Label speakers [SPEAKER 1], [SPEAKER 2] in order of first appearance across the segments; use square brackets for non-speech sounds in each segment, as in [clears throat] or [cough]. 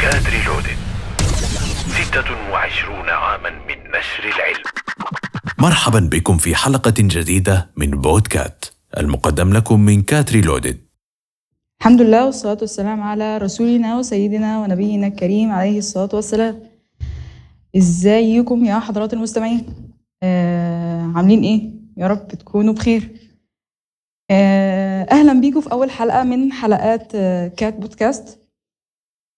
[SPEAKER 1] كانت ريلودد ستة وعشرون عاما من نشر العلم
[SPEAKER 2] مرحبا بكم في حلقة جديدة من بودكات المقدم لكم من كات ريلودد
[SPEAKER 3] الحمد لله والصلاة والسلام على رسولنا وسيدنا ونبينا الكريم عليه الصلاة والسلام ازيكم يا حضرات المستمعين آه عاملين ايه يا رب تكونوا بخير آه اهلا بيكم في اول حلقة من حلقات آه كات بودكاست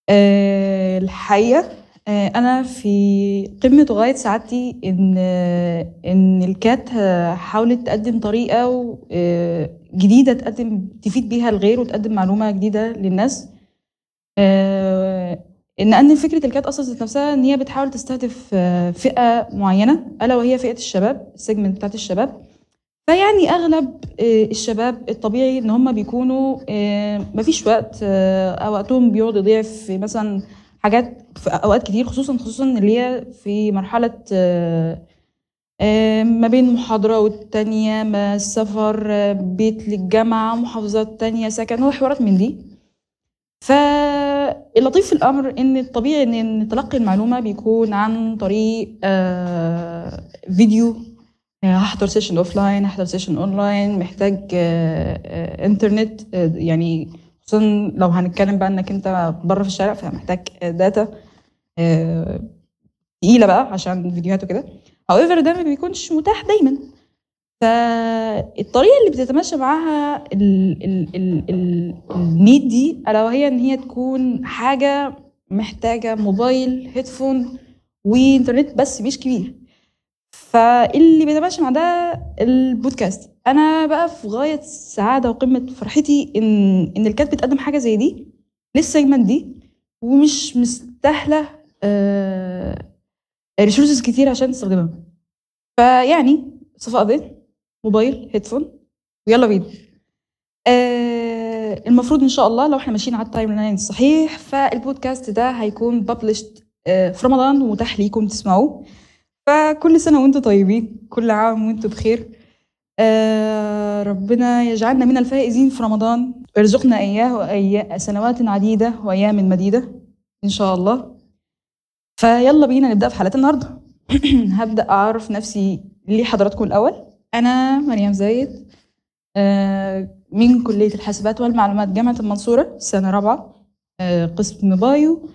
[SPEAKER 3] آه الحقيقة آه انا في قمة غاية سعادتي ان آه ان الكات آه، حاولت تقدم طريقة و- آه، جديدة تقدم تفيد بيها الغير وتقدم معلومة جديدة للناس آه، ان ان فكره الكات اصلا ذات نفسها ان هي بتحاول تستهدف آه، فئه معينه الا وهي فئه الشباب السيجمنت بتاعت الشباب فيعني اغلب آه، الشباب الطبيعي ان هم بيكونوا آه، مفيش وقت آه، او وقتهم بيقعد يضيع في مثلا حاجات في اوقات كتير خصوصا خصوصا اللي هي في مرحله آه، آه، ما بين محاضرة والتانية ما السفر آه، بيت للجامعة محافظات تانية سكن هو حوارات من دي فاللطيف في الأمر إن الطبيعي إن- إن تلقي المعلومة بيكون عن طريق آه، فيديو آه، هحضر سيشن اوف لاين هحضر سيشن اونلاين محتاج آه، آه، انترنت آه، يعني خصوصا لو هنتكلم بقى انك انت بره في الشارع فمحتاج آه، داتا آه، تقيله بقى عشان فيديوهات وكده however ده ما بيكونش متاح دايما فالطريقه اللي بتتماشى معاها ال- ال- ال- ال- النيد دي الا وهي ان هي تكون حاجه محتاجه موبايل هيدفون وانترنت بس مش كبير فاللي بيتماشى مع ده البودكاست انا بقى في غايه السعاده وقمه فرحتي ان ان الكات بتقدم حاجه زي دي للسيجمنت دي ومش مستاهله ريسورسز كتير عشان تستخدمها فيعني صفاء ذهن موبايل هيدفون ويلا بينا آه المفروض ان شاء الله لو احنا ماشيين على التايم لاين الصحيح فالبودكاست ده هيكون ببلشت آه في رمضان ومتاح ليكم تسمعوه فكل سنه وانتم طيبين كل عام وانتم بخير آه ربنا يجعلنا من الفائزين في رمضان ويرزقنا اياه وأي سنوات عديده وايام مديده ان شاء الله فيلا بينا نبدا في حلقه النهارده [clears throat] هبدا اعرف نفسي ليه حضراتكم الاول انا مريم زايد آه، من كليه الحاسبات والمعلومات جامعه المنصوره سنه رابعه آه، قسم بايو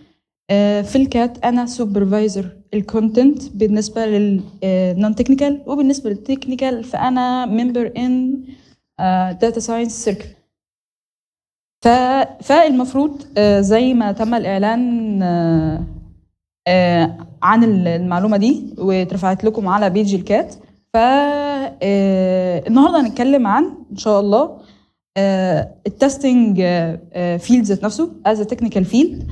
[SPEAKER 3] آه، في الكات انا سوبرفايزر الكونتنت بالنسبه للنون تكنيكال وبالنسبه للتكنيكال فانا ممبر ان داتا ساينس سيركل فالمفروض آه، زي ما تم الاعلان آه، آه، عن ال- المعلومه دي واترفعت لكم على بيج الكات ف آه، النهارده هنتكلم عن ان شاء الله آه، التستنج آه، فيلد ذات نفسه از تكنيكال فيلد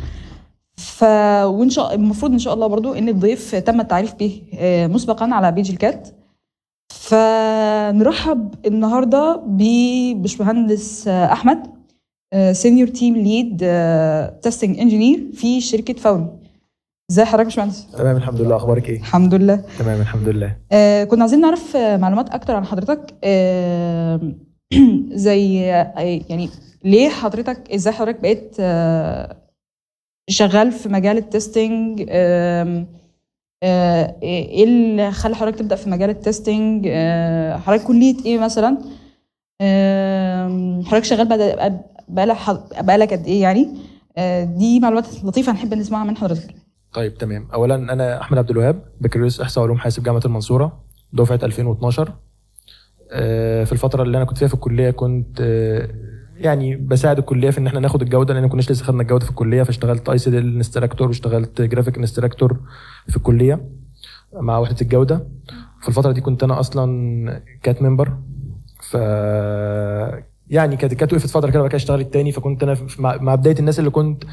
[SPEAKER 3] ف وان شاء المفروض ان شاء الله برضو ان الضيف تم التعريف به آه، مسبقا على بيج الكات فنرحب النهارده ببشمهندس آه، احمد سينيور تيم ليد تستنج انجينير آه، في شركه فوري ازي حضرتك يا باشمهندس
[SPEAKER 4] تمام الحمد لله اخبارك ايه
[SPEAKER 3] الحمد لله
[SPEAKER 4] تمام الحمد لله
[SPEAKER 3] آه كنا عايزين نعرف آه، معلومات اكتر عن حضرتك آه [clears throat] زي آه يعني ليه حضرتك ازاي حضرتك بقيت آه شغال في مجال التستنج آم، آه، ايه اللي خلى حضرتك تبدا في مجال التستنج آه، حضرتك كليه ايه مثلا آم، حضرتك شغال بقى بقالك قد ايه يعني آه، دي معلومات لطيفه هنحب نسمعها من حضرتك
[SPEAKER 4] طيب تمام اولا انا احمد عبد الوهاب بكالوريوس احصاء علوم حاسب جامعه المنصوره دفعه 2012 آه، في الفتره اللي انا كنت فيها في الكليه كنت آه، يعني بساعد الكليه في ان احنا ناخد الجوده لان ما كناش لسه خدنا الجوده في الكليه فاشتغلت اي سي دي انستراكتور واشتغلت جرافيك انستراكتور في الكليه مع وحده الجوده في الفتره دي كنت انا اصلا كات ممبر ف يعني كانت كانت وقفت فتره كده وبعد كده اشتغلت تاني فكنت انا في- مع مع بدايه الناس اللي كنت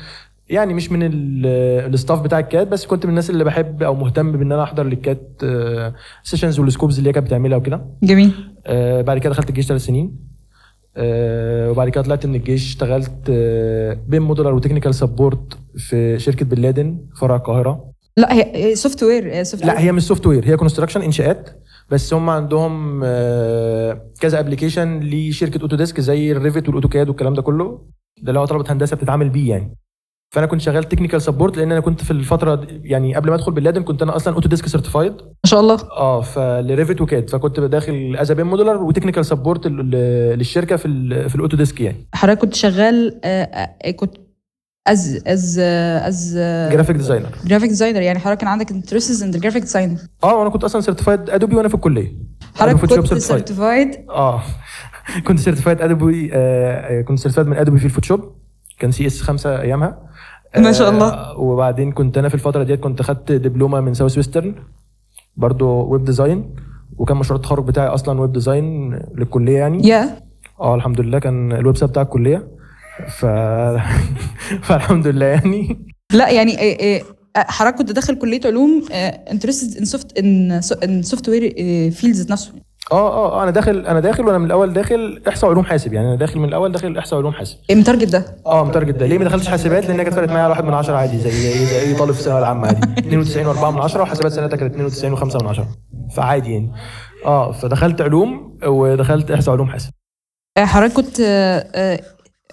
[SPEAKER 4] يعني مش من ال- الستاف بتاع الكات بس كنت من الناس اللي بحب او مهتم بان انا احضر للكات سيشنز والسكوبز اللي هي كانت بتعملها وكده
[SPEAKER 3] جميل
[SPEAKER 4] آه، بعد كده دخلت الجيش ثلاث سنين آه، وبعد كده طلعت من الجيش اشتغلت آه، بين مودولار وتكنيكال سبورت في شركه بن لادن فرع القاهره
[SPEAKER 3] لا هي آه، سوفت وير سوفت
[SPEAKER 4] لا هي مش سوفت وير هي كونستراكشن انشاءات بس هم عندهم آه، كذا ابلكيشن لشركه اوتوديسك زي الريفت والاوتوكاد والكلام ده كله ده اللي هو طلبه هندسه بتتعامل بيه يعني فانا كنت شغال تكنيكال سبورت لان انا كنت في الفتره دي- يعني قبل ما ادخل باللادن كنت انا اصلا اوتو ديسك سيرتيفايد
[SPEAKER 3] ما شاء الله
[SPEAKER 4] اه فلريفت وكاد فكنت داخل از بين مودولر وتكنيكال سبورت للشركه في ال في الاوتو ديسك يعني
[SPEAKER 3] حضرتك كنت شغال آه، آه، كنت آه، از از از
[SPEAKER 4] جرافيك ديزاينر
[SPEAKER 3] جرافيك ديزاينر يعني حضرتك كان عندك انترستس ان جرافيك ديزاينر
[SPEAKER 4] اه وانا كنت اصلا سيرتيفايد ادوبي وانا في الكليه أنا
[SPEAKER 3] حضرتك
[SPEAKER 4] Photoshop
[SPEAKER 3] كنت
[SPEAKER 4] certified.
[SPEAKER 3] سيرتيفايد
[SPEAKER 4] اه كنت سيرتيفايد ادوبي آه كنت سيرتيفايد من ادوبي في الفوتوشوب كان سي اس 5 ايامها
[SPEAKER 3] ما شاء الله.
[SPEAKER 4] آه، وبعدين كنت انا في الفتره ديت كنت خدت دبلومه من ساوث ويسترن برضو ويب ديزاين وكان مشروع التخرج بتاعي اصلا ويب ديزاين للكليه يعني
[SPEAKER 3] يا
[SPEAKER 4] اه الحمد لله كان الويب سايت بتاع الكليه ف [laughs] فالحمد لله يعني
[SPEAKER 3] لا يعني آه، آه، آه، حضرتك كنت داخل كليه علوم آه، انترستد ان سوفت ان سوفت وير فيلدز آه، نفسه
[SPEAKER 4] اه اه آه، انا داخل انا داخل وانا من الاول داخل احصاء علوم حاسب يعني انا داخل من الاول داخل احصاء علوم حاسب
[SPEAKER 3] ايه متارجت ده
[SPEAKER 4] اه متارجت ده ليه ما دخلتش حاسبات لان هي كانت فرقت معايا على واحد من 10 عادي زي زي زي اي طالب في الثانويه العامه [laughs] عادي 92 و4 من 10 وحاسبات سنتها كانت 92 و5 من 10 فعادي يعني اه فدخلت علوم ودخلت احصاء علوم حاسب
[SPEAKER 3] آه، حضرتك كنت آه، آه،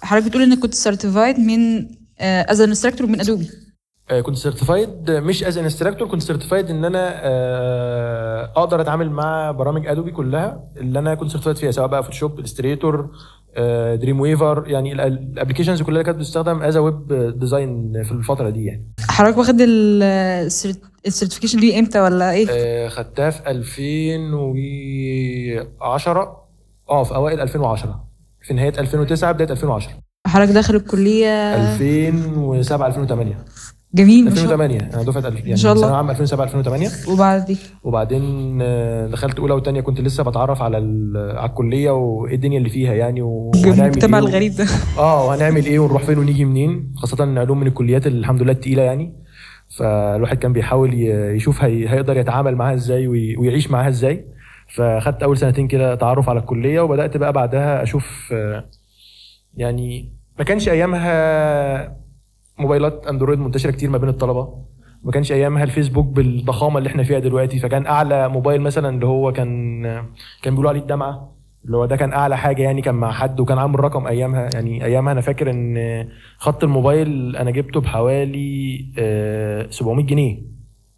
[SPEAKER 3] حضرتك بتقول انك كنت سيرتيفايد من آه، از انستراكتور من ادوبي
[SPEAKER 4] آه، كنت سيرتيفايد مش از انستراكتور كنت سيرتيفايد ان انا آه، اقدر اتعامل مع برامج ادوبي كلها اللي انا كنت سيرتيفايد فيها سواء بقى فوتوشوب الستريتور دريم ويفر يعني الابلكيشنز كلها اللي كانت بتستخدم از ويب ديزاين في الفتره دي يعني
[SPEAKER 3] حضرتك واخد السيرتيفيكيشن دي امتى ولا ايه؟
[SPEAKER 4] آه، خدتها في 2010 اه في اوائل 2010 في نهايه 2009 بدايه 2010
[SPEAKER 3] حضرتك داخل الكليه
[SPEAKER 4] 2007 2008
[SPEAKER 3] جميل ما آه. شاء الله
[SPEAKER 4] 2008 انا دفعه الف- يعني
[SPEAKER 3] إن شاء الله.
[SPEAKER 4] ثانويه عام 2007 2008
[SPEAKER 3] وبعد دي
[SPEAKER 4] وبعدين آه، دخلت اولى وثانيه كنت لسه بتعرف على ال- على الكليه وايه الدنيا اللي فيها يعني و- وهنعمل
[SPEAKER 3] المجتمع
[SPEAKER 4] إيه و-
[SPEAKER 3] الغريب ده
[SPEAKER 4] اه وهنعمل ايه ونروح فين ونيجي منين خاصه ان علوم من الكليات اللي الحمد لله التقيله يعني فالواحد كان بيحاول ي- يشوف هي- هيقدر يتعامل معاها ازاي وي- ويعيش معاها ازاي فاخدت اول سنتين كده تعرف على الكليه وبدات بقى بعدها اشوف آه، يعني ما كانش ايامها موبايلات اندرويد منتشره كتير ما بين الطلبه ما كانش ايامها الفيسبوك بالضخامه اللي احنا فيها دلوقتي فكان اعلى موبايل مثلا اللي هو كان كان بيقولوا عليه الدمعه اللي هو ده كان اعلى حاجه يعني كان مع حد وكان عامل رقم ايامها يعني ايامها انا فاكر ان خط الموبايل انا جبته بحوالي آه، 700 جنيه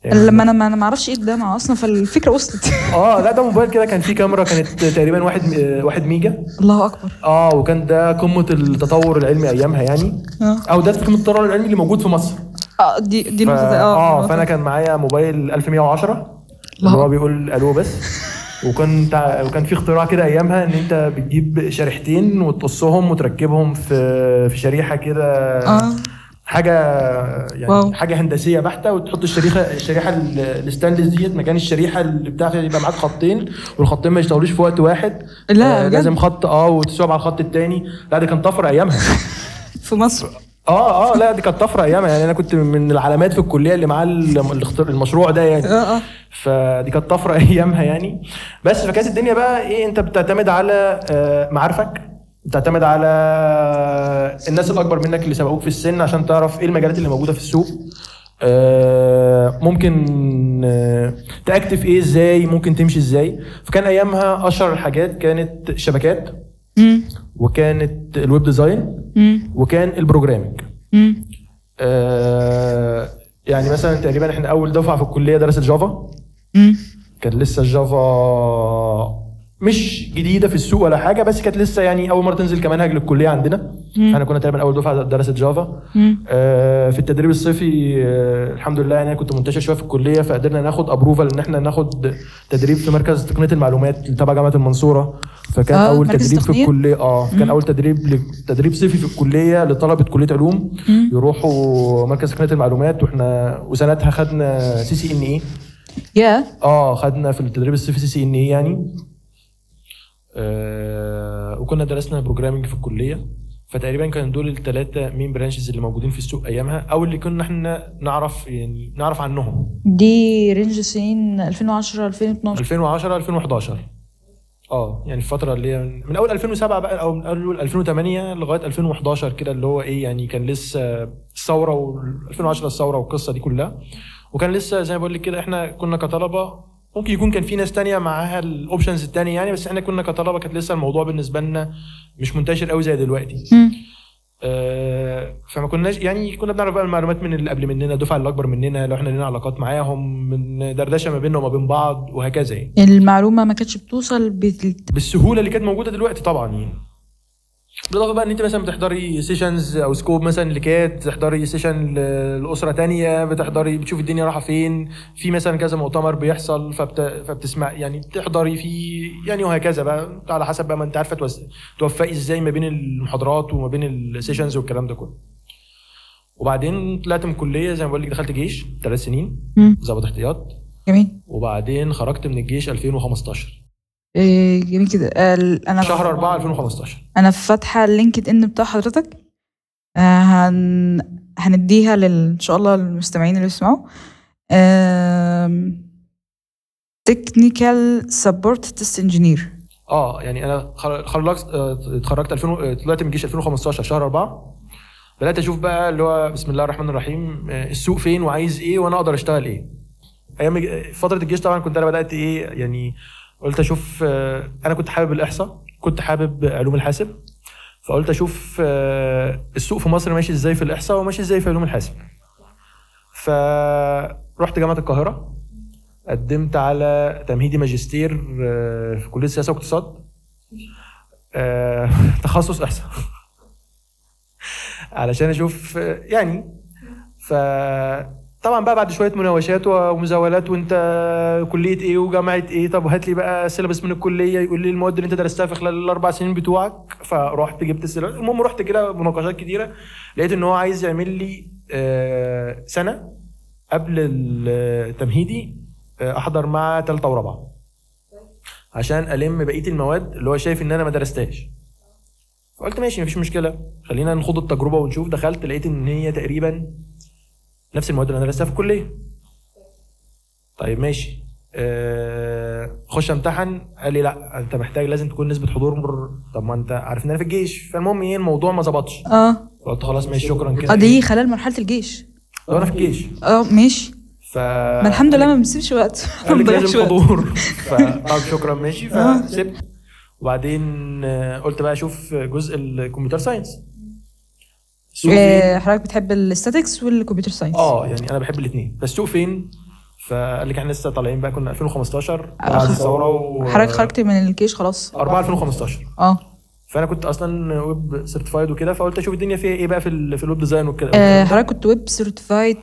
[SPEAKER 4] يعني إيه.
[SPEAKER 3] لما انا ما انا ما اعرفش ايه الدمعه اصلا فالفكره وصلت [laughs]
[SPEAKER 4] اه لا ده موبايل كده كان فيه كاميرا كانت تقريبا واحد آه، واحد ميجا
[SPEAKER 3] الله اكبر
[SPEAKER 4] اه وكان ده قمه التطور العلمي ايامها يعني
[SPEAKER 3] اه
[SPEAKER 4] او ده قمه التطور العلمي اللي موجود في مصر
[SPEAKER 3] آه، دي دي
[SPEAKER 4] ف-
[SPEAKER 3] النقطه
[SPEAKER 4] اه
[SPEAKER 3] اه
[SPEAKER 4] فانا كان معايا موبايل 1110
[SPEAKER 3] الله.
[SPEAKER 4] اللي هو بيقول الو
[SPEAKER 3] [laughs]
[SPEAKER 4] بس وكنت ع- وكان في اختراع كده ايامها ان انت بتجيب شريحتين وتقصهم وتركبهم في في شريحه كده
[SPEAKER 3] اه
[SPEAKER 4] حاجه يعني
[SPEAKER 3] واو.
[SPEAKER 4] حاجه هندسيه بحته وتحط الشريحه الشريحه ال- الستانلس ديت مكان الشريحه اللي بتاع يبقى معاك خطين والخطين ما يشتغلوش في وقت واحد
[SPEAKER 3] لا،
[SPEAKER 4] آه
[SPEAKER 3] بجد؟
[SPEAKER 4] لازم خط اه وتسوق على الخط التاني لا ده كان طفره ايامها
[SPEAKER 3] في مصر
[SPEAKER 4] اه اه لا دي كانت طفره ايامها يعني انا كنت من العلامات في الكليه اللي معاه ال- الاختر- المشروع ده يعني
[SPEAKER 3] اه اه
[SPEAKER 4] فدي كانت [laughs] طفره ايامها يعني بس فكانت الدنيا بقى ايه انت بتعتمد على آه، معارفك بتعتمد على آه، الناس الاكبر منك اللي سبقوك في السن عشان تعرف ايه المجالات اللي موجوده في السوق آه، ممكن آه، تاكتف ايه ازاي ممكن تمشي ازاي فكان ايامها اشهر الحاجات كانت الشبكات
[SPEAKER 3] امم
[SPEAKER 4] وكانت الويب ديزاين
[SPEAKER 3] امم
[SPEAKER 4] وكان البروجرامنج
[SPEAKER 3] امم
[SPEAKER 4] آه، يعني مثلا تقريبا احنا اول دفعه في الكليه درست جافا
[SPEAKER 3] امم
[SPEAKER 4] كان لسه الجافا مش جديده في السوق ولا حاجه بس كانت لسه يعني اول مره تنزل كمنهج للكليه عندنا احنا كنا تقريبا اول دفعه درست جافا
[SPEAKER 3] مم.
[SPEAKER 4] آه، في التدريب الصيفي آه، الحمد لله يعني أنا كنت منتشر شويه في الكليه فقدرنا ناخد ابروفال ان احنا ناخد تدريب في مركز تقنيه المعلومات تبع جامعه المنصوره فكان
[SPEAKER 3] آه،
[SPEAKER 4] اول
[SPEAKER 3] مركز
[SPEAKER 4] تدريب في
[SPEAKER 3] تقنية؟
[SPEAKER 4] الكليه اه كان اول تدريب ل- تدريب صيفي في الكليه لطلبه كليه علوم يروحوا مركز تقنيه المعلومات واحنا وسنتها خدنا سي سي ان ايه
[SPEAKER 3] يا
[SPEAKER 4] اه خدنا في التدريب الصيفي سي سي ان اي يعني آه وكنا درسنا بروجرامنج في الكليه فتقريبا كان دول الثلاثه مين برانشز اللي موجودين في السوق ايامها او اللي كنا احنا نعرف يعني نعرف عنهم
[SPEAKER 3] دي رينج سنين 2010 2012
[SPEAKER 4] 2010 2011 اه يعني الفتره اللي هي من من اول 2007 بقى او من اول 2008 لغايه 2011 كده اللي هو ايه يعني كان لسه الثوره و 2010 الثوره والقصه دي كلها وكان لسه زي ما بقول لك كده احنا كنا كطلبه ممكن يكون كان في ناس تانية معاها الاوبشنز التانية يعني بس احنا كنا كطلبه كانت لسه الموضوع بالنسبه لنا مش منتشر قوي زي دلوقتي
[SPEAKER 3] مم.
[SPEAKER 4] آه، فما كناش يعني كنا بنعرف بقى المعلومات من اللي قبل مننا الدفعه اللي اكبر مننا لو احنا لنا علاقات معاهم من دردشه ما بيننا وما بين بعض وهكذا يعني
[SPEAKER 3] المعلومه ما كانتش بتوصل بال-
[SPEAKER 4] بالسهوله اللي كانت موجوده دلوقتي طبعا يعني بالاضافه بقى ان انت مثلا بتحضري سيشنز او سكوب مثلا لكات بتحضري سيشن ل- لاسره تانية بتحضري بتشوفي الدنيا رايحه فين في مثلا كذا مؤتمر بيحصل فبت... فبتسمع يعني بتحضري في يعني وهكذا بقى على حسب بقى ما انت عارفه توس... توفقي ازاي ما بين المحاضرات وما بين السيشنز والكلام ده كله وبعدين طلعت من الكليه زي ما بقول لك دخلت جيش ثلاث سنين
[SPEAKER 3] مم.
[SPEAKER 4] ضابط احتياط
[SPEAKER 3] جميل
[SPEAKER 4] وبعدين خرجت من الجيش 2015
[SPEAKER 3] إيه، جميل كده آه، ال- انا
[SPEAKER 4] شهر 4 2015
[SPEAKER 3] انا فاتحه اللينكد ان بتاع حضرتك آه، هن... هنديها لل... ان شاء الله للمستمعين اللي بيسمعوا تكنيكال سبورت تيست انجينير
[SPEAKER 4] اه يعني انا خل- خلصت آه، اتخرجت 2000 و- آه، طلعت من الجيش 2015 شهر 4 بدات اشوف بقى اللي هو بسم الله الرحمن الرحيم آه، السوق فين وعايز ايه وانا اقدر اشتغل ايه ايام الج- آه، فتره الجيش طبعا كنت انا بدات ايه يعني قلت اشوف آه، انا كنت حابب الاحصاء كنت حابب علوم الحاسب فقلت اشوف آه، السوق في مصر ماشي ازاي في الاحصاء وماشي ازاي في علوم الحاسب فرحت جامعه القاهره قدمت على تمهيدي ماجستير آه، في كليه السياسه واقتصاد آه، [laughs] تخصص احسن علشان اشوف آه، يعني ف طبعا بقى بعد شويه مناوشات ومزاولات وانت كليه ايه وجامعه ايه طب هات لي بقى سيلابس من الكليه يقول لي المواد اللي انت درستها في خلال الاربع سنين بتوعك فرحت جبت السيلابس المهم رحت كده مناقشات كتيره لقيت ان هو عايز يعمل لي آه، سنه قبل التمهيدي آه، احضر مع ثالثه ورابعه عشان الم بقيه المواد اللي هو شايف ان انا ما درستهاش فقلت ماشي مفيش مشكله خلينا نخوض التجربه ونشوف دخلت لقيت ان هي تقريبا نفس المواد اللي انا درستها في الكليه طيب ماشي آه، خش امتحن قال لي لا انت محتاج لازم تكون نسبه حضور مر... طب ما انت عارف ان انا في الجيش فالمهم ايه الموضوع ما ظبطش
[SPEAKER 3] اه
[SPEAKER 4] قلت خلاص ماشي شكرا
[SPEAKER 3] اه
[SPEAKER 4] كده
[SPEAKER 3] دي خلال مرحله الجيش
[SPEAKER 4] لو انا في الجيش
[SPEAKER 3] اه ماشي
[SPEAKER 4] ف
[SPEAKER 3] ما الحمد لله آه. ما بنسيبش وقت [laughs] ما
[SPEAKER 4] قال لك
[SPEAKER 3] بنضيعش
[SPEAKER 4] لازم
[SPEAKER 3] وقت
[SPEAKER 4] حضور فقال شكرا ماشي فسبت وبعدين آه، قلت بقى اشوف جزء الكمبيوتر ساينس السوق فين؟
[SPEAKER 3] آه، حضرتك بتحب الاستاتكس والكمبيوتر ساينس
[SPEAKER 4] اه يعني انا بحب الاثنين بس السوق فين فقال لك احنا لسه طالعين بقى كنا 2015 بعد الثوره و
[SPEAKER 3] آه. حضرتك خرجت من الجيش خلاص
[SPEAKER 4] 4 2015
[SPEAKER 3] اه
[SPEAKER 4] فانا كنت اصلا ويب سيرتيفايد وكده فقلت اشوف الدنيا فيها ايه بقى في ال- في الويب ديزاين وكده
[SPEAKER 3] آه، حضرتك كنت ويب سيرتيفايد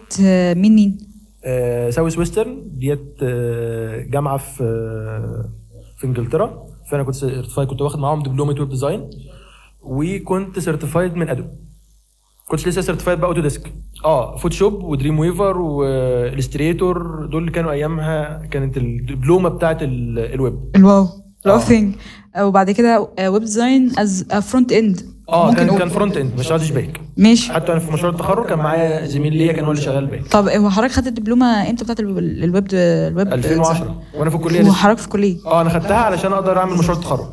[SPEAKER 3] مين مين
[SPEAKER 4] آه، ساوث ويسترن ديت آه، جامعه في آه، في انجلترا فانا كنت سيرتيفايد كنت واخد معاهم دبلومه ويب ديزاين وكنت سيرتيفايد من ادوب كنت لسه سيرتيفايد بقى اوتوديسك اه فوتوشوب ودريم ويفر والستريتور آه، دول اللي كانوا ايامها كانت الدبلومه بتاعت ال- الويب
[SPEAKER 3] الواو الواو
[SPEAKER 4] آه.
[SPEAKER 3] ثينج وبعد كده آه، ويب ديزاين از فرونت اند
[SPEAKER 4] اه كان كان فرونت اند ما شغالش باك
[SPEAKER 3] ماشي
[SPEAKER 4] حتى انا في مشروع التخرج كان معايا زميل ليا كان هو اللي شغال باك
[SPEAKER 3] طب هو حضرتك خدت الدبلومه امتى بتاعت الويب الويب الويب
[SPEAKER 4] 2010 وانا في الكليه لسه
[SPEAKER 3] وحضرتك في كليه
[SPEAKER 4] اه انا خدتها علشان اقدر اعمل مشروع التخرج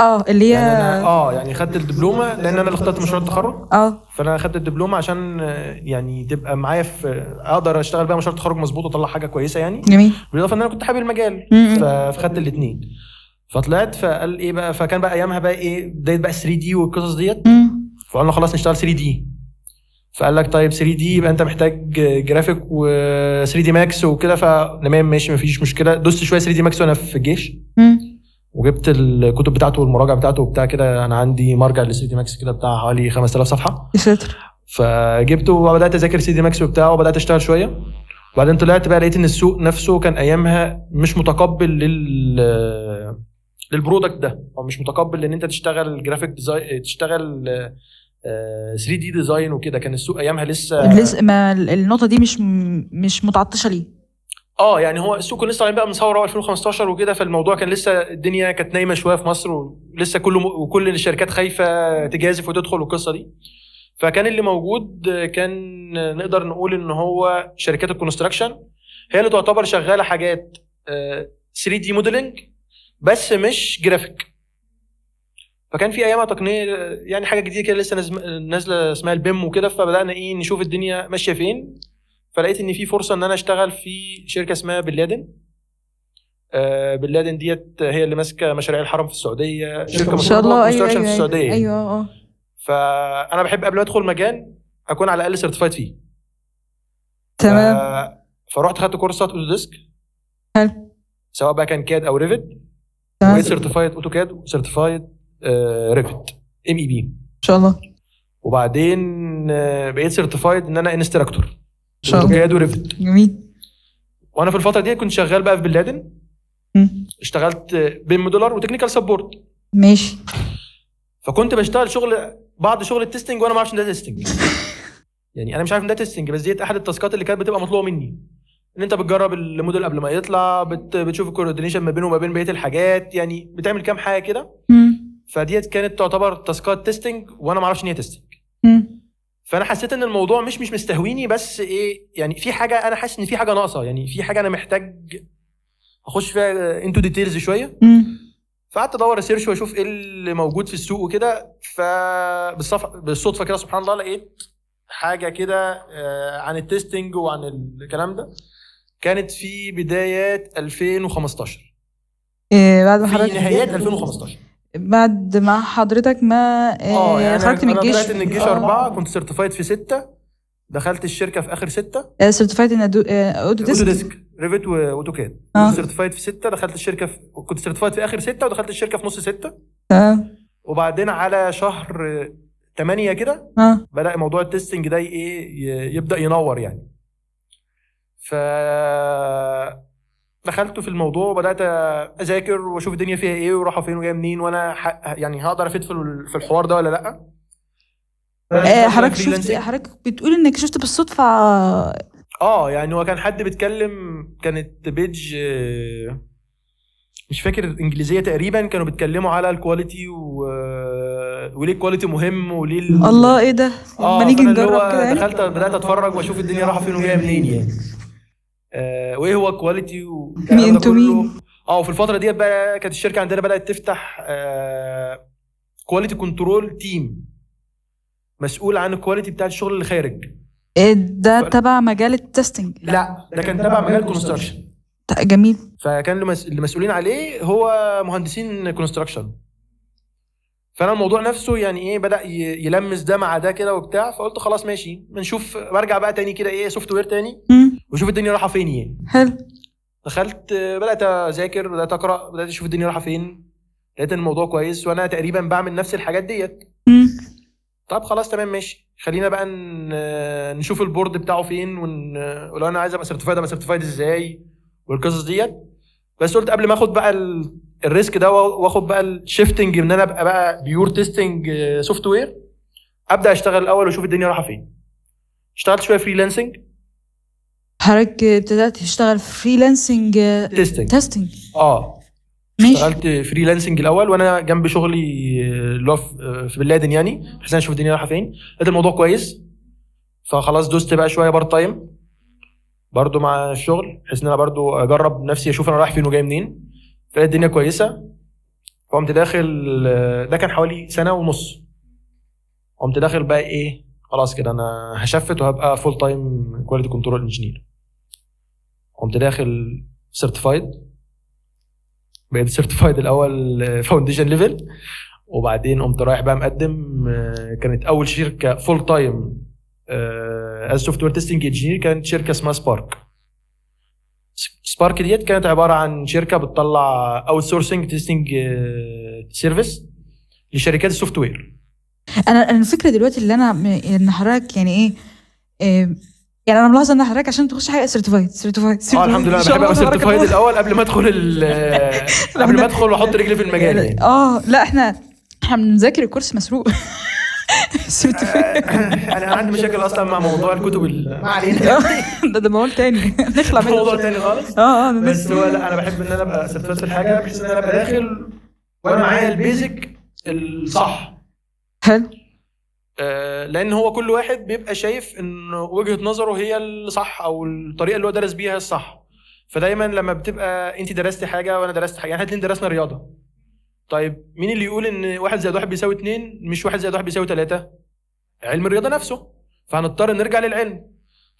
[SPEAKER 3] اه اللي
[SPEAKER 4] يعني آه.
[SPEAKER 3] هي
[SPEAKER 4] انا اه يعني خدت الدبلومه لان انا اللي اخترت مشروع التخرج
[SPEAKER 3] اه
[SPEAKER 4] فانا خدت الدبلومه عشان آه، يعني تبقى معايا في اقدر اشتغل بيها مشروع التخرج مظبوط واطلع حاجه كويسه يعني
[SPEAKER 3] جميل
[SPEAKER 4] بالاضافه ان انا كنت حابب المجال
[SPEAKER 3] م-
[SPEAKER 4] ف- فخدت الاثنين فطلعت فقال ايه بقى فكان بقى ايامها بقى ايه بدايه بقى 3 دي والقصص ديت
[SPEAKER 3] مم.
[SPEAKER 4] فقلنا خلاص نشتغل 3 دي فقال لك طيب 3 دي يبقى انت محتاج جرافيك و 3 دي ماكس وكده فتمام ماشي مفيش مشكله دوست شويه 3 دي ماكس وانا في الجيش
[SPEAKER 3] مم.
[SPEAKER 4] وجبت الكتب بتاعته والمراجعه بتاعته وبتاع كده انا عندي مرجع لسيدي ماكس كده بتاع حوالي 5000 صفحه
[SPEAKER 3] يا ساتر
[SPEAKER 4] فجبته وبدات اذاكر سيدي ماكس وبتاعه وبدات اشتغل شويه وبعدين طلعت بقى لقيت ان السوق نفسه كان ايامها مش متقبل لل للبرودكت ده او مش متقبل ان انت تشتغل جرافيك ديزاين تشتغل آه، 3 دي ديزاين وكده كان السوق ايامها لسه
[SPEAKER 3] لسه ما ال- النقطه دي مش م- مش متعطشه ليه
[SPEAKER 4] اه يعني هو السوق كان لسه طالعين بقى من ثوره 2015 وكده فالموضوع كان لسه الدنيا كانت نايمه شويه في مصر ولسه كله وكل الشركات خايفه تجازف وتدخل والقصه دي فكان اللي موجود كان نقدر نقول ان هو شركات الكونستراكشن هي اللي تعتبر شغاله حاجات آه، 3 دي موديلنج بس مش جرافيك فكان في ايامها تقنيه يعني حاجه جديده كده لسه نازم- نازله اسمها البيم وكده فبدانا ايه نشوف الدنيا ماشيه فين فلقيت ان في فرصه ان انا اشتغل في شركه اسمها بن لادن آه، بن لادن ديت هي اللي ماسكه مشاريع الحرم في السعوديه شركه
[SPEAKER 3] ان شاء
[SPEAKER 4] مشهورة
[SPEAKER 3] الله
[SPEAKER 4] بالconstruction
[SPEAKER 3] ايوه ايوه
[SPEAKER 4] في السعوديه
[SPEAKER 3] ايوه, أيوة. اه
[SPEAKER 4] فانا بحب قبل ما ادخل مكان اكون على الاقل سيرتيفايد فيه آه.
[SPEAKER 3] تمام
[SPEAKER 4] ف- فروحت خدت كورسات اوتوديسك
[SPEAKER 3] حلو.
[SPEAKER 4] سواء بقى كان كاد او ريفت
[SPEAKER 3] تمام
[SPEAKER 4] وبقيت
[SPEAKER 3] ان
[SPEAKER 4] سيرتيفايد اوتوكاد وسيرتيفايد ريفت ام اي بي
[SPEAKER 3] شاء الله ان
[SPEAKER 4] E وبعدين آه، بقيت سيرتيفايد ان انا انستراكتور
[SPEAKER 3] شاء الله
[SPEAKER 4] اوتوكاد وريفت
[SPEAKER 3] جميل
[SPEAKER 4] وانا في الفتره دي كنت شغال بقى في بن لادن
[SPEAKER 3] مم.
[SPEAKER 4] اشتغلت بين دولار وتكنيكال سبورت
[SPEAKER 3] ماشي
[SPEAKER 4] فكنت بشتغل شغل بعض شغل التستنج وانا ما اعرفش ان ده تستنج يعني انا مش عارف ان ده تستنج بس ديت احد التاسكات اللي كانت بتبقى مطلوبه مني ان انت بتجرب الموديل قبل ما يطلع بت بتشوف الكوردينيشن ما بينه وما بين بقيه الحاجات يعني بتعمل كام حاجه كده
[SPEAKER 3] مم.
[SPEAKER 4] فديت كانت تعتبر تاسكات تستنج وانا ما اعرفش ان هي تستنج
[SPEAKER 3] مم.
[SPEAKER 4] فانا حسيت ان الموضوع مش مش مستهويني بس ايه يعني في حاجه انا حاسس ان في حاجه ناقصه يعني في حاجه انا محتاج اخش فيها انتو ديتيلز شويه
[SPEAKER 3] مم.
[SPEAKER 4] فقعدت ادور ريسيرش واشوف ايه اللي موجود في السوق وكده فبالصف بالصدفه كده سبحان الله لقيت حاجه كده آه، عن التستنج وعن الكلام ده كانت في بدايات 2015
[SPEAKER 3] إيه بعد ما
[SPEAKER 4] في
[SPEAKER 3] حضرتك
[SPEAKER 4] نهايات 2015
[SPEAKER 3] بعد ما حضرتك ما إيه
[SPEAKER 4] اه يعني
[SPEAKER 3] خرجت
[SPEAKER 4] أنا-
[SPEAKER 3] من الجيش
[SPEAKER 4] انا طلعت من الجيش
[SPEAKER 3] آه.
[SPEAKER 4] اربعه كنت سيرتيفايد في سته دخلت الشركه في اخر سته
[SPEAKER 3] آه، سيرتيفايد ان أدو- آه، اودو
[SPEAKER 4] اوتو
[SPEAKER 3] ديسك
[SPEAKER 4] ديسك ريفت واوتوكاد
[SPEAKER 3] آه.
[SPEAKER 4] كنت سيرتيفايد في سته دخلت الشركه في... كنت سيرتيفايد في اخر سته ودخلت الشركه في نص سته
[SPEAKER 3] تمام
[SPEAKER 4] وبعدين على شهر 8 كده
[SPEAKER 3] اه
[SPEAKER 4] بدا موضوع التستنج ده ايه ي- يبدا ينور يعني ف دخلت في الموضوع وبدات اذاكر واشوف الدنيا فيها ايه وراحه فين وجايه منين وانا ح... يعني هقدر افيد في ال- في الحوار ده ولا لا
[SPEAKER 3] آه، حضرتك شفت
[SPEAKER 4] فريلانسنج.
[SPEAKER 3] حضرتك بتقول انك شفت بالصدفه
[SPEAKER 4] اه يعني هو كان حد بيتكلم كانت بيج آه، مش فاكر انجليزيه تقريبا كانوا بيتكلموا على الكواليتي و... آه، وليه الكواليتي مهم وليه ال-
[SPEAKER 3] الله ايه ده
[SPEAKER 4] اه
[SPEAKER 3] ما نيجي
[SPEAKER 4] فأنا اللي هو
[SPEAKER 3] نجرب كده يعني؟
[SPEAKER 4] دخلت بدات اتفرج واشوف الدنيا رايحه فين وجايه منين يعني آه وايه هو الكواليتي والكلام
[SPEAKER 3] مين
[SPEAKER 4] ده
[SPEAKER 3] انتوا
[SPEAKER 4] كله.
[SPEAKER 3] مين؟
[SPEAKER 4] اه وفي الفتره ديت بقى كانت الشركه عندنا بدات تفتح آه كواليتي كنترول تيم مسؤول عن الكواليتي بتاعت الشغل اللي خارج
[SPEAKER 3] إيه ده تبع مجال التستنج
[SPEAKER 4] لا ده كان تبع مجال كونستراكشن
[SPEAKER 3] ط- طيب، جميل
[SPEAKER 4] فكان اللي مس- اللي مسؤولين عليه هو مهندسين كونستراكشن فانا الموضوع نفسه يعني ايه بدا ي- يلمس ده مع ده كده وبتاع فقلت خلاص ماشي بنشوف برجع بقى تاني كده ايه سوفت وير تاني
[SPEAKER 3] مم.
[SPEAKER 4] واشوف الدنيا رايحه فين يعني
[SPEAKER 3] حلو
[SPEAKER 4] دخلت آه، بدات اذاكر بدات اقرا بدات اشوف الدنيا رايحه فين لقيت إن الموضوع كويس وانا تقريبا بعمل نفس الحاجات ديت
[SPEAKER 3] مم.
[SPEAKER 4] طب خلاص تمام ماشي خلينا بقى ن- آه، نشوف البورد بتاعه فين ون... آه، ولو انا عايز ابقى سيرتيفايد ابقى سيرتيفايد ازاي والقصص ديت بس قلت قبل ما اخد بقى ال... الريسك ده وأ- واخد بقى الشيفتنج ان انا ابقى بقى آه، بيور تيستنج سوفت وير ابدا اشتغل الاول واشوف الدنيا رايحه فين اشتغلت شويه فريلانسنج
[SPEAKER 3] حضرتك ابتدأت تشتغل فريلانسنج
[SPEAKER 4] تيستنج
[SPEAKER 3] تستنج
[SPEAKER 4] اه
[SPEAKER 3] ماشي
[SPEAKER 4] اشتغلت فريلانسنج الاول وانا جنب شغلي آه، اللي هو في- آه، في بن لادن يعني بحيث انا اشوف الدنيا رايحه فين لقيت الموضوع كويس فخلاص دوست بقى شويه بارت تايم برضو مع الشغل بحيث ان انا برضو اجرب نفسي اشوف انا رايح فين وجاي منين فلقيت الدنيا كويسه فقمت داخل آه، ده كان حوالي سنه ونص قمت داخل بقى ايه خلاص كده انا هشفت وهبقى فول تايم كواليتي كنترول انجينير قمت داخل سيرتيفايد بقيت سيرتيفايد الاول فاونديشن ليفل وبعدين قمت رايح بقى مقدم آه، كانت اول شركه فول تايم از سوفت وير تيستنج انجينير كانت شركه اسمها سبارك سبارك ديت كانت عباره عن شركه بتطلع اوت سورسنج تيستنج سيرفيس لشركات السوفت وير
[SPEAKER 3] انا أنا الفكره دلوقتي اللي انا ان حضرتك يعني ايه إيه، يعني انا ملاحظه ان حضرتك عشان تخش حاجه سيرتيفايد سيرتيفايد
[SPEAKER 4] اه الحمد لله أنا بحب ابقى سيرتيفايد الاول قبل ما ادخل [laughs] ال- آه، قبل ما ادخل واحط رجلي في المجال يعني [laughs]
[SPEAKER 3] اه لا احنا احنا بنذاكر الكورس مسروق [laughs] سيرتيفايد
[SPEAKER 4] انا عندي مشاكل اصلا مع موضوع الكتب ال- ما علينا
[SPEAKER 3] [laughs] ده ده موال تاني نخلع منه
[SPEAKER 4] آه، موضوع تاني خالص
[SPEAKER 3] اه اه ده
[SPEAKER 4] بس
[SPEAKER 3] نخلع.
[SPEAKER 4] هو لا انا بحب ان انا ابقى سيرتيفايد في الحاجه بحيث ان انا ابقى داخل وانا معايا البيزك الصح
[SPEAKER 3] حلو
[SPEAKER 4] آه، لان هو كل واحد بيبقى شايف ان وجهه نظره هي الصح او الطريقه اللي هو درس بيها الصح فدايما لما بتبقى انت درست حاجه وانا درست حاجه يعني احنا الاتنين درسنا رياضه طيب مين اللي يقول ان واحد زائد واحد بيساوي اتنين مش واحد زائد واحد بيساوي تلاته علم الرياضه نفسه فهنضطر نرجع للعلم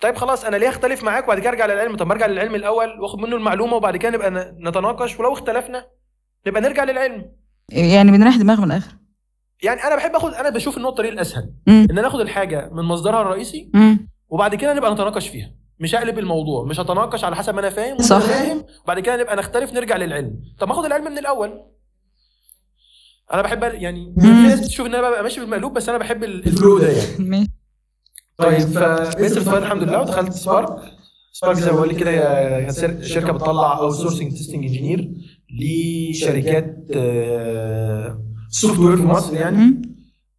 [SPEAKER 4] طيب خلاص انا ليه اختلف معاك وبعد كده ارجع للعلم طب ما ارجع للعلم الاول واخد منه المعلومه وبعد كده نبقى ن- نتناقش ولو اختلفنا نبقى نرجع للعلم
[SPEAKER 3] يعني بنريح دماغ من الاخر
[SPEAKER 4] يعني انا بحب اخد انا بشوف ان هو الطريق الاسهل
[SPEAKER 3] مم.
[SPEAKER 4] ان انا اخد الحاجه من مصدرها الرئيسي
[SPEAKER 3] مم.
[SPEAKER 4] وبعد كده نبقى نتناقش فيها مش هقلب الموضوع مش هتناقش على حسب ما انا فاهم وأنت
[SPEAKER 3] صح.
[SPEAKER 4] فاهم وبعد كده نبقى نختلف نرجع للعلم طب ما اخد العلم من الاول انا بحب يعني في ناس بتشوف ان انا ببقى ماشي بالمقلوب بس انا بحب ال- الفلو ده يعني
[SPEAKER 3] ماشي.
[SPEAKER 4] طيب فبقيت في الفاير الحمد لله ودخلت سبارك سبارك زي ما بقول لك كده هي- هي سر- شركه بتطلع او سورسنج تيستنج انجينير لشركات سوفت وير في مصر يعني
[SPEAKER 3] مم.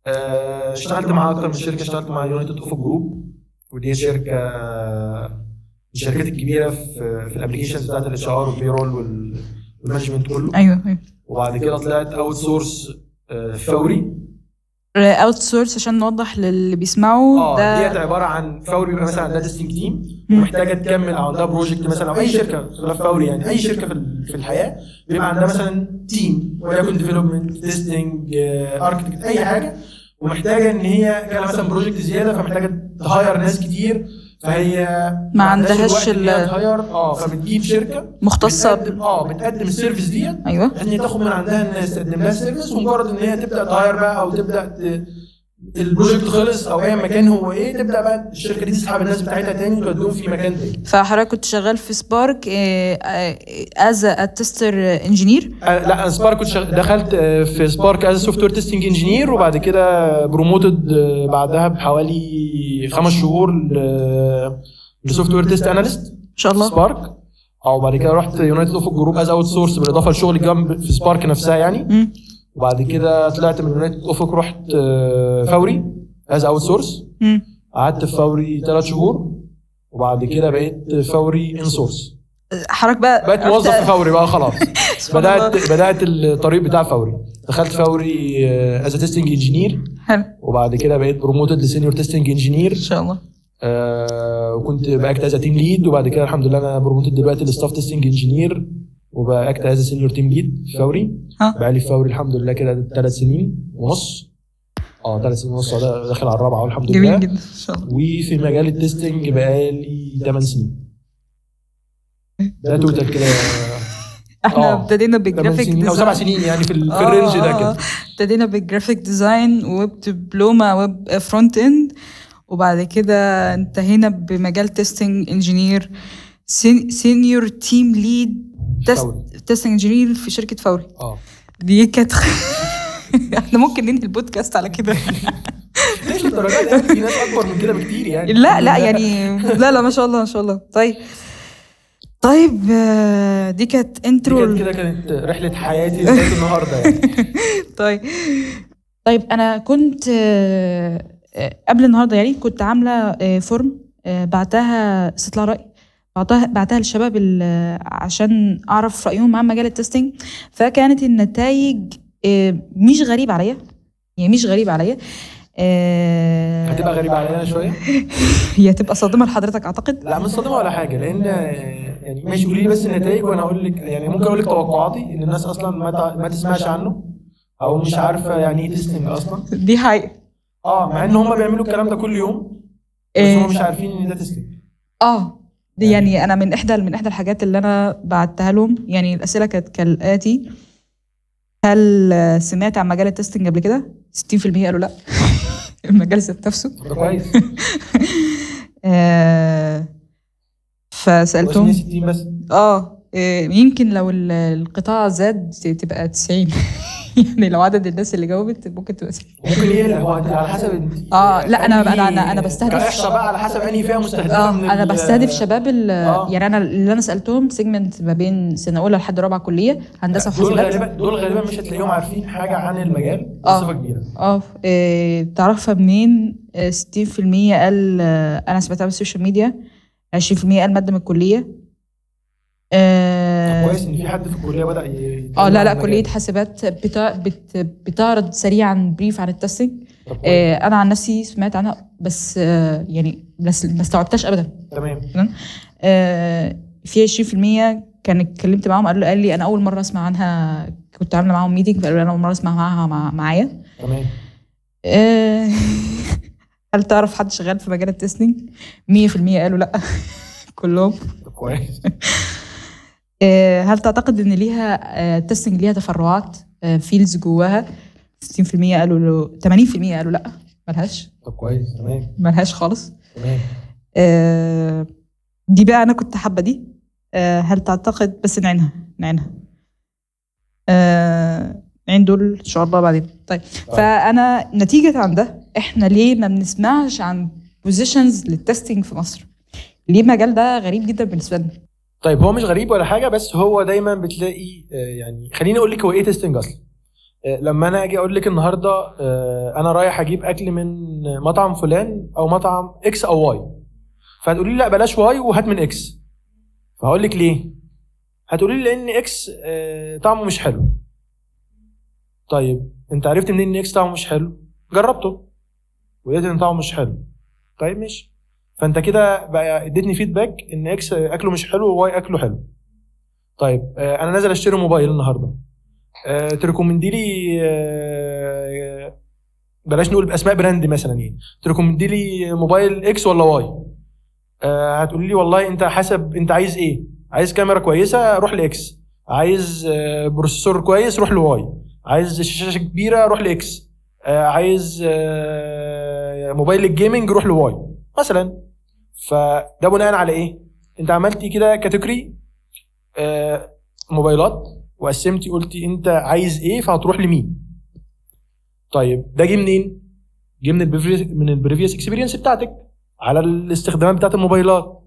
[SPEAKER 4] آه، اشتغلت مع اكتر من شركه اشتغلت مع يونايتد اوف جروب ودي شركه آه، الشركات الكبيره في في الابلكيشنز بتاعت الاتش ار والبيرول والمانجمنت كله
[SPEAKER 3] ايوه ايوه
[SPEAKER 4] وبعد كده طلعت اوت سورس فوري
[SPEAKER 3] اوت سورس آه، عشان نوضح للي بيسمعوا
[SPEAKER 4] اه
[SPEAKER 3] ده
[SPEAKER 4] ديت عباره عن فوري بيبقى مثلا عندها تيستنج تيم
[SPEAKER 3] مم.
[SPEAKER 4] محتاجه تكمل او عندها بروجكت مثلا او اي شركه خلاف فوري يعني اي شركه في ال- في الحياه بيبقى عندها مثلا تيم وليكن آه، ديفلوبمنت تيستنج اركتكت اي حاجه ومحتاجه ان هي جالها مثلا بروجكت زياده فمحتاجه تهاير ناس كتير فهي
[SPEAKER 3] ما عندهاش
[SPEAKER 4] الوقت إن هي
[SPEAKER 3] ال-
[SPEAKER 4] تهاير اه فبتجيب شركه
[SPEAKER 3] مختصه ب-
[SPEAKER 4] بتقدم اه بتقدم السيرفيس ديت
[SPEAKER 3] ايوه
[SPEAKER 4] ان هي تاخد من عندها الناس تقدم لها سيرفيس ومجرد ان هي تبدا تهاير بقى او تبدا ت- البروجكت خلص او ايا مكان هو ايه تبدا بقى الشركه دي تسحب الناس بتاعتها تاني وتوديهم في مكان تاني
[SPEAKER 3] فحضرتك كنت شغال في سبارك آه، از تيستر انجينير
[SPEAKER 4] آه لا انا سبارك كنت شغ- دخلت آه، في سبارك از سوفت وير تيستنج انجينير وبعد كده بروموتد آه، بعدها بحوالي خمس شهور آه، لسوفت وير تيست اناليست
[SPEAKER 3] ان شاء
[SPEAKER 4] في
[SPEAKER 3] الله
[SPEAKER 4] سبارك او بعد كده رحت يونايتد اوف جروب از اوت سورس بالاضافه لشغل جنب في سبارك نفسها يعني
[SPEAKER 3] مم.
[SPEAKER 4] وبعد كده طلعت من يونايتد افق رحت آه، فوري از اوت سورس
[SPEAKER 3] مم.
[SPEAKER 4] قعدت في فوري ثلاث شهور وبعد كده بقيت فوري ان سورس
[SPEAKER 3] حضرتك بقى
[SPEAKER 4] بقيت
[SPEAKER 3] رحت-
[SPEAKER 4] موظف في فوري بقى خلاص
[SPEAKER 3] [laughs] سبحان
[SPEAKER 4] بدات
[SPEAKER 3] الله.
[SPEAKER 4] بدات الطريق بتاع فوري دخلت فوري آه، از تيستنج انجينير
[SPEAKER 3] حلو ان
[SPEAKER 4] وبعد كده بقيت بروموتد لسينيور تيستنج انجينير
[SPEAKER 3] شاء الله
[SPEAKER 4] آه، وكنت باكت از تيم ليد وبعد كده الحمد لله انا بروموتد دلوقتي لستاف تيستنج انجينير وباكت از سينيور تيم ليد فوري
[SPEAKER 3] ها.
[SPEAKER 4] بقالي في فوري الحمد لله كده ثلاث سنين ونص اه ثلاث سنين ونص ده داخل على الرابعه والحمد لله
[SPEAKER 3] جميل جدا ان شاء الله
[SPEAKER 4] وفي مجال التستنج بقالي 8 سنين ده توتال كده
[SPEAKER 3] احنا
[SPEAKER 4] آه.
[SPEAKER 3] ابتدينا
[SPEAKER 4] 8
[SPEAKER 3] بالجرافيك
[SPEAKER 4] سنين او 7
[SPEAKER 3] ديزاين
[SPEAKER 4] سنين يعني في, ال- في
[SPEAKER 3] آه،
[SPEAKER 4] الرينج ده
[SPEAKER 3] آه، آه.
[SPEAKER 4] كده
[SPEAKER 3] ابتدينا بالجرافيك ديزاين وويب دبلومه ويب فرونت اند وبعد كده انتهينا بمجال تيستنج انجينير سينيور تيم ليد
[SPEAKER 4] فوري.
[SPEAKER 3] تيستنج انجينير في شركه فوري
[SPEAKER 4] اه
[SPEAKER 3] دي كانت [laughs] احنا ممكن ننهي البودكاست على [laughs] كده
[SPEAKER 4] ليش للدرجه دي يعني في ناس اكبر من كده بكتير يعني
[SPEAKER 3] لا لا يعني [laughs] لا لا ما شاء الله ما شاء الله طيب طيب آه، دي كانت
[SPEAKER 4] دي كانت
[SPEAKER 3] انترو
[SPEAKER 4] كده كانت رحله حياتي لغايه النهارده يعني
[SPEAKER 3] طيب طيب انا كنت آه، آه، قبل النهارده يعني كنت عامله آه، فورم آه، بعتها استطلاع راي بعتها بعتها للشباب ال- آه، عشان اعرف رايهم عن مجال التستنج فكانت النتائج آه، مش غريبه عليا يعني مش غريبه عليا آه،
[SPEAKER 4] هتبقى غريبه علينا شويه
[SPEAKER 3] هي هتبقى صادمه لحضرتك اعتقد
[SPEAKER 4] لا مش صادمه ولا حاجه لان آه، يعني ماشي قولي لي بس النتائج وانا اقول لك يعني ممكن اقول لك توقعاتي ان الناس اصلا ما, تع- ما تسمعش عنه او مش عارفه يعني ايه تستنج اصلا
[SPEAKER 3] دي حقيقة
[SPEAKER 4] اه مع ان هم بيعملوا الكلام ده كل يوم بس
[SPEAKER 3] إيه.
[SPEAKER 4] هم مش عارفين ان ده تستنج
[SPEAKER 3] اه دي يعني انا من احدى من احدى الحاجات اللي انا بعتها لهم يعني الاسئله كانت كالاتي هل سمعت عن مجال التستنج قبل كده 60% قالوا لا [laughs] المجال ذات نفسه
[SPEAKER 4] ده كويس
[SPEAKER 3] إيه. آه فسالتهم
[SPEAKER 4] 60 بس
[SPEAKER 3] اه إيه، يمكن لو ال- القطاع زاد تبقى 90 [laughs] يعني لو عدد الناس اللي جاوبت ممكن تبقى 90
[SPEAKER 4] ممكن يقل هو على حسب ال-
[SPEAKER 3] آه، لا، أنا-
[SPEAKER 4] أنهي-
[SPEAKER 3] أنا- أنا- أنا بستهدف-
[SPEAKER 4] كإحصاء بقى على حسب انهي فئه مستهدفه
[SPEAKER 3] اه
[SPEAKER 4] من
[SPEAKER 3] انا
[SPEAKER 4] ال-
[SPEAKER 3] بستهدف شباب ال-
[SPEAKER 4] آه.
[SPEAKER 3] يعني انا اللي انا سالتهم سيجمنت ما بين سنه اولى لحد رابعه كليه هندسه
[SPEAKER 4] دول
[SPEAKER 3] وحاسبات
[SPEAKER 4] غالبا دول غالبا مش هتلاقيهم عارفين حاجه عن المجال
[SPEAKER 3] آه.
[SPEAKER 4] بصفه كبيره
[SPEAKER 3] اه إيه، تعرفها منين آه، 60% قال آه، انا سمعتها من السوشيال ميديا 20% قال ماده من الكليه
[SPEAKER 4] طب
[SPEAKER 3] اه
[SPEAKER 4] كويس ان في حد في الكليه بدا ي-
[SPEAKER 3] آه، لا لا
[SPEAKER 4] عن المجال.
[SPEAKER 3] كليه حاسبات بتا- بت- بتعرض سريعا بريف عن التستنج
[SPEAKER 4] طب كويس.
[SPEAKER 3] آه، انا عن نفسي سمعت عنها بس آه، يعني بس ما استوعبتهاش ابدا
[SPEAKER 4] تمام
[SPEAKER 3] آه، في 20% كان اتكلمت معاهم قالوا قال لي انا اول مره اسمع عنها كنت عامله معاهم ميتنج فقالوا لي انا اول مره اسمع معاها مع معايا
[SPEAKER 4] تمام
[SPEAKER 3] آه، [laughs] هل تعرف حد شغال في مجال التستنج 100% قالوا لا [laughs] كلهم
[SPEAKER 4] طب كويس
[SPEAKER 3] آه، هل تعتقد ان ليها آه، التستنج ليها تفرعات فيلز آه، جواها 60% قالوا له 80% قالوا لا ملهاش
[SPEAKER 4] طب كويس تمام
[SPEAKER 3] ملهاش خالص
[SPEAKER 4] تمام
[SPEAKER 3] آه، دي بقى انا كنت حابه دي آه، هل تعتقد بس نعينها نعينها آه، نعين دول ان شاء الله بعدين طيب فانا نتيجه عن ده احنا ليه ما بنسمعش عن بوزيشنز للتستنج في مصر ليه المجال ده غريب جدا بالنسبه لنا
[SPEAKER 4] طيب هو مش غريب ولا حاجه بس هو دايما بتلاقي آه، يعني خليني اقول لك هو ايه تيستنج اصلا آه، لما انا اجي اقول لك النهارده آه، انا رايح اجيب اكل من مطعم فلان او مطعم اكس او واي فهتقولي لي لا بلاش واي وهات من اكس فهقول لك ليه هتقولي لي لان اكس آه، طعمه مش حلو طيب انت عرفت منين ان اكس طعمه مش حلو جربته ولقيت ان طعمه مش حلو طيب ماشي فانت كده بقى اديتني فيدباك ان اكس اكله مش حلو وواي اكله حلو طيب آه، انا نازل اشتري موبايل النهارده آه، تركومندي لي آه، بلاش نقول باسماء براند مثلا يعني تركومندي لي موبايل اكس ولا واي آه، هتقولي لي والله انت حسب انت عايز ايه عايز كاميرا كويسه روح لاكس عايز آه، بروسيسور كويس روح لواي عايز شاشه كبيره روح لاكس آه، عايز آه، موبايل الجيمنج روح لواي مثلا فده بناء على ايه؟ انت عملتي كده كاتيجوري آه موبايلات وقسمتي قلتي انت عايز ايه فهتروح لمين؟ طيب ده جه منين؟ جه من البريفيس من البريفيس اكسبيرينس بتاعتك على الاستخدامات بتاعت الموبايلات.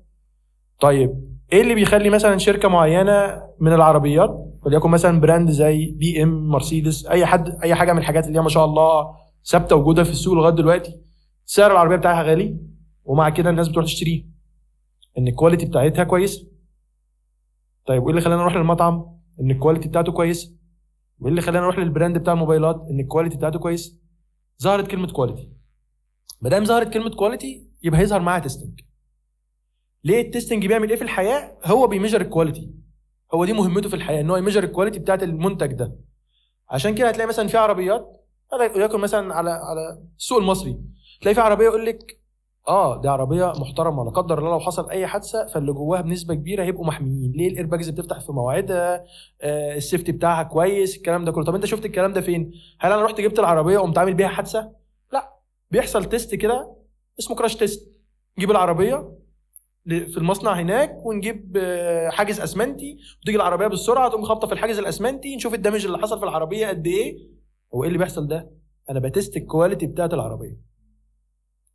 [SPEAKER 4] طيب ايه اللي بيخلي مثلا شركه معينه من العربيات وليكن مثلا براند زي بي ام مرسيدس اي حد اي حاجه من الحاجات اللي هي ما شاء الله ثابته وجودها في السوق لغايه دلوقتي سعر العربيه بتاعها غالي ومع كده الناس بتروح تشتريه ان الكواليتي بتاعتها كويسه طيب وايه اللي خلاني اروح للمطعم ان الكواليتي بتاعته كويسه وايه اللي خلاني اروح للبراند بتاع الموبايلات ان الكواليتي بتاعته كويسه ظهرت كلمه كواليتي ما دام ظهرت كلمه كواليتي يبقى هيظهر معاها تيستنج ليه التيستنج بيعمل ايه في الحياه هو بيميجر الكواليتي هو دي مهمته في الحياه ان هو يميجر الكواليتي بتاعت المنتج ده عشان كده هتلاقي مثلا في عربيات وليكن مثلا على على السوق المصري تلاقي في عربيه يقول لك اه دي عربيه محترمه لا قدر الله لو حصل اي حادثه فاللي جواها بنسبه كبيره هيبقوا محميين ليه الايرباجز بتفتح في مواعيدها آه السيفتي بتاعها كويس الكلام ده كله طب انت شفت الكلام ده فين هل انا رحت جبت العربيه وقمت عامل بيها حادثه لا بيحصل تيست كده اسمه كراش تيست نجيب العربيه ل- في المصنع هناك ونجيب آه، حاجز اسمنتي وتيجي العربيه بالسرعه تقوم خابطه في الحاجز الاسمنتي نشوف الدمج اللي حصل في العربيه قد ايه هو ايه اللي بيحصل ده انا بتست الكواليتي بتاعت العربيه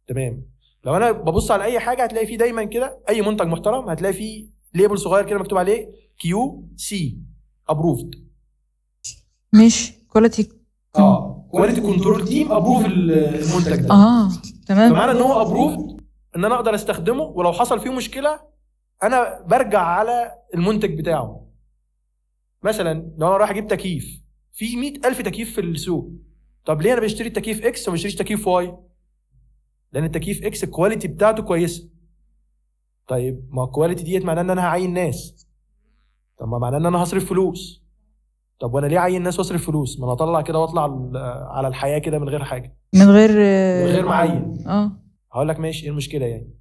[SPEAKER 4] تمام لو انا ببص على اي حاجه هتلاقي فيه دايما كده اي منتج محترم هتلاقي فيه ليبل صغير كده مكتوب عليه كيو سي ابروفد
[SPEAKER 3] مش كواليتي
[SPEAKER 4] اه كواليتي كنترول تيم ابروف المنتج ده
[SPEAKER 3] اه تمام
[SPEAKER 4] فمعنى ان هو ابروفد ان انا اقدر استخدمه ولو حصل فيه مشكله انا برجع على المنتج بتاعه مثلا لو انا رايح اجيب تكييف في 100000 تكييف في السوق طب ليه انا بشتري التكييف اكس وما بشتريش تكييف واي لان التكييف اكس الكواليتي بتاعته كويسه طيب ما الكواليتي ديت معناه ان انا هعين ناس طب ما معناه ان انا هصرف فلوس طب وانا ليه اعين ناس واصرف فلوس ما انا اطلع كده واطلع على الحياه كده من غير حاجه
[SPEAKER 3] من غير
[SPEAKER 4] من غير معين
[SPEAKER 3] اه
[SPEAKER 4] هقول لك ماشي ايه المشكله يعني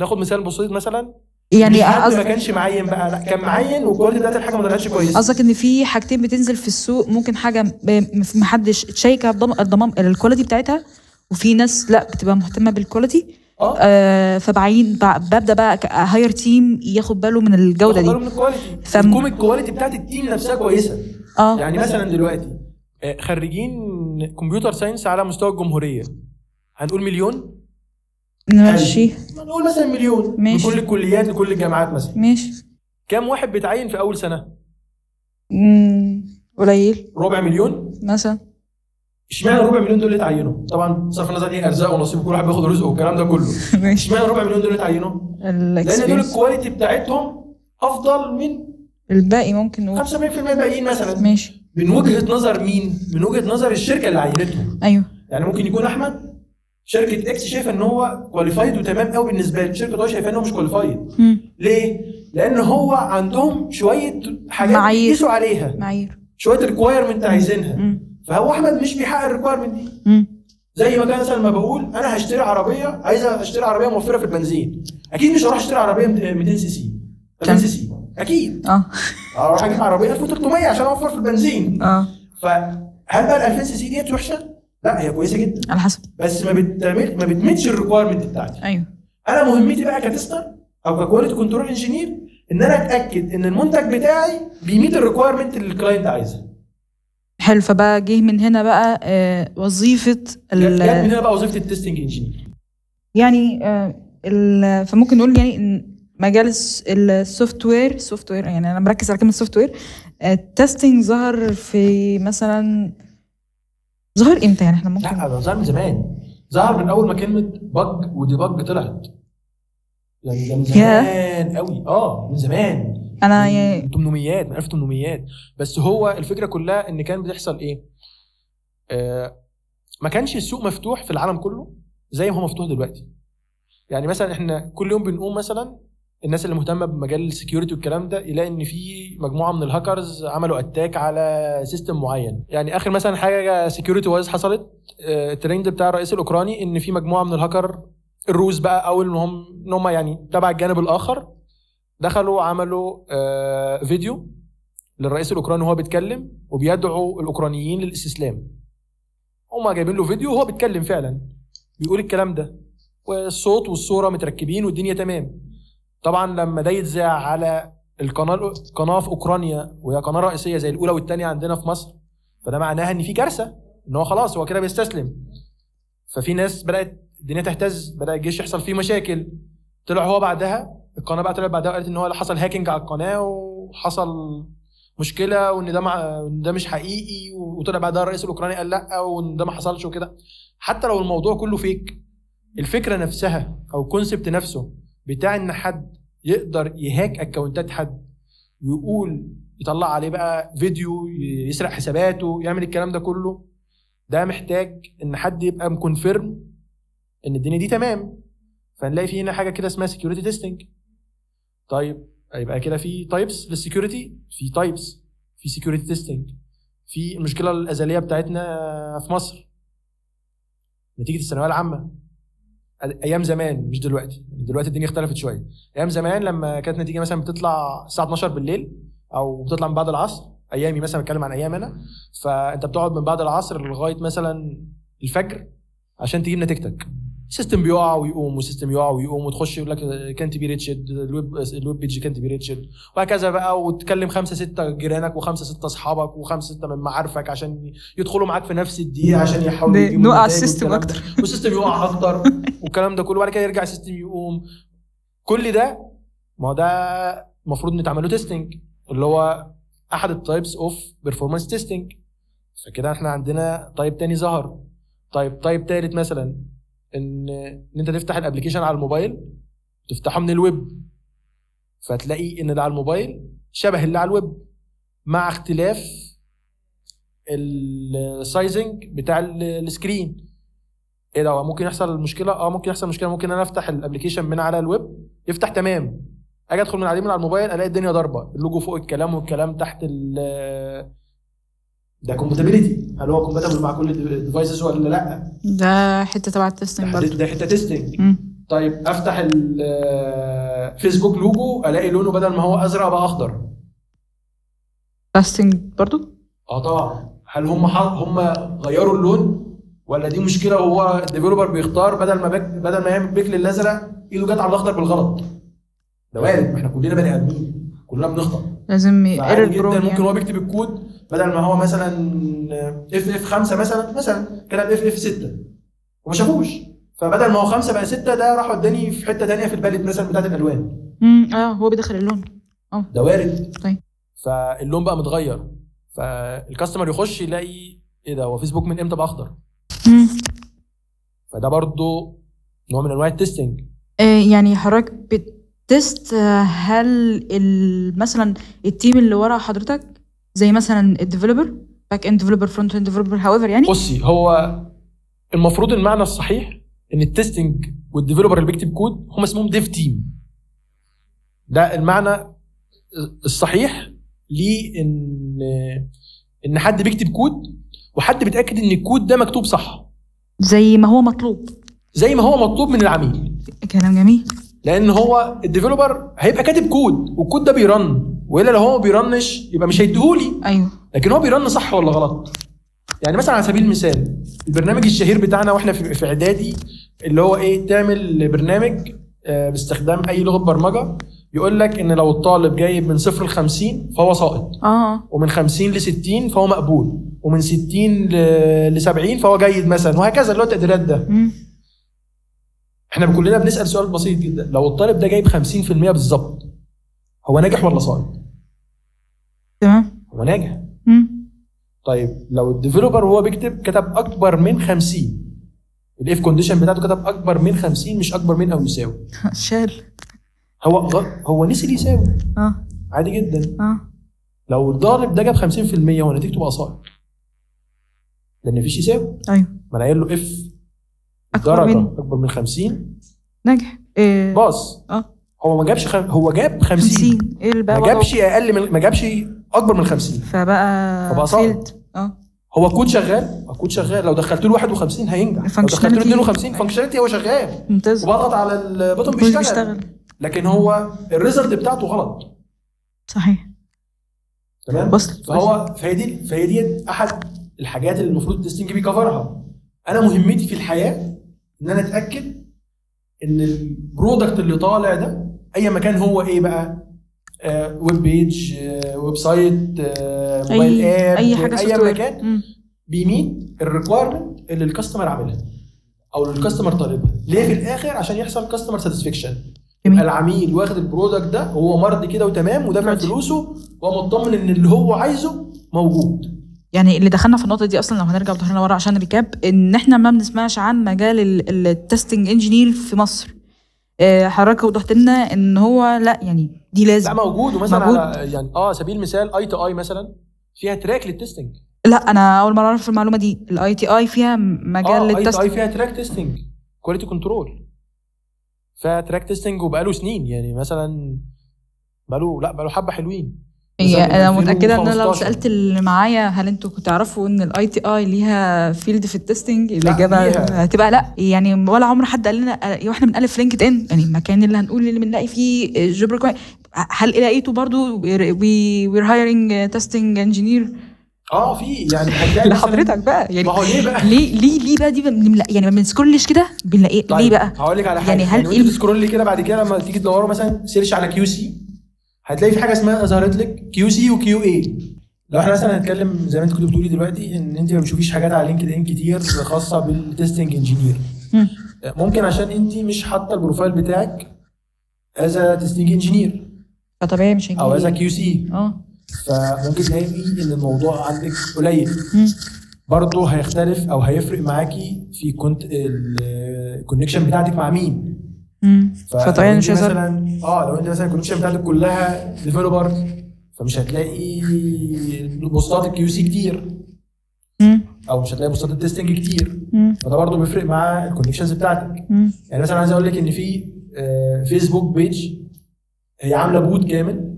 [SPEAKER 4] ناخد مثال بسيط مثلا
[SPEAKER 3] يعني
[SPEAKER 4] مش حد ما
[SPEAKER 3] قصدك
[SPEAKER 4] كانش معين بقى لا كان معين والكواليتي بتاعت الحاجه ما طلعتش كويسه
[SPEAKER 3] قصدك ان في حاجتين بتنزل في السوق ممكن حاجه ب- محدش شايكه الضم- الضمان الكواليتي بتاعتها وفي ناس لا بتبقى مهتمه بالكواليتي
[SPEAKER 4] اه
[SPEAKER 3] آه فبعين ب- ببدا بقى هاير تيم ياخد باله من الجوده
[SPEAKER 4] واخد بالهم
[SPEAKER 3] دي
[SPEAKER 4] من الكواليتي
[SPEAKER 3] فم-
[SPEAKER 4] تكون الكواليتي بتاعت التيم نفسها كويسه
[SPEAKER 3] اه
[SPEAKER 4] يعني مثلا دلوقتي آه، خريجين كمبيوتر ساينس على مستوى الجمهوريه هنقول مليون
[SPEAKER 3] ماشي
[SPEAKER 4] هنقول مثلا مليون من
[SPEAKER 3] ماشي.
[SPEAKER 4] كل الكليات لكل الجامعات مثلا
[SPEAKER 3] ماشي
[SPEAKER 4] كام واحد بيتعين في اول سنه
[SPEAKER 3] مم، قليل
[SPEAKER 4] ربع مليون
[SPEAKER 3] مثلا
[SPEAKER 4] اشمعنى ربع مليون دول اللي اتعينوا طبعا صرف النظر ايه ارزاق ونصيب كل واحد بياخد رزقه والكلام ده كله
[SPEAKER 3] [laughs] ماشي
[SPEAKER 4] اشمعنى ربع مليون دول اللي اتعينوا لان دول
[SPEAKER 3] ال-
[SPEAKER 4] الكواليتي بتاعتهم افضل من
[SPEAKER 3] الباقي ممكن نقول
[SPEAKER 4] 75% الباقيين مثلا
[SPEAKER 3] ماشي
[SPEAKER 4] من وجهه نظر مين؟ من وجهه نظر الشركه اللي عينتهم
[SPEAKER 3] ايوه
[SPEAKER 4] يعني ممكن يكون احمد شركه اكس شايفه ان هو كواليفايد وتمام قوي بالنسبه له شركه واي شايفه ان هو مش كواليفايد
[SPEAKER 3] مم،
[SPEAKER 4] ليه؟ لان هو عندهم شويه حاجات
[SPEAKER 3] معايير.
[SPEAKER 4] بيقيسوا عليها
[SPEAKER 3] معايير
[SPEAKER 4] شويه ريكوايرمنت عايزينها
[SPEAKER 3] مم،
[SPEAKER 4] فهو احمد مش بيحقق الريكوايرمنت دي
[SPEAKER 3] مم،
[SPEAKER 4] زي ما كان مثلا ما بقول انا هشتري عربيه عايز اشتري عربيه موفره في البنزين اكيد مش هروح اشتري عربيه 200 سي سي 200 سي سي اكيد
[SPEAKER 3] اه
[SPEAKER 4] اروح اجيب عربيه 1300 عشان اوفر في البنزين
[SPEAKER 3] اه
[SPEAKER 4] فانا
[SPEAKER 5] هل بقى ال 2000 سي سي ديت وحشه؟ لا هي كويسه جدا
[SPEAKER 3] على حسب
[SPEAKER 5] بس ما بتعمل ما بتميتش الريكوايرمنت بتاعتي
[SPEAKER 3] ايوه
[SPEAKER 5] انا مهمتي بقى كتستر او ككواليتي كنترول انجينير ان انا اتاكد ان المنتج بتاعي بيميت الريكوايرمنت اللي الكلاينت عايزها
[SPEAKER 3] حلو فبقى جه من هنا بقى آه، وظيفه
[SPEAKER 5] جت
[SPEAKER 3] ال-
[SPEAKER 5] جت من هنا بقى وظيفه التستنج انجينير
[SPEAKER 3] يعني آه، ال- فممكن نقول يعني ان مجال الس- السوفت وير سوفت وير يعني انا مركز على كلمه سوفت وير التستنج ظهر في مثلا ظهر امتى يعني احنا ممكن
[SPEAKER 5] لا ده ظهر من زمان ظهر من اول ما كلمه بج وديبج طلعت يعني ده من
[SPEAKER 3] ياه.
[SPEAKER 5] زمان قوي اه من زمان
[SPEAKER 3] انا يعني
[SPEAKER 5] من 800 من 1800
[SPEAKER 4] بس هو الفكره كلها ان كان بتحصل ايه؟ آه ما كانش السوق مفتوح في العالم كله زي ما هو مفتوح دلوقتي. يعني مثلا احنا كل يوم بنقوم مثلا الناس اللي مهتمه بمجال السكيورتي والكلام ده يلاقي ان في مجموعه من الهاكرز عملوا اتاك على سيستم معين، يعني اخر مثلا حاجه سكيورتي وايز حصلت آه الترند بتاع الرئيس الاوكراني ان في مجموعه من الهاكر الروس بقى او ان هم ان هم يعني تبع الجانب الاخر دخلوا عملوا آه فيديو للرئيس الاوكراني وهو بيتكلم وبيدعو الاوكرانيين للاستسلام هما جايبين له فيديو وهو بيتكلم فعلا بيقول الكلام ده والصوت والصوره متركبين والدنيا تمام طبعا لما ده يتذاع على القناه قناه في اوكرانيا وهي قناه رئيسيه زي الاولى والثانيه عندنا في مصر فده معناها ان في كارثه ان هو خلاص هو كده بيستسلم ففي ناس بدات الدنيا تهتز بدا الجيش يحصل فيه مشاكل طلع هو بعدها القناه بقى طلعت بعدها قالت ان هو حصل هاكينج على القناه وحصل مشكله وان ده مع... وإن ده مش حقيقي وطلع بعدها الرئيس الاوكراني قال لا وان ده ما حصلش وكده حتى لو الموضوع كله فيك الفكره نفسها او الكونسبت نفسه بتاع ان حد يقدر يهاك اكونتات حد ويقول يطلع عليه بقى فيديو ي- يسرق حساباته يعمل الكلام ده كله ده محتاج ان حد يبقى مكونفيرم ان الدنيا دي تمام فنلاقي في هنا حاجه كده اسمها سكيورتي تيستنج طيب يبقى كده في تايبس للسكيورتي في تايبس في سكيورتي تيستنج في المشكله الازليه بتاعتنا في مصر نتيجه الثانويه العامه أ- ايام زمان مش دلوقتي دلوقتي الدنيا اختلفت شويه ايام زمان لما كانت نتيجه مثلا بتطلع الساعه 12 بالليل او بتطلع من بعد العصر ايامي مثلا بتكلم عن ايام انا فانت بتقعد من بعد العصر لغايه مثلا الفجر عشان تجيب نتيجتك سيستم بيقع ويقوم وسيستم يقع ويقوم وتخش يقول لك كانت بي ريتشد الويب الويب بيج كانت بي ريتشد وهكذا بقى وتكلم خمسه سته جيرانك وخمسه سته اصحابك وخمسه سته من معارفك عشان يدخلوا معاك في نفس الدقيقه عشان يحاولوا
[SPEAKER 3] ن-
[SPEAKER 4] يجيبوا
[SPEAKER 3] نقع
[SPEAKER 4] النتائج
[SPEAKER 3] السيستم
[SPEAKER 4] والكلام ده.
[SPEAKER 3] اكتر
[SPEAKER 4] [laughs] والسيستم يقع اكتر والكلام ده كله وبعد كده يرجع السيستم يقوم كل ده ما هو ده المفروض نتعمل له تيستنج اللي هو احد التايبس اوف بيرفورمانس تيستنج فكده احنا عندنا تايب تاني ظهر طيب تايب تالت مثلا ان ان انت تفتح الابلكيشن على الموبايل تفتحه من الويب فتلاقي ان اللي على الموبايل شبه اللي على الويب مع اختلاف السايزنج بتاع ال- السكرين ايه ده هو ممكن يحصل مشكله اه ممكن يحصل مشكله ممكن انا افتح الابلكيشن من على الويب يفتح تمام اجي ادخل من عليه من على الموبايل الاقي الدنيا ضربه اللوجو فوق الكلام والكلام تحت ال
[SPEAKER 5] ده كومباتيبيليتي هل هو كومباتبل مع كل الديفايسز ولا لا
[SPEAKER 3] ده حته تبع التستنج برضه
[SPEAKER 5] ده- ده حته تيستنج
[SPEAKER 3] مم.
[SPEAKER 5] طيب آه، افتح الفيسبوك لوجو الاقي لونه بدل ما هو ازرق بقى اخضر
[SPEAKER 3] تستنج برضه
[SPEAKER 5] اه طبعا هل هم ح- هم غيروا اللون ولا دي مشكله وهو الديفلوبر بيختار بدل ما بك بدل ما يعمل بيك للازرق ايده جت على الاخضر بالغلط ده وارد ما احنا كلنا بني ادمين كلنا بنخطأ
[SPEAKER 3] لازم
[SPEAKER 5] فعادي
[SPEAKER 3] ايرور
[SPEAKER 5] جدا
[SPEAKER 3] بروم
[SPEAKER 5] ممكن
[SPEAKER 3] يعني.
[SPEAKER 5] هو بيكتب الكود بدل ما هو مثلا اف اف 5 مثلا مثلا كتب اف اف 6 وما شافوش فبدل ما هو 5 بقى 6 ده راح وداني في حته ثانيه في الباليت مثلا بتاعت الالوان
[SPEAKER 3] مم، اه هو بيدخل اللون
[SPEAKER 5] ده وارد
[SPEAKER 4] فاللون بقى متغير فالكاستمر يخش يلاقي ايه ده هو فيسبوك من امتى بقى اخضر
[SPEAKER 3] مم.
[SPEAKER 4] فده برضو نوع من انواع التستنج
[SPEAKER 3] آه، يعني حضرتك بتست آه، هل ال- مثلا التيم اللي ورا حضرتك زي مثلا الديفلوبر باك اند ديفلوبر فرونت اند ديفلوبر هاويفر يعني
[SPEAKER 4] بصي هو المفروض المعنى الصحيح ان التستنج والديفلوبر اللي بيكتب كود هم اسمهم ديف تيم ده المعنى الصحيح ليه ان ان حد بيكتب كود وحد بيتاكد ان الكود ده مكتوب صح
[SPEAKER 3] زي ما هو مطلوب
[SPEAKER 4] زي ما هو مطلوب من العميل
[SPEAKER 3] كلام جميل
[SPEAKER 4] لان هو الديفلوبر هيبقى كاتب كود والكود ده بيرن والا لو هو ما بيرنش يبقى مش هيديهولي
[SPEAKER 3] ايوه
[SPEAKER 4] لكن هو بيرن صح ولا غلط يعني مثلا على سبيل المثال البرنامج الشهير بتاعنا واحنا في في اعدادي اللي هو ايه تعمل برنامج آه، باستخدام اي لغه برمجه يقول لك ان لو الطالب جايب من صفر ل 50 فهو ساقط
[SPEAKER 3] اه
[SPEAKER 4] ومن 50 ل 60 فهو مقبول ومن 60 ل 70 فهو جيد مثلا وهكذا اللي هو التقديرات ده
[SPEAKER 3] مم.
[SPEAKER 4] احنا كلنا بنسال سؤال بسيط جدا لو الطالب ده جايب 50% بالظبط هو ناجح ولا ساقط؟
[SPEAKER 3] تمام
[SPEAKER 4] هو ناجح
[SPEAKER 3] مم. [laughs]
[SPEAKER 4] طيب لو الديفلوبر وهو بيكتب كتب اكبر من 50 الاف كونديشن بتاعته كتب اكبر من 50 مش اكبر من او يساوي
[SPEAKER 3] شال
[SPEAKER 4] هو غ- هو نسي يساوي
[SPEAKER 3] اه
[SPEAKER 4] عادي جدا
[SPEAKER 3] اه
[SPEAKER 4] لو الضارب ده جاب 50% هو نتيجته بقى صائب لان مفيش يساوي
[SPEAKER 3] ايوه
[SPEAKER 4] ما انا قايل له اف
[SPEAKER 3] اكبر
[SPEAKER 4] درجه
[SPEAKER 3] من
[SPEAKER 4] اكبر من 50
[SPEAKER 3] نجح إيه
[SPEAKER 4] باص
[SPEAKER 3] اه.
[SPEAKER 4] هو ما جابش خم... هو جاب 50
[SPEAKER 3] 50 ايه اللي بقى
[SPEAKER 4] ما
[SPEAKER 3] وضعه؟
[SPEAKER 4] جابش اقل من ما جابش اكبر من 50
[SPEAKER 3] فبقى
[SPEAKER 4] فبقى صعب.
[SPEAKER 3] failed. اه
[SPEAKER 4] هو كود شغال الكود شغال لو دخلت له 51 هينجح لو دخلت له
[SPEAKER 3] functionality.
[SPEAKER 4] 52 فانكشناليتي هو شغال
[SPEAKER 3] ممتاز
[SPEAKER 4] وبضغط على البوتن
[SPEAKER 3] مش
[SPEAKER 4] بيشتغل,
[SPEAKER 3] بيشتغل
[SPEAKER 4] لكن هو الريزلت بتاعته غلط
[SPEAKER 3] صحيح
[SPEAKER 4] تمام
[SPEAKER 3] وصل
[SPEAKER 4] فهو فهي دي فهي دي احد الحاجات اللي المفروض التستنج بيكفرها انا مهمتي في الحياه ان انا اتاكد ان البرودكت اللي طالع ده اي مكان هو ايه بقى آه ويب بيج آه ويب سايت آه موبايل
[SPEAKER 3] اي
[SPEAKER 4] اب
[SPEAKER 3] اي حاجه
[SPEAKER 4] اي
[SPEAKER 3] سوفت وير.
[SPEAKER 4] مكان
[SPEAKER 3] مم.
[SPEAKER 4] بيميت الريكوايرمنت اللي الكاستمر عاملها او اللي الكاستمر طالبها ليه في الاخر عشان يحصل كاستمر ساتسفكشن
[SPEAKER 3] جميل.
[SPEAKER 4] يبقى العميل واخد البرودكت ده وهو مرضي كده وتمام ودافع
[SPEAKER 3] راضي.
[SPEAKER 4] فلوسه ومطمن ان اللي هو عايزه موجود
[SPEAKER 3] يعني اللي دخلنا في النقطه دي اصلا لو هنرجع ظهرنا ورا عشان ريكاب ان احنا ما بنسمعش عن مجال التستنج انجينير في مصر آه، حضرتك وضحت لنا ان هو لا يعني دي
[SPEAKER 4] لا
[SPEAKER 3] لازم
[SPEAKER 4] موجود ومثلا
[SPEAKER 3] موجود.
[SPEAKER 4] على يعني اه سبيل مثال اي تو اي مثلا فيها تراك للتستنج
[SPEAKER 3] لا انا اول مره اعرف المعلومه دي الاي تي اي فيها مجال
[SPEAKER 4] اه اي تو
[SPEAKER 3] للتستنج
[SPEAKER 4] اي فيها تراك تيستنج كواليتي كنترول فيها تراك تيستنج وبقاله سنين يعني مثلا بقاله لا بقاله حبه حلوين
[SPEAKER 3] هي
[SPEAKER 4] مثلا
[SPEAKER 3] انا
[SPEAKER 4] من
[SPEAKER 3] متاكده ان أنا لو
[SPEAKER 4] 2015.
[SPEAKER 3] سالت اللي معايا هل انتوا كنتوا تعرفوا ان الاي تي اي ليها فيلد في التستنج الاجابه
[SPEAKER 4] ليها.
[SPEAKER 3] هتبقى لا يعني ولا عمر حد قال لنا واحنا بنالف لينكد ان يعني المكان اللي هنقول اللي بنلاقي فيه جوب ريكواير هل لقيته برضو وير هايرنج تستنج انجينير
[SPEAKER 4] اه في يعني هتلاقي مثلاً-
[SPEAKER 3] لحضرتك بقى يعني
[SPEAKER 4] ما
[SPEAKER 3] [laughs]
[SPEAKER 4] هو ليه بقى
[SPEAKER 3] ليه ليه ليه بقى دي بنلاقي- يعني ما بنسكرولش كده بنلاقيه ليه بقى
[SPEAKER 4] طيب، هقول لك على حاجه
[SPEAKER 3] يعني
[SPEAKER 4] يعني
[SPEAKER 3] هل
[SPEAKER 4] هل
[SPEAKER 3] إيه؟
[SPEAKER 4] يعني تسكرول كده بعد كده لما تيجي تدوروا مثلا سيرش على كيو سي هتلاقي في حاجه اسمها ظهرت لك كيو سي وكيو اي لو احنا مثلا هنتكلم زي ما انت كنت بتقولي دلوقتي ان انت ما بتشوفيش حاجات على لينكد ان كتير خاصه بالتستنج انجينير
[SPEAKER 3] مم.
[SPEAKER 4] ممكن عشان انت مش حاطه البروفايل بتاعك از تستنج انجينير
[SPEAKER 3] فطبيعي مش هيجي
[SPEAKER 4] او از كيو سي
[SPEAKER 3] اه
[SPEAKER 4] فممكن تلاقي ان الموضوع عندك قليل
[SPEAKER 3] مم.
[SPEAKER 4] برضه هيختلف او هيفرق معاكي في كنت الكونكشن بتاعتك مع مين
[SPEAKER 3] مم.
[SPEAKER 4] ف- لو
[SPEAKER 3] فطبيعي
[SPEAKER 4] انت
[SPEAKER 3] مش هيظهر
[SPEAKER 4] مثلا اه لو انت مثلا الكونكشن بتاعتك كلها ديفلوبر فمش هتلاقي بوستات الكيو سي كتير
[SPEAKER 3] مم.
[SPEAKER 4] او مش هتلاقي بوستات التستنج كتير
[SPEAKER 3] مم.
[SPEAKER 4] فده برضه بيفرق مع الكونكشنز بتاعتك
[SPEAKER 3] مم.
[SPEAKER 4] يعني مثلا عايز اقول لك ان في آه، فيسبوك بيج هي عامله بوت كامل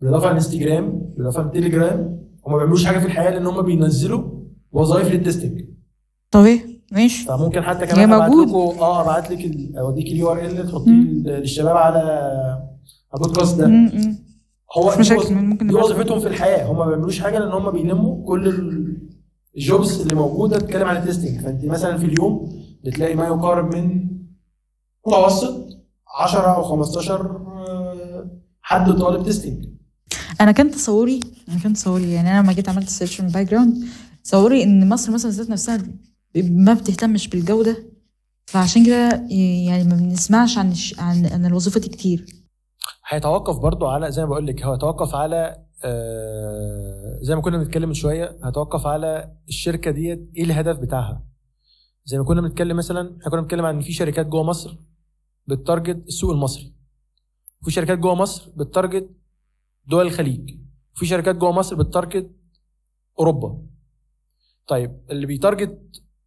[SPEAKER 4] بالاضافه لانستجرام بالاضافه لتليجرام هم ما بيعملوش حاجه في الحياه لان هم بينزلوا وظائف للتستنج
[SPEAKER 3] طبيعي ماشي
[SPEAKER 4] فممكن حتى
[SPEAKER 3] هي
[SPEAKER 4] كمان ابعت
[SPEAKER 3] موجود.
[SPEAKER 4] لكم اه ابعت لك ال- اوديك اليو ار ال تحطيه
[SPEAKER 3] مم.
[SPEAKER 4] للشباب على على البودكاست ده
[SPEAKER 3] مم. مم.
[SPEAKER 4] هو
[SPEAKER 3] مش مشاكل،
[SPEAKER 4] دي وظ-
[SPEAKER 3] ممكن
[SPEAKER 4] دي
[SPEAKER 3] نبعت-
[SPEAKER 4] وظيفتهم في الحياه هم ما بيعملوش حاجه لان هم بيلموا كل ال- الجوبز اللي موجوده بتتكلم عن التستنج فانت مثلا في اليوم بتلاقي ما يقارب من متوسط 10 او 15 آه، حد طالب تستنج
[SPEAKER 3] انا كان تصوري انا كان تصوري يعني انا لما جيت عملت سيرش من باك جراوند تصوري ان مصر مثلا ذات نفسها ما بتهتمش بالجوده فعشان كده يعني ما بنسمعش عن الش- عن عن الوظيفه دي كتير
[SPEAKER 4] هيتوقف برضو على زي ما بقول لك هو هيتوقف على آه، زي ما كنا بنتكلم من شويه هيتوقف على الشركه ديت ايه الهدف بتاعها زي ما كنا بنتكلم مثلا احنا كنا بنتكلم عن إن في شركات جوه مصر بتتارجت السوق المصري في شركات جوه مصر بتتارجت دول الخليج في شركات جوه مصر بتتارجت اوروبا طيب اللي بيتارجت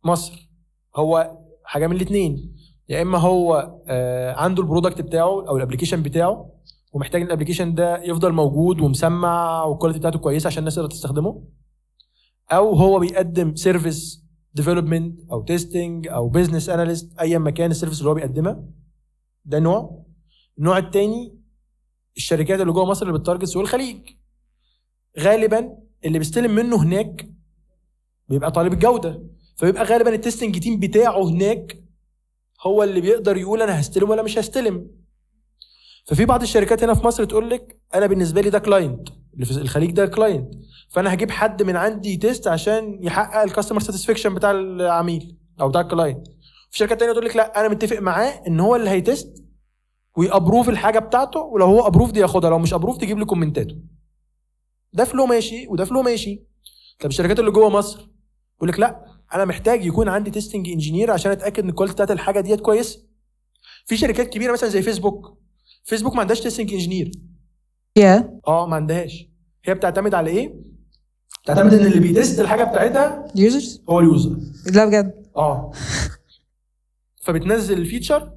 [SPEAKER 4] مصر هو حاجه من الاثنين يا اما هو آه، عنده البرودكت بتاعه او الابلكيشن بتاعه ومحتاج ان الابلكيشن ده يفضل موجود ومسمع والكواليتي بتاعته كويسه عشان الناس تقدر تستخدمه او هو بيقدم سيرفيس ديفلوبمنت او تيستنج او بزنس اناليست ايا ما كان السيرفيس اللي هو بيقدمها ده نوع النوع التاني الشركات اللي جوه مصر اللي بتارجت سوق الخليج غالبا اللي بيستلم منه هناك بيبقى طالب الجوده فبيبقى غالبا التستنج تيم بتاعه هناك هو اللي بيقدر يقول انا هستلم ولا مش هستلم ففي بعض الشركات هنا في مصر تقول لك انا بالنسبه لي ده كلاينت اللي في الخليج ده كلاينت فانا هجيب حد من عندي تيست عشان يحقق الكاستمر ساتسفكشن بتاع العميل او بتاع الكلاينت في شركات تانية تقول لك لا انا متفق معاه ان هو اللي هيتست ويابروف الحاجه بتاعته ولو هو ابروف دي ياخدها لو مش ابروف تجيب لي كومنتاته ده فلو ماشي وده فلو ماشي طب الشركات اللي جوه مصر يقول لك لا انا محتاج يكون عندي تيستنج انجينير عشان اتاكد ان الكواليتي بتاعت الحاجه ديت كويسه في شركات كبيره مثلا زي فيسبوك فيسبوك ما عندهاش تيستنج انجينير
[SPEAKER 3] يا
[SPEAKER 4] اه ما عندهاش هي بتعتمد على ايه بتعتمد ان اللي بيتست الحاجه بتاعتها
[SPEAKER 3] يوزرز
[SPEAKER 4] هو اليوزر
[SPEAKER 3] لا بجد
[SPEAKER 4] اه [laughs] فبتنزل الفيتشر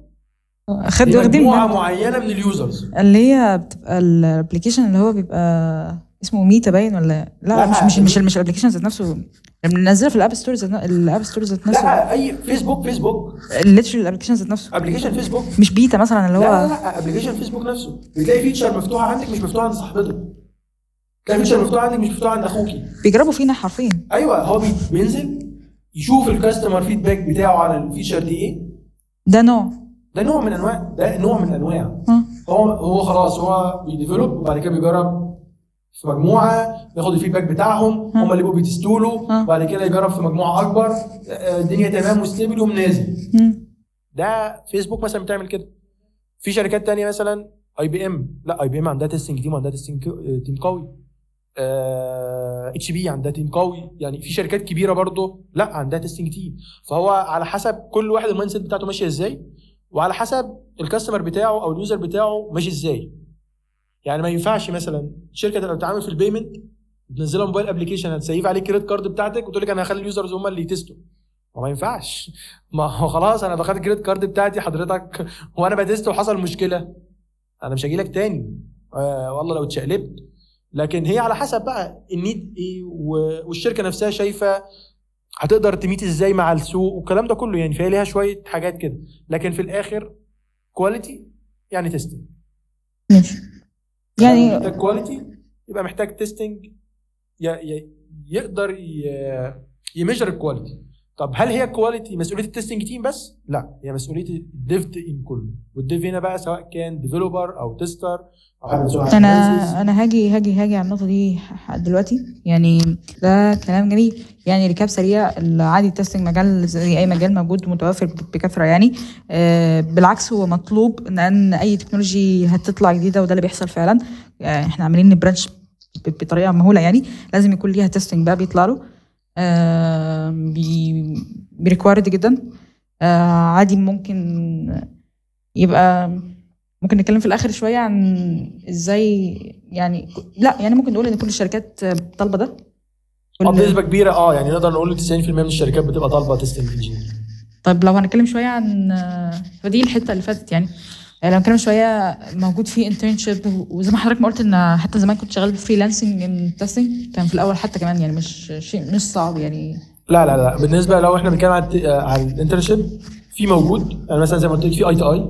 [SPEAKER 3] خد واخدين
[SPEAKER 4] مجموعه
[SPEAKER 3] بالنا.
[SPEAKER 4] معينه من اليوزرز
[SPEAKER 3] اللي هي بتبقى الابلكيشن اللي هو بيبقى اسمه ميتا باين ولا لا,
[SPEAKER 4] لا،
[SPEAKER 3] لا مش مش مش مش الابلكيشن ذات نفسه اللي بننزلها في الاب ستور ذات ن- الاب ستور ذات نفسه
[SPEAKER 4] لا اي فيسبوك فيسبوك
[SPEAKER 3] الليترال الابلكيشن ذات نفسه
[SPEAKER 4] ابلكيشن فيسبوك
[SPEAKER 3] مش بيتا مثلا اللي
[SPEAKER 4] لا لا
[SPEAKER 3] هو
[SPEAKER 4] لا ابلكيشن فيسبوك نفسه بتلاقي فيتشر مفتوحه عندك مش مفتوحه عند صاحبتك تلاقي فيتشر مفتوحه عندك مش مفتوحه عند اخوكي
[SPEAKER 3] بيجربوا فينا حرفيا
[SPEAKER 4] ايوه هو بي- بينزل يشوف الكاستمر فيدباك بتاعه على الفيتشر دي ايه
[SPEAKER 3] ده نوع
[SPEAKER 4] ده نوع من انواع ده نوع من انواع
[SPEAKER 3] ها.
[SPEAKER 4] هو هو خلاص هو بيديفلوب وبعد كده بيجرب في مجموعه ياخد الفيدباك بتاعهم
[SPEAKER 3] ها.
[SPEAKER 4] هم اللي بيبقوا بيتستوا له
[SPEAKER 3] ها.
[SPEAKER 4] بعد كده يجرب في مجموعه اكبر آه، الدنيا تمام وستيبل ومنازل
[SPEAKER 3] مم.
[SPEAKER 4] ده فيسبوك مثلا بتعمل كده في شركات تانية مثلا اي بي ام لا اي بي ام عندها تيستنج تيم وعندها تيستنج تيم قوي اتش بي عندها تيم قوي يعني في شركات كبيره برضه لا عندها تيستنج تيم فهو على حسب كل واحد المايند سيت بتاعته ماشيه ازاي وعلى حسب الكاستمر بتاعه او اليوزر بتاعه ماشي ازاي يعني ما ينفعش مثلا شركه تبقى بتتعامل في البيمنت بتنزلها موبايل ابلكيشن هتسيف عليك كريدت كارد بتاعتك وتقول لك انا هخلي اليوزرز هم اللي يتستوا ما هو ما ينفعش ما هو خلاص انا باخد الكريدت كارد بتاعتي حضرتك وانا بتست وحصل مشكله انا مش هجي لك تاني آه والله لو اتشقلبت لكن هي على حسب بقى النيد ايه و- والشركه نفسها شايفه هتقدر تميت ازاي مع السوق والكلام ده كله يعني فهي ليها شويه حاجات كده لكن في الاخر كواليتي يعني تيستنج
[SPEAKER 3] ماشي يعني
[SPEAKER 4] محتاج كواليتي يبقى محتاج تيستنج يقدر ي- يميجر الكواليتي طب هل هي كواليتي مسؤوليه التستنج تيم بس؟ لا هي مسؤوليه الديف تيم كله والديف هنا بقى سواء كان ديفلوبر او تيستر او حد مسؤول عن
[SPEAKER 3] انا
[SPEAKER 4] analysis.
[SPEAKER 3] انا هاجي هاجي هاجي على النقطه دي ح- دلوقتي يعني ده كلام جميل يعني ركاب سريع العادي التستنج مجال زي اي مجال موجود متوفر ب- بكثره يعني آه، بالعكس هو مطلوب لان اي تكنولوجي هتطلع جديده وده اللي بيحصل فعلا آه، احنا عاملين نبرانش ب- بطريقه مهوله يعني لازم يكون ليها تستنج بقى بيطلع له آه، بي ريكوايرد جدا آه، عادي ممكن يبقى ممكن نتكلم في الاخر شويه عن ازاي يعني لا يعني ممكن نقول ان كل الشركات طالبه ده كل...
[SPEAKER 4] آه، بنسبه كبيره اه يعني نقدر نقول 90% من الشركات بتبقى طالبه تيستنج انجينير
[SPEAKER 3] طيب لو هنتكلم شويه عن آه، فدي الحته اللي فاتت يعني آه، لو هنتكلم شويه موجود في انترنشيب وزي ما حضرتك ما قلت ان حتى زمان كنت شغال فريلانسنج ان تيستنج كان في الاول حتى كمان يعني مش شيء مش صعب يعني
[SPEAKER 4] لا لا لا بالنسبه لو احنا بنتكلم عن الت- آه، عن الانترنشيب في موجود يعني مثلا زي ما قلت لك في اي تي اي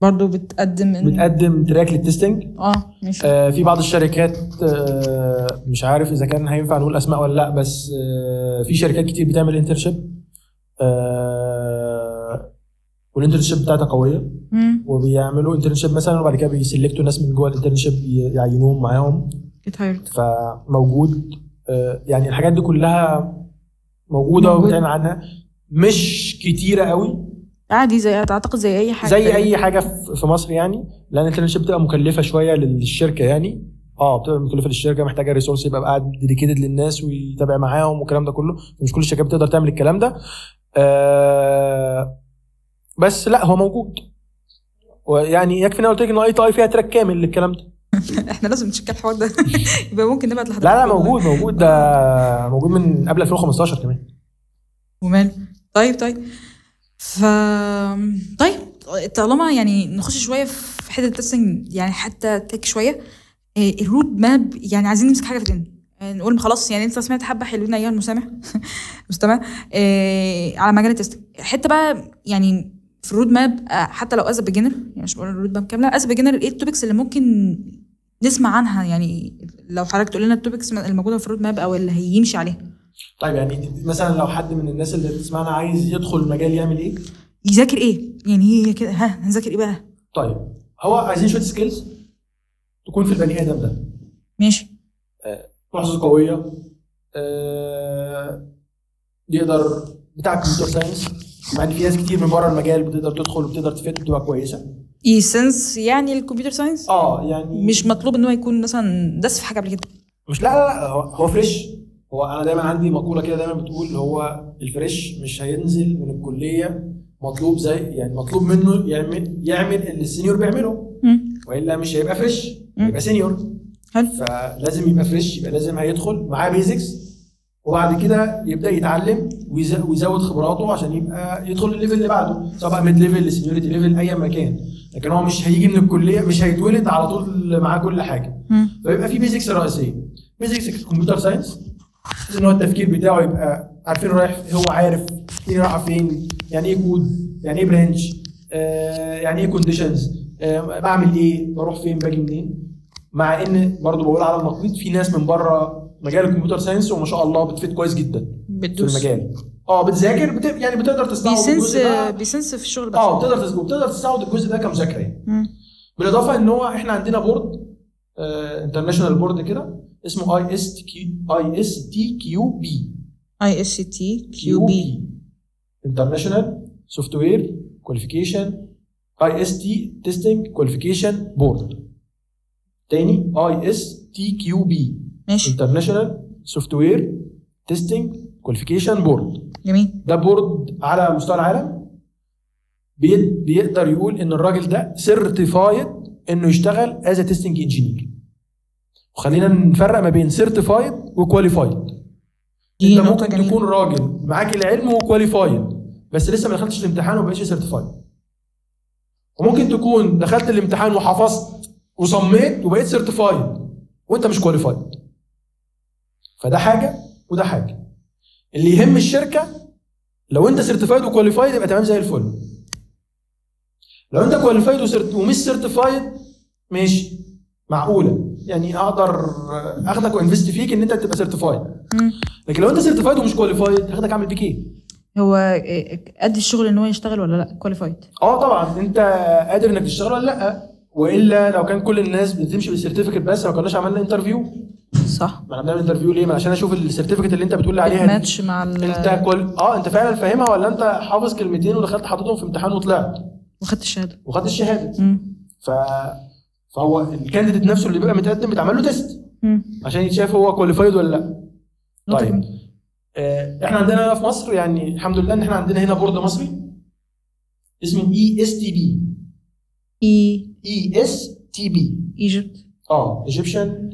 [SPEAKER 3] برضو بتقدم إن...
[SPEAKER 4] بتقدم تراك للتستنج
[SPEAKER 3] اه ماشي
[SPEAKER 4] آه، في بعض الشركات آه، مش عارف اذا كان هينفع نقول اسماء ولا لا بس آه، في شركات كتير بتعمل انترشيب والانترشيب بتاعتها قويه
[SPEAKER 3] مم،
[SPEAKER 4] وبيعملوا انترشيب مثلا وبعد كده بيسلكتوا ناس من جوه الانترشيب يعينوهم معاهم
[SPEAKER 3] get hired.
[SPEAKER 4] فموجود آه، يعني الحاجات دي كلها موجوده
[SPEAKER 3] موجود.
[SPEAKER 4] وبتعلن عنها مش كتيره قوي
[SPEAKER 3] عادي زي اعتقد زي اي حاجه
[SPEAKER 4] زي اي حاجه في في مصر يعني لان الانترنشيب بتبقى مكلفه شويه للشركه يعني اه بتبقى مكلفه للشركه محتاجه ريسورس يبقى قاعد ديديكيتد للناس ويتابع معاهم والكلام ده كله مش كل الشركات بتقدر تعمل الكلام ده آه بس لا هو موجود ويعني يكفي ان أنا قلت لك ان اي تي فيها تراك كامل للكلام ده
[SPEAKER 3] احنا لازم نشكل الحوار ده [laughs] يبقى ممكن نبعت لحضرتك
[SPEAKER 4] لا لا موجود موجود ده موجود من قبل 2015 كمان
[SPEAKER 3] وماله طيب طيب ف طيب طالما يعني نخش شويه في حته التستنج يعني حتى تك شويه آه، الرود ماب يعني عايزين نمسك حاجه في ايدينا آه، نقول ما خلاص يعني انت سمعت حبه حلوين ايها المسامع [laughs] مستمع آه، على مجال التستنج حته بقى يعني في الرود ماب آه، حتى لو از بيجنر يعني مش بقول الرود ماب كامله از بيجنر ايه التوبكس اللي ممكن نسمع عنها يعني لو حضرتك تقول لنا التوبكس الموجوده في الرود ماب او اللي هيمشي عليها
[SPEAKER 4] طيب يعني مثلا لو حد من الناس اللي بتسمعنا عايز يدخل المجال يعمل ايه؟
[SPEAKER 3] يذاكر ايه يعني هي كده ها هنذاكر ايه بقى
[SPEAKER 4] طيب هو عايزين شويه سكيلز تكون في البني ادم ده
[SPEAKER 3] ماشي
[SPEAKER 4] لحظه قويه آه، يقدر بتاع كمبيوتر ساينس مع ان في ناس كتير من بره المجال بتقدر تدخل وبتقدر تفيد وتبقى كويسه
[SPEAKER 3] اي سنس E يعني الكمبيوتر ساينس
[SPEAKER 4] اه يعني
[SPEAKER 3] مش مطلوب ان هو يكون مثلا داس في حاجه قبل كده
[SPEAKER 4] مش لا لا, لا هو- هو فريش هو انا دايما عندي مقوله كده دايما بتقول هو الفريش مش هينزل من الكليه مطلوب زي يعني مطلوب منه يعمل يعمل اللي السينيور بيعمله
[SPEAKER 3] مم.
[SPEAKER 4] والا مش هيبقى فريش
[SPEAKER 3] مم.
[SPEAKER 4] هيبقى سينيور
[SPEAKER 3] حلو
[SPEAKER 4] فلازم يبقى فريش يبقى لازم هيدخل معاه بيزكس وبعد كده يبدا يتعلم ويز- ويزود خبراته عشان يبقى يدخل الليفل اللي بعده سواء بقى ميد ليفل سينيورتي ليفل اي مكان لكن هو مش هيجي من الكليه مش هيتولد على طول معاه كل حاجه
[SPEAKER 3] مم.
[SPEAKER 4] فيبقى طيب، في بيزكس رئيسيه بيزكس الكمبيوتر ساينس بحيث ان هو التفكير بتاعه يبقى عارفين رايح هو عارف ايه رايحه فين يعني ايه كود يعني ايه برانش آه يعني ايه كونديشنز آه بعمل ايه بروح فين باجي منين مع ان برضو بقول على النقيض في ناس من بره مجال الكمبيوتر ساينس وما شاء الله بتفيد كويس جدا في
[SPEAKER 3] بتدوس آه،
[SPEAKER 4] المجال اه بتذاكر بت... يعني بتقدر آه، تستوعب
[SPEAKER 3] بيسنس
[SPEAKER 4] الجزء ده
[SPEAKER 3] بيسنس في الشغل بقى
[SPEAKER 4] اه بتقدر تس- بتقدر تستوعب الجزء ده كمذاكره يعني
[SPEAKER 3] آه. مم.
[SPEAKER 4] بالاضافه ان هو احنا عندنا بورد انترناشونال بورد كده اسمه اي اس تي كيو اي اس تي كيو بي
[SPEAKER 3] اي اس تي كيو بي
[SPEAKER 4] انترناشونال سوفت وير كواليفيكيشن اي اس تي تيستنج كواليفيكيشن بورد تاني اي اس تي كيو بي
[SPEAKER 3] ماشي
[SPEAKER 4] انترناشونال سوفت وير تيستنج كواليفيكيشن بورد
[SPEAKER 3] جميل
[SPEAKER 4] ده بورد على مستوى العالم بي- بيقدر يقول ان الراجل ده سيرتيفايد انه يشتغل از تيستنج انجينير وخلينا نفرق ما بين سيرتيفايد وكواليفايد
[SPEAKER 3] دي
[SPEAKER 4] انت
[SPEAKER 3] نقطه
[SPEAKER 4] ممكن
[SPEAKER 3] جميله
[SPEAKER 4] تكون راجل معاك العلم وكواليفايد بس لسه ما دخلتش الامتحان وما بقتش سيرتيفايد وممكن تكون دخلت الامتحان وحفظت وصميت وبقيت سيرتيفايد وانت مش كواليفايد فده حاجه وده حاجه اللي يهم الشركه لو انت سيرتيفايد وكواليفايد يبقى تمام زي الفل لو انت كواليفايد وسيرت- ومش سيرتيفايد ماشي معقوله يعني اقدر اخدك وانفست فيك ان انت تبقى سيرتيفايد
[SPEAKER 3] مم.
[SPEAKER 4] لكن لو انت سيرتيفايد ومش كواليفايد هاخدك اعمل بيك ايه؟
[SPEAKER 3] هو إيه، قد الشغل ان هو يشتغل ولا لا كواليفايد
[SPEAKER 4] اه طبعا انت قادر انك تشتغل ولا لا والا لو كان كل الناس بتمشي بالسيرتيفيكت بس ما كناش عملنا انترفيو
[SPEAKER 3] صح
[SPEAKER 4] ما احنا بنعمل انترفيو ليه؟ ما عشان اشوف السيرتيفيكت اللي انت بتقول لي عليها دي.
[SPEAKER 3] ماتش مع ال
[SPEAKER 4] انت كل... اه انت فعلا فاهمها ولا انت حافظ كلمتين ودخلت حاططهم في امتحان وطلعت
[SPEAKER 3] وخدت الشهاده
[SPEAKER 4] وخدت الشهاده
[SPEAKER 3] مم.
[SPEAKER 4] ف فهو الكانديديت نفسه اللي بيبقى متقدم بيتعمل له تيست
[SPEAKER 3] مم.
[SPEAKER 4] عشان يتشاف هو كواليفايد ولا لا
[SPEAKER 3] نقطة
[SPEAKER 4] طيب.
[SPEAKER 3] جميلة.
[SPEAKER 4] آه، احنا عندنا هنا في مصر يعني الحمد لله ان احنا عندنا هنا بورد مصري اسمه E اي اس تي بي
[SPEAKER 3] اي
[SPEAKER 4] اي اس تي بي
[SPEAKER 3] ايجيبت
[SPEAKER 4] اه ايجيبشن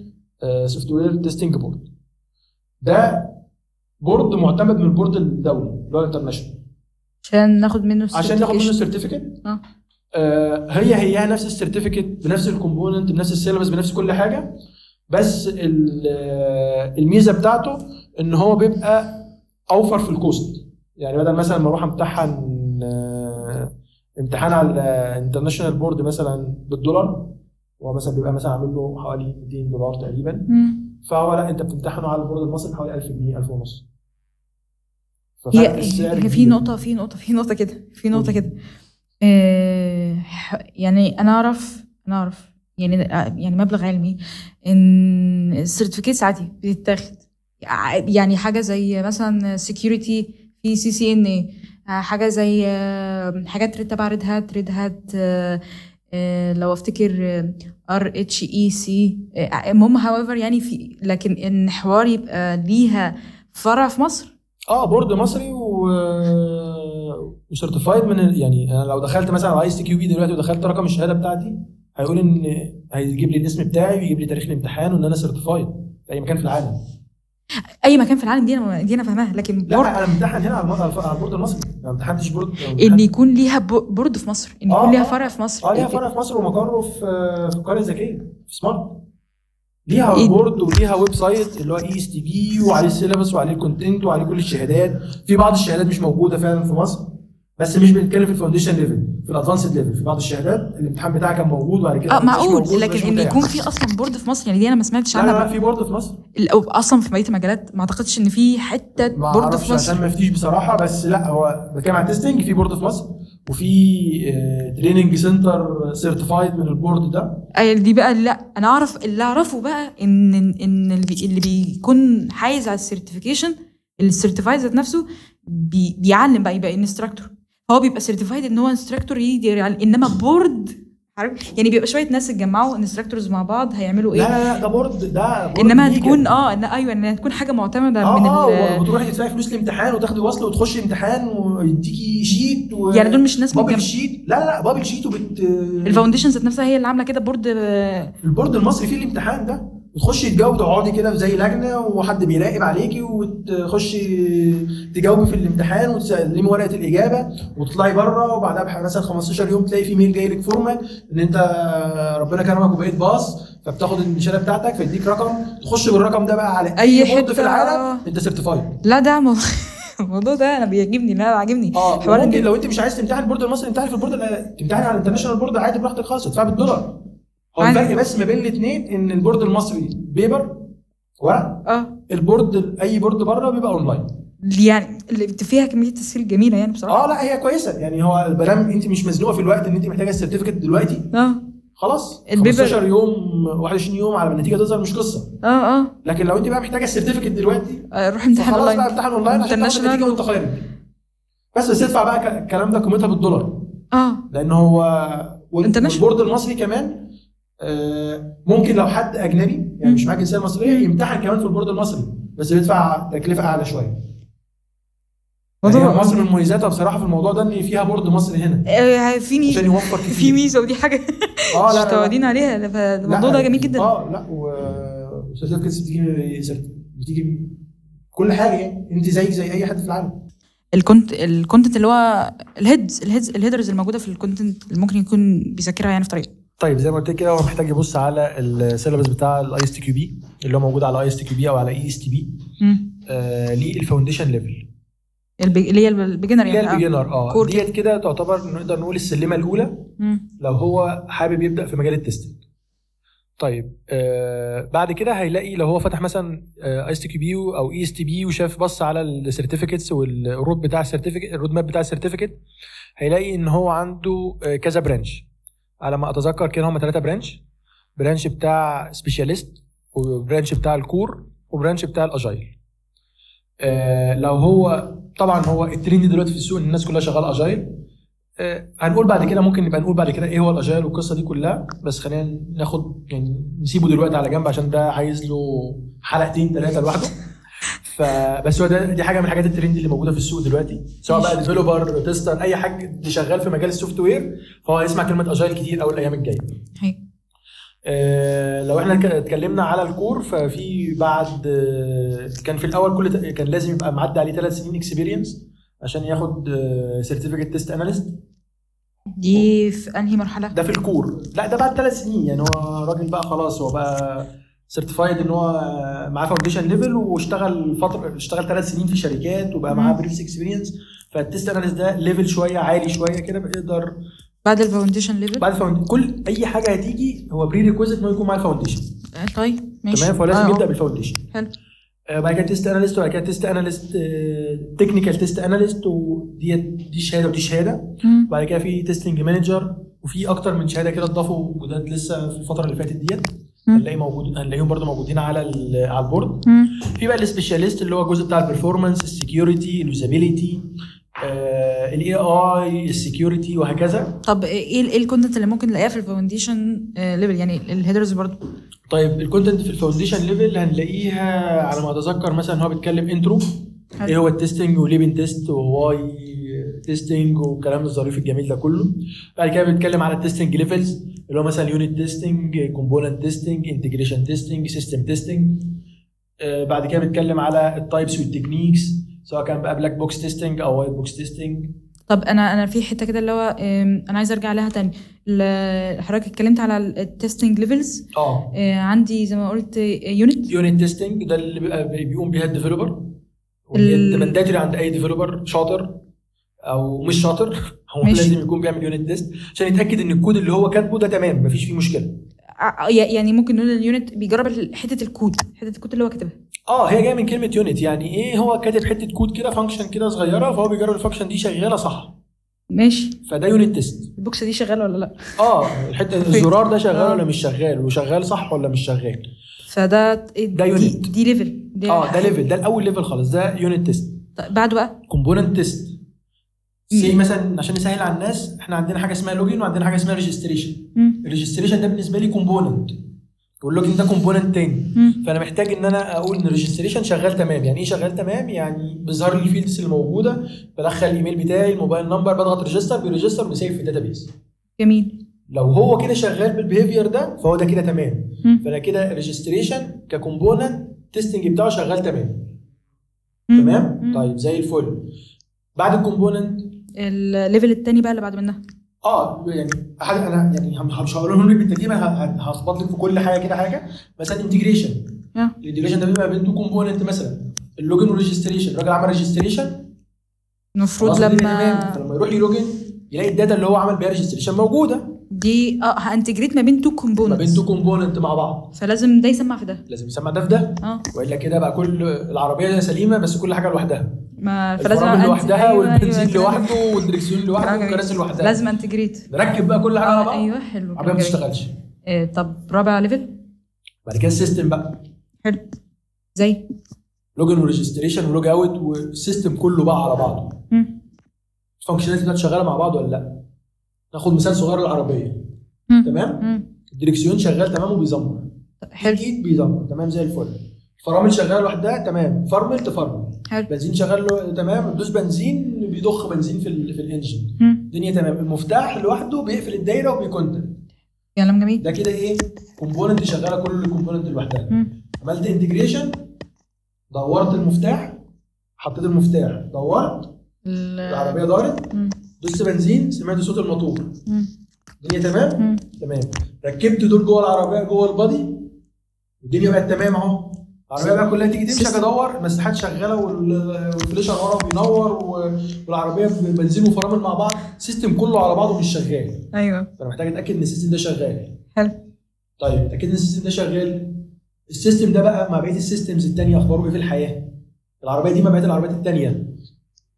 [SPEAKER 4] سوفت وير تيستنج بورد ده بورد معتمد من البورد الدولي اللي هو الانترناشونال
[SPEAKER 3] عشان ناخد منه
[SPEAKER 4] عشان ناخد منه
[SPEAKER 3] certification.
[SPEAKER 4] سيرتيفيكت
[SPEAKER 3] آه.
[SPEAKER 4] هي هي نفس السيرتيفيكت بنفس الكومبوننت بنفس السيلابس بنفس كل حاجه بس ال- آه، الميزه بتاعته ان هو بيبقى اوفر في الكوست يعني بدل مثلا ما اروح امتحن آه، امتحان على انترناشونال بورد مثلا بالدولار هو مثلا بيبقى مثلا عامل له حوالي 200 دولار تقريبا
[SPEAKER 3] مم.
[SPEAKER 4] فهو لا انت بتمتحنه على البورد المصري بحوالي 1000 جنيه 1000 ونص
[SPEAKER 3] هي
[SPEAKER 4] ففرق السعر
[SPEAKER 3] هي في
[SPEAKER 4] كبير.
[SPEAKER 3] نقطة في نقطة في نقطة كده في نقطة
[SPEAKER 4] قولي.
[SPEAKER 3] كده آه، ح- يعني أنا أعرف أنا أعرف يعني يعني مبلغ علمي إن السيرتيفيكيتس عادي بتتاخد ع- يعني حاجة زي مثلا سكيورتي في سي سي إن إيه حاجة زي آه، حاجات ريد تبع ريد هات ريد هات آه، آه، لو آه، افتكر ار اتش اي سي E المهم هاويفر يعني في لكن ان حوار يبقى ليها فرع في مصر
[SPEAKER 4] اه بورد مصري و وسيرتيفايد من ال- يعني انا لو دخلت مثلا على اي اس كيو بي دلوقتي ودخلت رقم الشهاده بتاعتي هيقول ان هيجيب لي الاسم بتاعي ويجيب لي تاريخ الامتحان وان انا سيرتيفايد في اي مكان في العالم
[SPEAKER 3] اي مكان في العالم دي انا دي انا فاهماها لكن
[SPEAKER 4] لا
[SPEAKER 3] بورد
[SPEAKER 4] انا امتحن هنا على الم- على البورد المصري انا ما امتحنتش بورد أنا
[SPEAKER 3] ان
[SPEAKER 4] امتحنت-
[SPEAKER 3] يكون ليها بو- بورد في مصر ان
[SPEAKER 4] آه،
[SPEAKER 3] يكون ليها
[SPEAKER 4] آه.
[SPEAKER 3] فرع في مصر
[SPEAKER 4] اه ليها فرع في مصر ومقره في في القريه الذكيه في سمارت ليها
[SPEAKER 3] إيه؟
[SPEAKER 4] بورد وليها ويب سايت
[SPEAKER 6] E
[SPEAKER 4] اللي هو اي اس تي بي وعليه السيلابس وعليه الكونتنت وعليه كل الشهادات في بعض الشهادات مش موجوده فعلا في مصر
[SPEAKER 6] بس مش بنتكلم في الفاونديشن ليفل في الادفانسد ليفل في بعض الشهادات الامتحان بتاعها كان موجود وبعد كده
[SPEAKER 3] اه
[SPEAKER 6] مش موجود،
[SPEAKER 3] معقول
[SPEAKER 6] مش
[SPEAKER 3] لكن ان
[SPEAKER 6] متاح.
[SPEAKER 3] يكون في اصلا بورد في مصر يعني دي انا ما سمعتش
[SPEAKER 6] لا لا لا
[SPEAKER 3] عنها
[SPEAKER 6] في بورد في مصر
[SPEAKER 3] ب- أو اصلا في بقيه المجالات ما اعتقدش ان في حته
[SPEAKER 6] ما
[SPEAKER 3] بورد
[SPEAKER 6] اعرفش
[SPEAKER 3] في
[SPEAKER 6] عشان
[SPEAKER 3] مصر
[SPEAKER 6] ما افتيش بصراحه بس لا هو بتكلم عن تيستنج في بورد في مصر وفي آه، تريننج سنتر سيرتيفايد من البورد ده
[SPEAKER 3] آه، دي بقى لا انا اعرف اللي اعرفه بقى ان ان اللي بي- اللي بيكون حايز على السيرتيفيكيشن السيرتيفايد ذات نفسه بي بيعلم بقى يبقى انستراكتور هو بيبقى سيرتيفايد ان هو انستراكتور يقدر يعلم انما بورد عارف؟ يعني بيبقى شويه ناس اتجمعوا انستراكتورز مع بعض هيعملوا
[SPEAKER 6] لا
[SPEAKER 3] ايه
[SPEAKER 6] لا لا ده بورد ده بورد
[SPEAKER 3] انما
[SPEAKER 6] ليجل.
[SPEAKER 3] هتكون اه إن ايوه ان هتكون حاجه معتمده من
[SPEAKER 6] اه اه
[SPEAKER 3] ال
[SPEAKER 6] وبتروحي تدفعي فلوس الامتحان وتاخدي وصل وتخشي امتحان ويديكي شيت و...
[SPEAKER 3] يعني دول مش ناس
[SPEAKER 6] بابل
[SPEAKER 3] متجمعه
[SPEAKER 6] شيت لا لا لا بابل شيت وبت
[SPEAKER 3] الفاونديشن ذات نفسها هي اللي عامله كده بورد آه،
[SPEAKER 6] البورد المصري فيه الامتحان ده وتخشي تجاوب تقعدي كده زي لجنه وحد بيراقب عليكي وتخشي تجاوبي في الامتحان وتسلمي ورقه الاجابه وتطلعي بره وبعدها بح- مثلا 15 يوم تلاقي في ميل جاي لك فورمه ان انت ربنا كرمك وبقيت باص فبتاخد الشهاده بتاعتك فيديك رقم تخش بالرقم ده بقى على
[SPEAKER 3] أي
[SPEAKER 6] بورد في
[SPEAKER 3] حتة. آه.
[SPEAKER 6] العالم انت سيرتيفايد
[SPEAKER 3] لا ده مو- [laughs] الموضوع ده انا بيعجبني لا عاجبني
[SPEAKER 6] اه
[SPEAKER 3] حوار إن-
[SPEAKER 6] ممكن لو انت مش عايز تمتحن البورد المصري امتحن في البورد ال- تمتحن على الانترناشونال بورد عادي براحتك خالص ادفع بالدولار هو
[SPEAKER 3] عادي.
[SPEAKER 6] الفرق بس ما بين الاثنين ان البورد المصري بيبر ورق
[SPEAKER 3] اه
[SPEAKER 6] البورد اي بورد بره بيبقى اونلاين
[SPEAKER 3] يعني اللي بت- فيها كميه تسهيل جميله يعني بصراحه
[SPEAKER 6] اه لا هي كويسه يعني هو البلام انت مش مزنوقه في الوقت ان انت محتاجه السيرتيفيكت دلوقتي
[SPEAKER 3] اه
[SPEAKER 6] خلاص
[SPEAKER 3] البيبر-
[SPEAKER 6] 15 يوم 21 يوم على ما النتيجه تظهر مش قصه
[SPEAKER 3] اه اه
[SPEAKER 6] لكن لو انت بقى محتاجه السيرتيفيكت دلوقتي
[SPEAKER 3] آه، روح امتحان
[SPEAKER 6] فخلاص بقى
[SPEAKER 3] اونلاين
[SPEAKER 6] امتحن اونلاين عشان تاخد
[SPEAKER 3] International.
[SPEAKER 6] النتيجه وانت خارج بس بس ادفع بقى ك- الكلام ده قيمتها بالدولار
[SPEAKER 3] اه
[SPEAKER 6] لان هو وال-
[SPEAKER 3] International.
[SPEAKER 6] والبورد المصري كمان آه، ممكن لو حد اجنبي يعني مش معاه جنسيه مصريه يمتحن كمان في البورد المصري بس بيدفع تكلفه اعلى شويه يعني
[SPEAKER 3] موضوع-
[SPEAKER 6] هي مصر من مميزاتها بصراحه في الموضوع ده ان فيها بورد مصري هنا
[SPEAKER 3] آه، في
[SPEAKER 6] عشان
[SPEAKER 3] مي-
[SPEAKER 6] يوفر كتير
[SPEAKER 3] في ميزه ودي حاجه
[SPEAKER 6] اه لا، لا
[SPEAKER 3] مش
[SPEAKER 6] لا
[SPEAKER 3] متعودين عليها لا، فالموضوع
[SPEAKER 6] لا،
[SPEAKER 3] ده جميل
[SPEAKER 4] آه.
[SPEAKER 3] جدا
[SPEAKER 6] اه لا وشركات بتيجي بتيجي كل حاجه يعني انت زيك زي اي حد في العالم
[SPEAKER 3] الكونت الكونتنت اللي هو الهيدز الهيدز الهيدرز الموجوده في الكونتنت اللي ممكن يكون بيذاكرها يعني في طريقه
[SPEAKER 4] طيب زي ما قلت كده هو محتاج يبص على السيلابس بتاع الاي اس تي كيو بي اللي هو موجود على اي اس تي كيو بي او على E اي اس تي بي
[SPEAKER 3] مم.
[SPEAKER 4] آه، للفاونديشن ليفل
[SPEAKER 3] البي- اللي هي البيجنر
[SPEAKER 4] اللي هي
[SPEAKER 3] يعني آه.
[SPEAKER 4] البيجنر اه
[SPEAKER 3] كور.
[SPEAKER 4] ديت كده تعتبر نقدر نقول السلمه الاولى
[SPEAKER 3] مم.
[SPEAKER 4] لو هو حابب يبدا في مجال التستنج طيب آه بعد كده هيلاقي لو هو فتح آه، مثلا اي اس تي كيو بي او اي اس تي بي وشاف بص على السيرتيفيكتس والرود بتاع السيرتيفيكت الرود ماب بتاع السيرتيفيكت هيلاقي ان هو عنده آه، كذا برانش على ما اتذكر كده هم ثلاثه برانش برانش بتاع سبيشاليست وبرانش بتاع الكور وبرانش بتاع الاجايل آه لو هو طبعا هو الترند دلوقتي في السوق ان الناس كلها شغاله اجايل آه، هنقول بعد كده ممكن نبقى نقول بعد كده ايه هو الاجايل والقصه دي كلها بس خلينا ناخد يعني نسيبه دلوقتي على جنب عشان ده عايز له حلقتين ثلاثه لوحده فبس هو ده دي حاجه من الحاجات الترند اللي موجوده في السوق دلوقتي سواء بقى ديفلوبر تيستر اي حاجه اللي شغال في مجال السوفت وير فهو هيسمع كلمه اجايل كتير قوي الايام الجايه
[SPEAKER 3] هي.
[SPEAKER 4] آه، لو احنا ك- اتكلمنا على الكور ففي بعد آه، كان في الاول كل ت- كان لازم يبقى معدي عليه ثلاث سنين اكسبيرينس عشان ياخد آه، سيرتيفيكت تيست اناليست
[SPEAKER 3] دي في انهي مرحله
[SPEAKER 4] ده في الكور لا ده بعد ثلاث سنين يعني هو راجل بقى خلاص هو بقى سيرتيفايد ان هو معاه فاونديشن ليفل واشتغل فتره اشتغل ثلاث سنين في شركات وبقى معاه
[SPEAKER 3] مم.
[SPEAKER 4] بريفس اكسبيرينس فالتيست اناليست ده ليفل شويه عالي شويه كده بيقدر
[SPEAKER 3] بعد الفاونديشن ليفل
[SPEAKER 4] بعد فاوند- كل اي حاجه هتيجي هو بري ريكويزيت انه يكون معاه الفاونديشن
[SPEAKER 3] آه، طيب ماشي
[SPEAKER 4] تمام فهو لازم
[SPEAKER 3] آه.
[SPEAKER 4] يبدا بالفاونديشن
[SPEAKER 3] حلو
[SPEAKER 4] آه، بعد كده تيست اناليست وبعد كده آه، تيست اناليست تكنيكال تيست اناليست وديت دي شهاده ودي شهاده
[SPEAKER 3] مم.
[SPEAKER 4] وبعد كده في تيستنج مانجر وفي اكتر من شهاده كده اتضافوا جداد لسه في الفتره اللي فاتت ديت
[SPEAKER 3] مم.
[SPEAKER 4] هنلاقي موجود هنلاقيهم برضو موجودين على ال- على البورد
[SPEAKER 3] مم.
[SPEAKER 4] في بقى السبيشاليست اللي هو الجزء بتاع البرفورمانس السكيورتي اليوزابيلتي الاي اي السكيورتي وهكذا
[SPEAKER 3] طب ايه ال- ايه الكونتنت اللي ممكن نلاقيها في الفاونديشن ليفل يعني الهيدرز برضو
[SPEAKER 4] طيب الكونتنت في الفاونديشن ليفل هنلاقيها على ما اتذكر مثلا هو بيتكلم انترو
[SPEAKER 3] حلو.
[SPEAKER 4] ايه هو التستنج وليه بنتست وواي تيستنج والكلام الظريف الجميل ده كله بعد كده بيتكلم على التستنج ليفلز اللي هو مثلا يونت تيستنج كومبوننت تيستنج انتجريشن تيستنج سيستم تيستنج آه، بعد كده بيتكلم على التايبس والتكنيكس سواء كان بقى بلاك بوكس تيستنج او وايت بوكس تيستنج
[SPEAKER 3] طب انا انا في حته كده اللي هو أم، انا عايزه ارجع لها تاني ال- حضرتك اتكلمت على التستنج ليفلز
[SPEAKER 4] اه
[SPEAKER 3] آه، عندي زي ما قلت آه، يونت
[SPEAKER 4] يونت تيستنج ده اللي بيبقى بيقوم بيها الديفلوبر
[SPEAKER 3] ال-
[SPEAKER 4] مانداتري عند اي ديفلوبر شاطر او مش شاطر [laughs] هو
[SPEAKER 3] ماشي.
[SPEAKER 4] لازم يكون بيعمل يونت تيست عشان يتاكد ان الكود اللي هو كاتبه ده تمام مفيش فيه مشكله
[SPEAKER 3] ع- يعني ممكن نقول اليونت بيجرب ال- حته الكود حته الكود اللي هو كاتبها
[SPEAKER 4] اه هي جايه من كلمه يونت يعني ايه هو كاتب حته كود كده فانكشن كده صغيره فهو بيجرب الفانكشن دي شغاله صح
[SPEAKER 3] ماشي
[SPEAKER 4] فده يونت تيست
[SPEAKER 3] البوكسه دي شغاله ولا لا
[SPEAKER 4] اه الحته الزرار ده شغال ولا مش شغال وشغال صح ولا مش شغال
[SPEAKER 3] فده إيه؟
[SPEAKER 4] ده
[SPEAKER 3] دي,
[SPEAKER 4] يونت.
[SPEAKER 3] دي ليفل دي
[SPEAKER 4] اه ده ليفل ده الاول ليفل خالص ده يونت تيست
[SPEAKER 3] طيب بعده بقى
[SPEAKER 4] كومبوننت تيست
[SPEAKER 3] مم.
[SPEAKER 4] سي مثلا عشان نسهل على الناس احنا عندنا حاجه اسمها لوجين وعندنا حاجه اسمها ريجستريشن
[SPEAKER 3] مم.
[SPEAKER 4] الريجستريشن ده بالنسبه لي كومبوننت واللوجين ده كومبوننت تاني
[SPEAKER 3] مم.
[SPEAKER 4] فانا محتاج ان انا اقول ان الريجستريشن شغال تمام يعني ايه شغال تمام يعني بيظهر لي الفيلدز اللي موجوده بدخل الايميل بتاعي الموبايل نمبر بضغط ريجستر بيرجستر وبيسيف في الداتابيس
[SPEAKER 3] جميل
[SPEAKER 4] لو هو كده شغال بالبيهيفير ده فهو ده كده تمام
[SPEAKER 3] مم.
[SPEAKER 4] فانا كده الريجستريشن ككومبوننت تيستنج بتاعه شغال تمام
[SPEAKER 3] مم.
[SPEAKER 4] تمام
[SPEAKER 3] مم.
[SPEAKER 4] طيب زي الفل بعد الكومبوننت
[SPEAKER 3] الليفل التاني بقى اللي بعد منها
[SPEAKER 4] اه يعني حاجه انا يعني هم- مش هقولهم لك بالترتيب انا ه- ه- هخبط لك في كل حاجه كده حاجه مثلا انتجريشن
[SPEAKER 3] آه.
[SPEAKER 4] الانتجريشن ده بيبقى بين تو كومبوننت مثلا اللوجن والريجستريشن الراجل عمل ريجستريشن
[SPEAKER 3] المفروض لما
[SPEAKER 4] لما يروح يلوجن يلاقي الداتا اللي هو عمل بيها ريجستريشن موجوده
[SPEAKER 3] دي اه هانتجريت ما بين تو
[SPEAKER 4] ما بين
[SPEAKER 3] كومبوننتس
[SPEAKER 4] تو كومبوننت مع بعض
[SPEAKER 3] فلازم ده يسمع في ده
[SPEAKER 4] لازم يسمع ده في ده
[SPEAKER 3] اه
[SPEAKER 4] والا كده بقى كل العربيه سليمه بس كل حاجه لوحدها
[SPEAKER 3] ما فلازم
[SPEAKER 4] الفرامل
[SPEAKER 3] أنت-
[SPEAKER 4] لوحدها
[SPEAKER 3] أيوة،
[SPEAKER 4] والبنزين
[SPEAKER 3] أيوة، كلام
[SPEAKER 4] لوحده والدركسيون لوحده
[SPEAKER 3] جميل.
[SPEAKER 4] والكراسي لوحدها
[SPEAKER 3] لازم انتجريت
[SPEAKER 4] نركب بقى كل حاجه على
[SPEAKER 3] اه
[SPEAKER 4] بعض
[SPEAKER 3] ايوه حلو
[SPEAKER 4] العربيه
[SPEAKER 3] كلام
[SPEAKER 4] ما
[SPEAKER 3] جميل.
[SPEAKER 4] تشتغلش
[SPEAKER 3] آه، طب رابع ليفل
[SPEAKER 4] بعد كده السيستم بقى
[SPEAKER 3] حلو زي
[SPEAKER 4] لوجن وريجستريشن ولوج اوت والسيستم كله بقى على بعضه
[SPEAKER 3] مم.
[SPEAKER 4] الفانكشناليتي بتاعته شغاله مع بعض ولا لا ناخد مثال صغير العربيه
[SPEAKER 3] مم.
[SPEAKER 4] تمام
[SPEAKER 3] مم.
[SPEAKER 4] الدركسيون شغال تمام وبيزمر
[SPEAKER 3] حلو
[SPEAKER 4] الايد بيزمر تمام زي الفل الفرامل شغاله لوحدها تمام فرمل تفرمل
[SPEAKER 3] حلو
[SPEAKER 4] بنزين شغال له- تمام تدوس بنزين بيضخ بنزين في, ال- في الانجن
[SPEAKER 3] مم.
[SPEAKER 4] الدنيا تمام المفتاح لوحده بيقفل الدايره وبيكونتن
[SPEAKER 3] كلام جميل
[SPEAKER 4] ده كده ايه كومبوننت شغاله كل الكومبوننت لوحدها
[SPEAKER 3] مم.
[SPEAKER 4] عملت انتجريشن دورت المفتاح حطيت المفتاح دورت
[SPEAKER 3] ال-
[SPEAKER 4] العربيه دارت
[SPEAKER 3] مم.
[SPEAKER 4] دوست بنزين سمعت صوت الموتور
[SPEAKER 3] مم.
[SPEAKER 4] الدنيا تمام
[SPEAKER 3] مم.
[SPEAKER 4] تمام ركبت دول جوه العربيه جوه البادي والدنيا بقت تمام اهو العربيه بقى كلها تيجي تمشي
[SPEAKER 3] سيستم.
[SPEAKER 4] ادور المساحات شغاله وال- والفليشر ورا بينور و- والعربيه بنزين وفرامل مع بعض السيستم كله على بعضه مش شغال
[SPEAKER 3] ايوه
[SPEAKER 4] فانا محتاج اتاكد ان السيستم ده شغال
[SPEAKER 3] حلو
[SPEAKER 4] طيب اتاكد ان السيستم ده شغال السيستم ده بقى مع بقيه السيستمز التانيه اخباره ايه في الحياه العربيه دي مع بقيه العربيات التانيه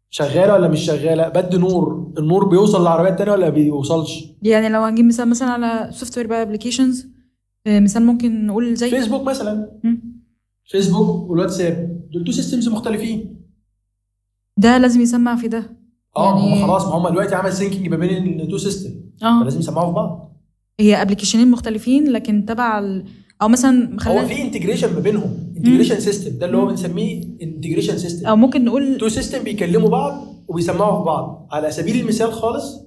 [SPEAKER 4] شغاله ولا مش شغاله بد نور النور بيوصل للعربيه التانيه ولا بيوصلش
[SPEAKER 3] يعني لو هنجيب مثال مثلا على سوفت وير بقى ابلكيشنز مثال ممكن نقول زي
[SPEAKER 4] فيسبوك مثلا
[SPEAKER 3] مم.
[SPEAKER 4] فيسبوك والواتساب دول تو سيستمز مختلفين
[SPEAKER 3] ده لازم يسمع في ده
[SPEAKER 4] اه
[SPEAKER 3] يعني-
[SPEAKER 4] يعني... خلاص ما هم دلوقتي عمل سينكينج ما بين التو سيستم
[SPEAKER 3] اه
[SPEAKER 4] فلازم يسمعوا في بعض
[SPEAKER 3] هي ابلكيشنين مختلفين لكن تبع ال... او مثلا
[SPEAKER 4] هو
[SPEAKER 3] خلينا
[SPEAKER 4] في انتجريشن ما بينهم انتجريشن سيستم ده اللي هو بنسميه انتجريشن سيستم
[SPEAKER 3] او ممكن نقول
[SPEAKER 4] تو سيستم بيكلموا بعض وبيسمعوا في بعض على سبيل المثال خالص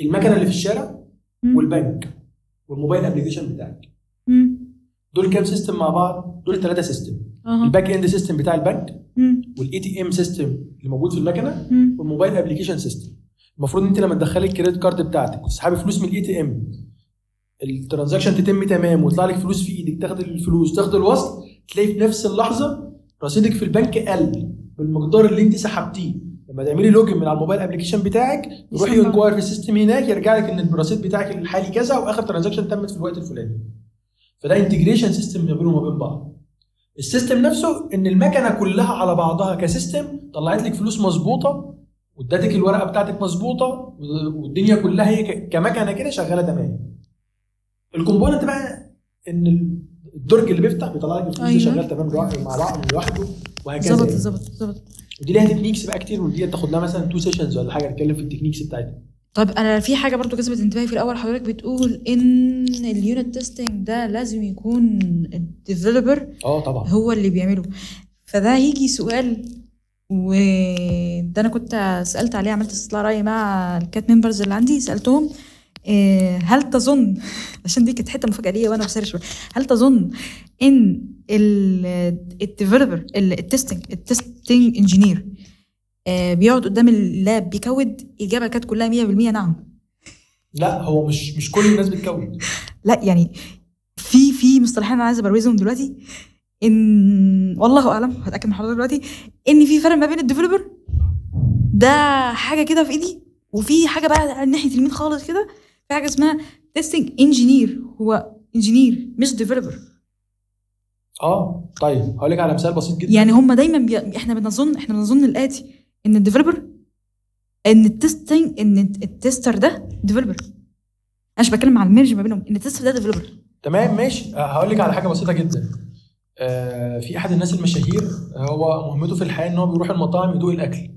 [SPEAKER 4] المكنه اللي في الشارع
[SPEAKER 3] مم.
[SPEAKER 4] والبنك والموبايل ابلكيشن بتاعك
[SPEAKER 3] مم.
[SPEAKER 4] دول كام سيستم مع بعض دول ثلاثه سيستم
[SPEAKER 3] اها
[SPEAKER 4] الباك اند سيستم بتاع البنك
[SPEAKER 3] مم.
[SPEAKER 4] والاي تي ام سيستم اللي موجود في المكنه
[SPEAKER 3] مم.
[SPEAKER 4] والموبايل ابلكيشن سيستم المفروض ان انت لما تدخلي الكريدت كارد بتاعتك وتسحبي فلوس من الاي تي ام الترانزاكشن تتم تمام ويطلع لك فلوس في ايدك تاخد الفلوس تاخد الوصل تلاقي في نفس اللحظه رصيدك في البنك قل بالمقدار اللي انت سحبتيه لما تعملي لوجن من على الموبايل ابلكيشن بتاعك روحي
[SPEAKER 3] يسمع.
[SPEAKER 4] انكواير في السيستم هناك يرجع لك ان الرصيد بتاعك الحالي كذا واخر ترانزاكشن تمت في الوقت الفلاني فده انتجريشن سيستم ما بينهم وما بين بعض السيستم نفسه ان المكنه كلها على بعضها كسيستم طلعت لك فلوس مظبوطه وادتك الورقه بتاعتك مظبوطه والدنيا كلها هي ك- كمكنه كده شغاله تمام الكومبوننت بقى ان الدرج اللي بيفتح بيطلع لك الفلوس ده
[SPEAKER 3] أيوه.
[SPEAKER 4] شغال تمام لوحده مع بعض لوحده وهكذا
[SPEAKER 3] ظبط
[SPEAKER 4] يعني.
[SPEAKER 3] ظبط ظبط
[SPEAKER 4] ودي ليها تكنيكس بقى كتير ودي تاخد لها مثلا تو سيشنز ولا حاجه نتكلم في التكنيكس بتاعتها
[SPEAKER 3] طب انا في حاجه برضو جذبت انتباهي في الاول حضرتك بتقول ان اليونت تيستنج ده لازم يكون الديفلوبر
[SPEAKER 4] اه طبعا
[SPEAKER 3] هو اللي بيعمله فده هيجي سؤال وده انا كنت سالت عليه عملت استطلاع راي مع الكات ممبرز اللي عندي سالتهم آه، هل تظن [laughs] عشان دي كانت حته مفاجاه ليا وانا بسرش شويه هل تظن ان الديفلوبر التستنج التستنج انجينير آه، بيقعد قدام اللاب بيكود الاجابه كانت كلها 100% نعم
[SPEAKER 4] لا هو مش مش كل الناس بتكون
[SPEAKER 3] لا يعني في في مصطلحين انا عايزه ابروزهم دلوقتي ان والله اعلم هتاكد من حضرتك دلوقتي ان في فرق ما بين الديفلوبر ده حاجه كده في ايدي وفي حاجه بقى على ناحيه اليمين خالص كده في حاجه اسمها تيستنج انجينير هو انجينير مش ديفلوبر
[SPEAKER 4] اه طيب هقول لك على مثال بسيط جدا
[SPEAKER 3] يعني هم دايما بي... احنا بنظن احنا بنظن الاتي ان الديفلوبر ان التستنج ان التستر ده ديفلوبر انا مش بتكلم على الميرج ما بينهم ان التستر ده ديفلوبر
[SPEAKER 4] تمام ماشي آه، هقول لك على حاجه بسيطه جدا آه في احد الناس المشاهير هو مهمته في الحياه ان هو بيروح المطاعم يدوق الاكل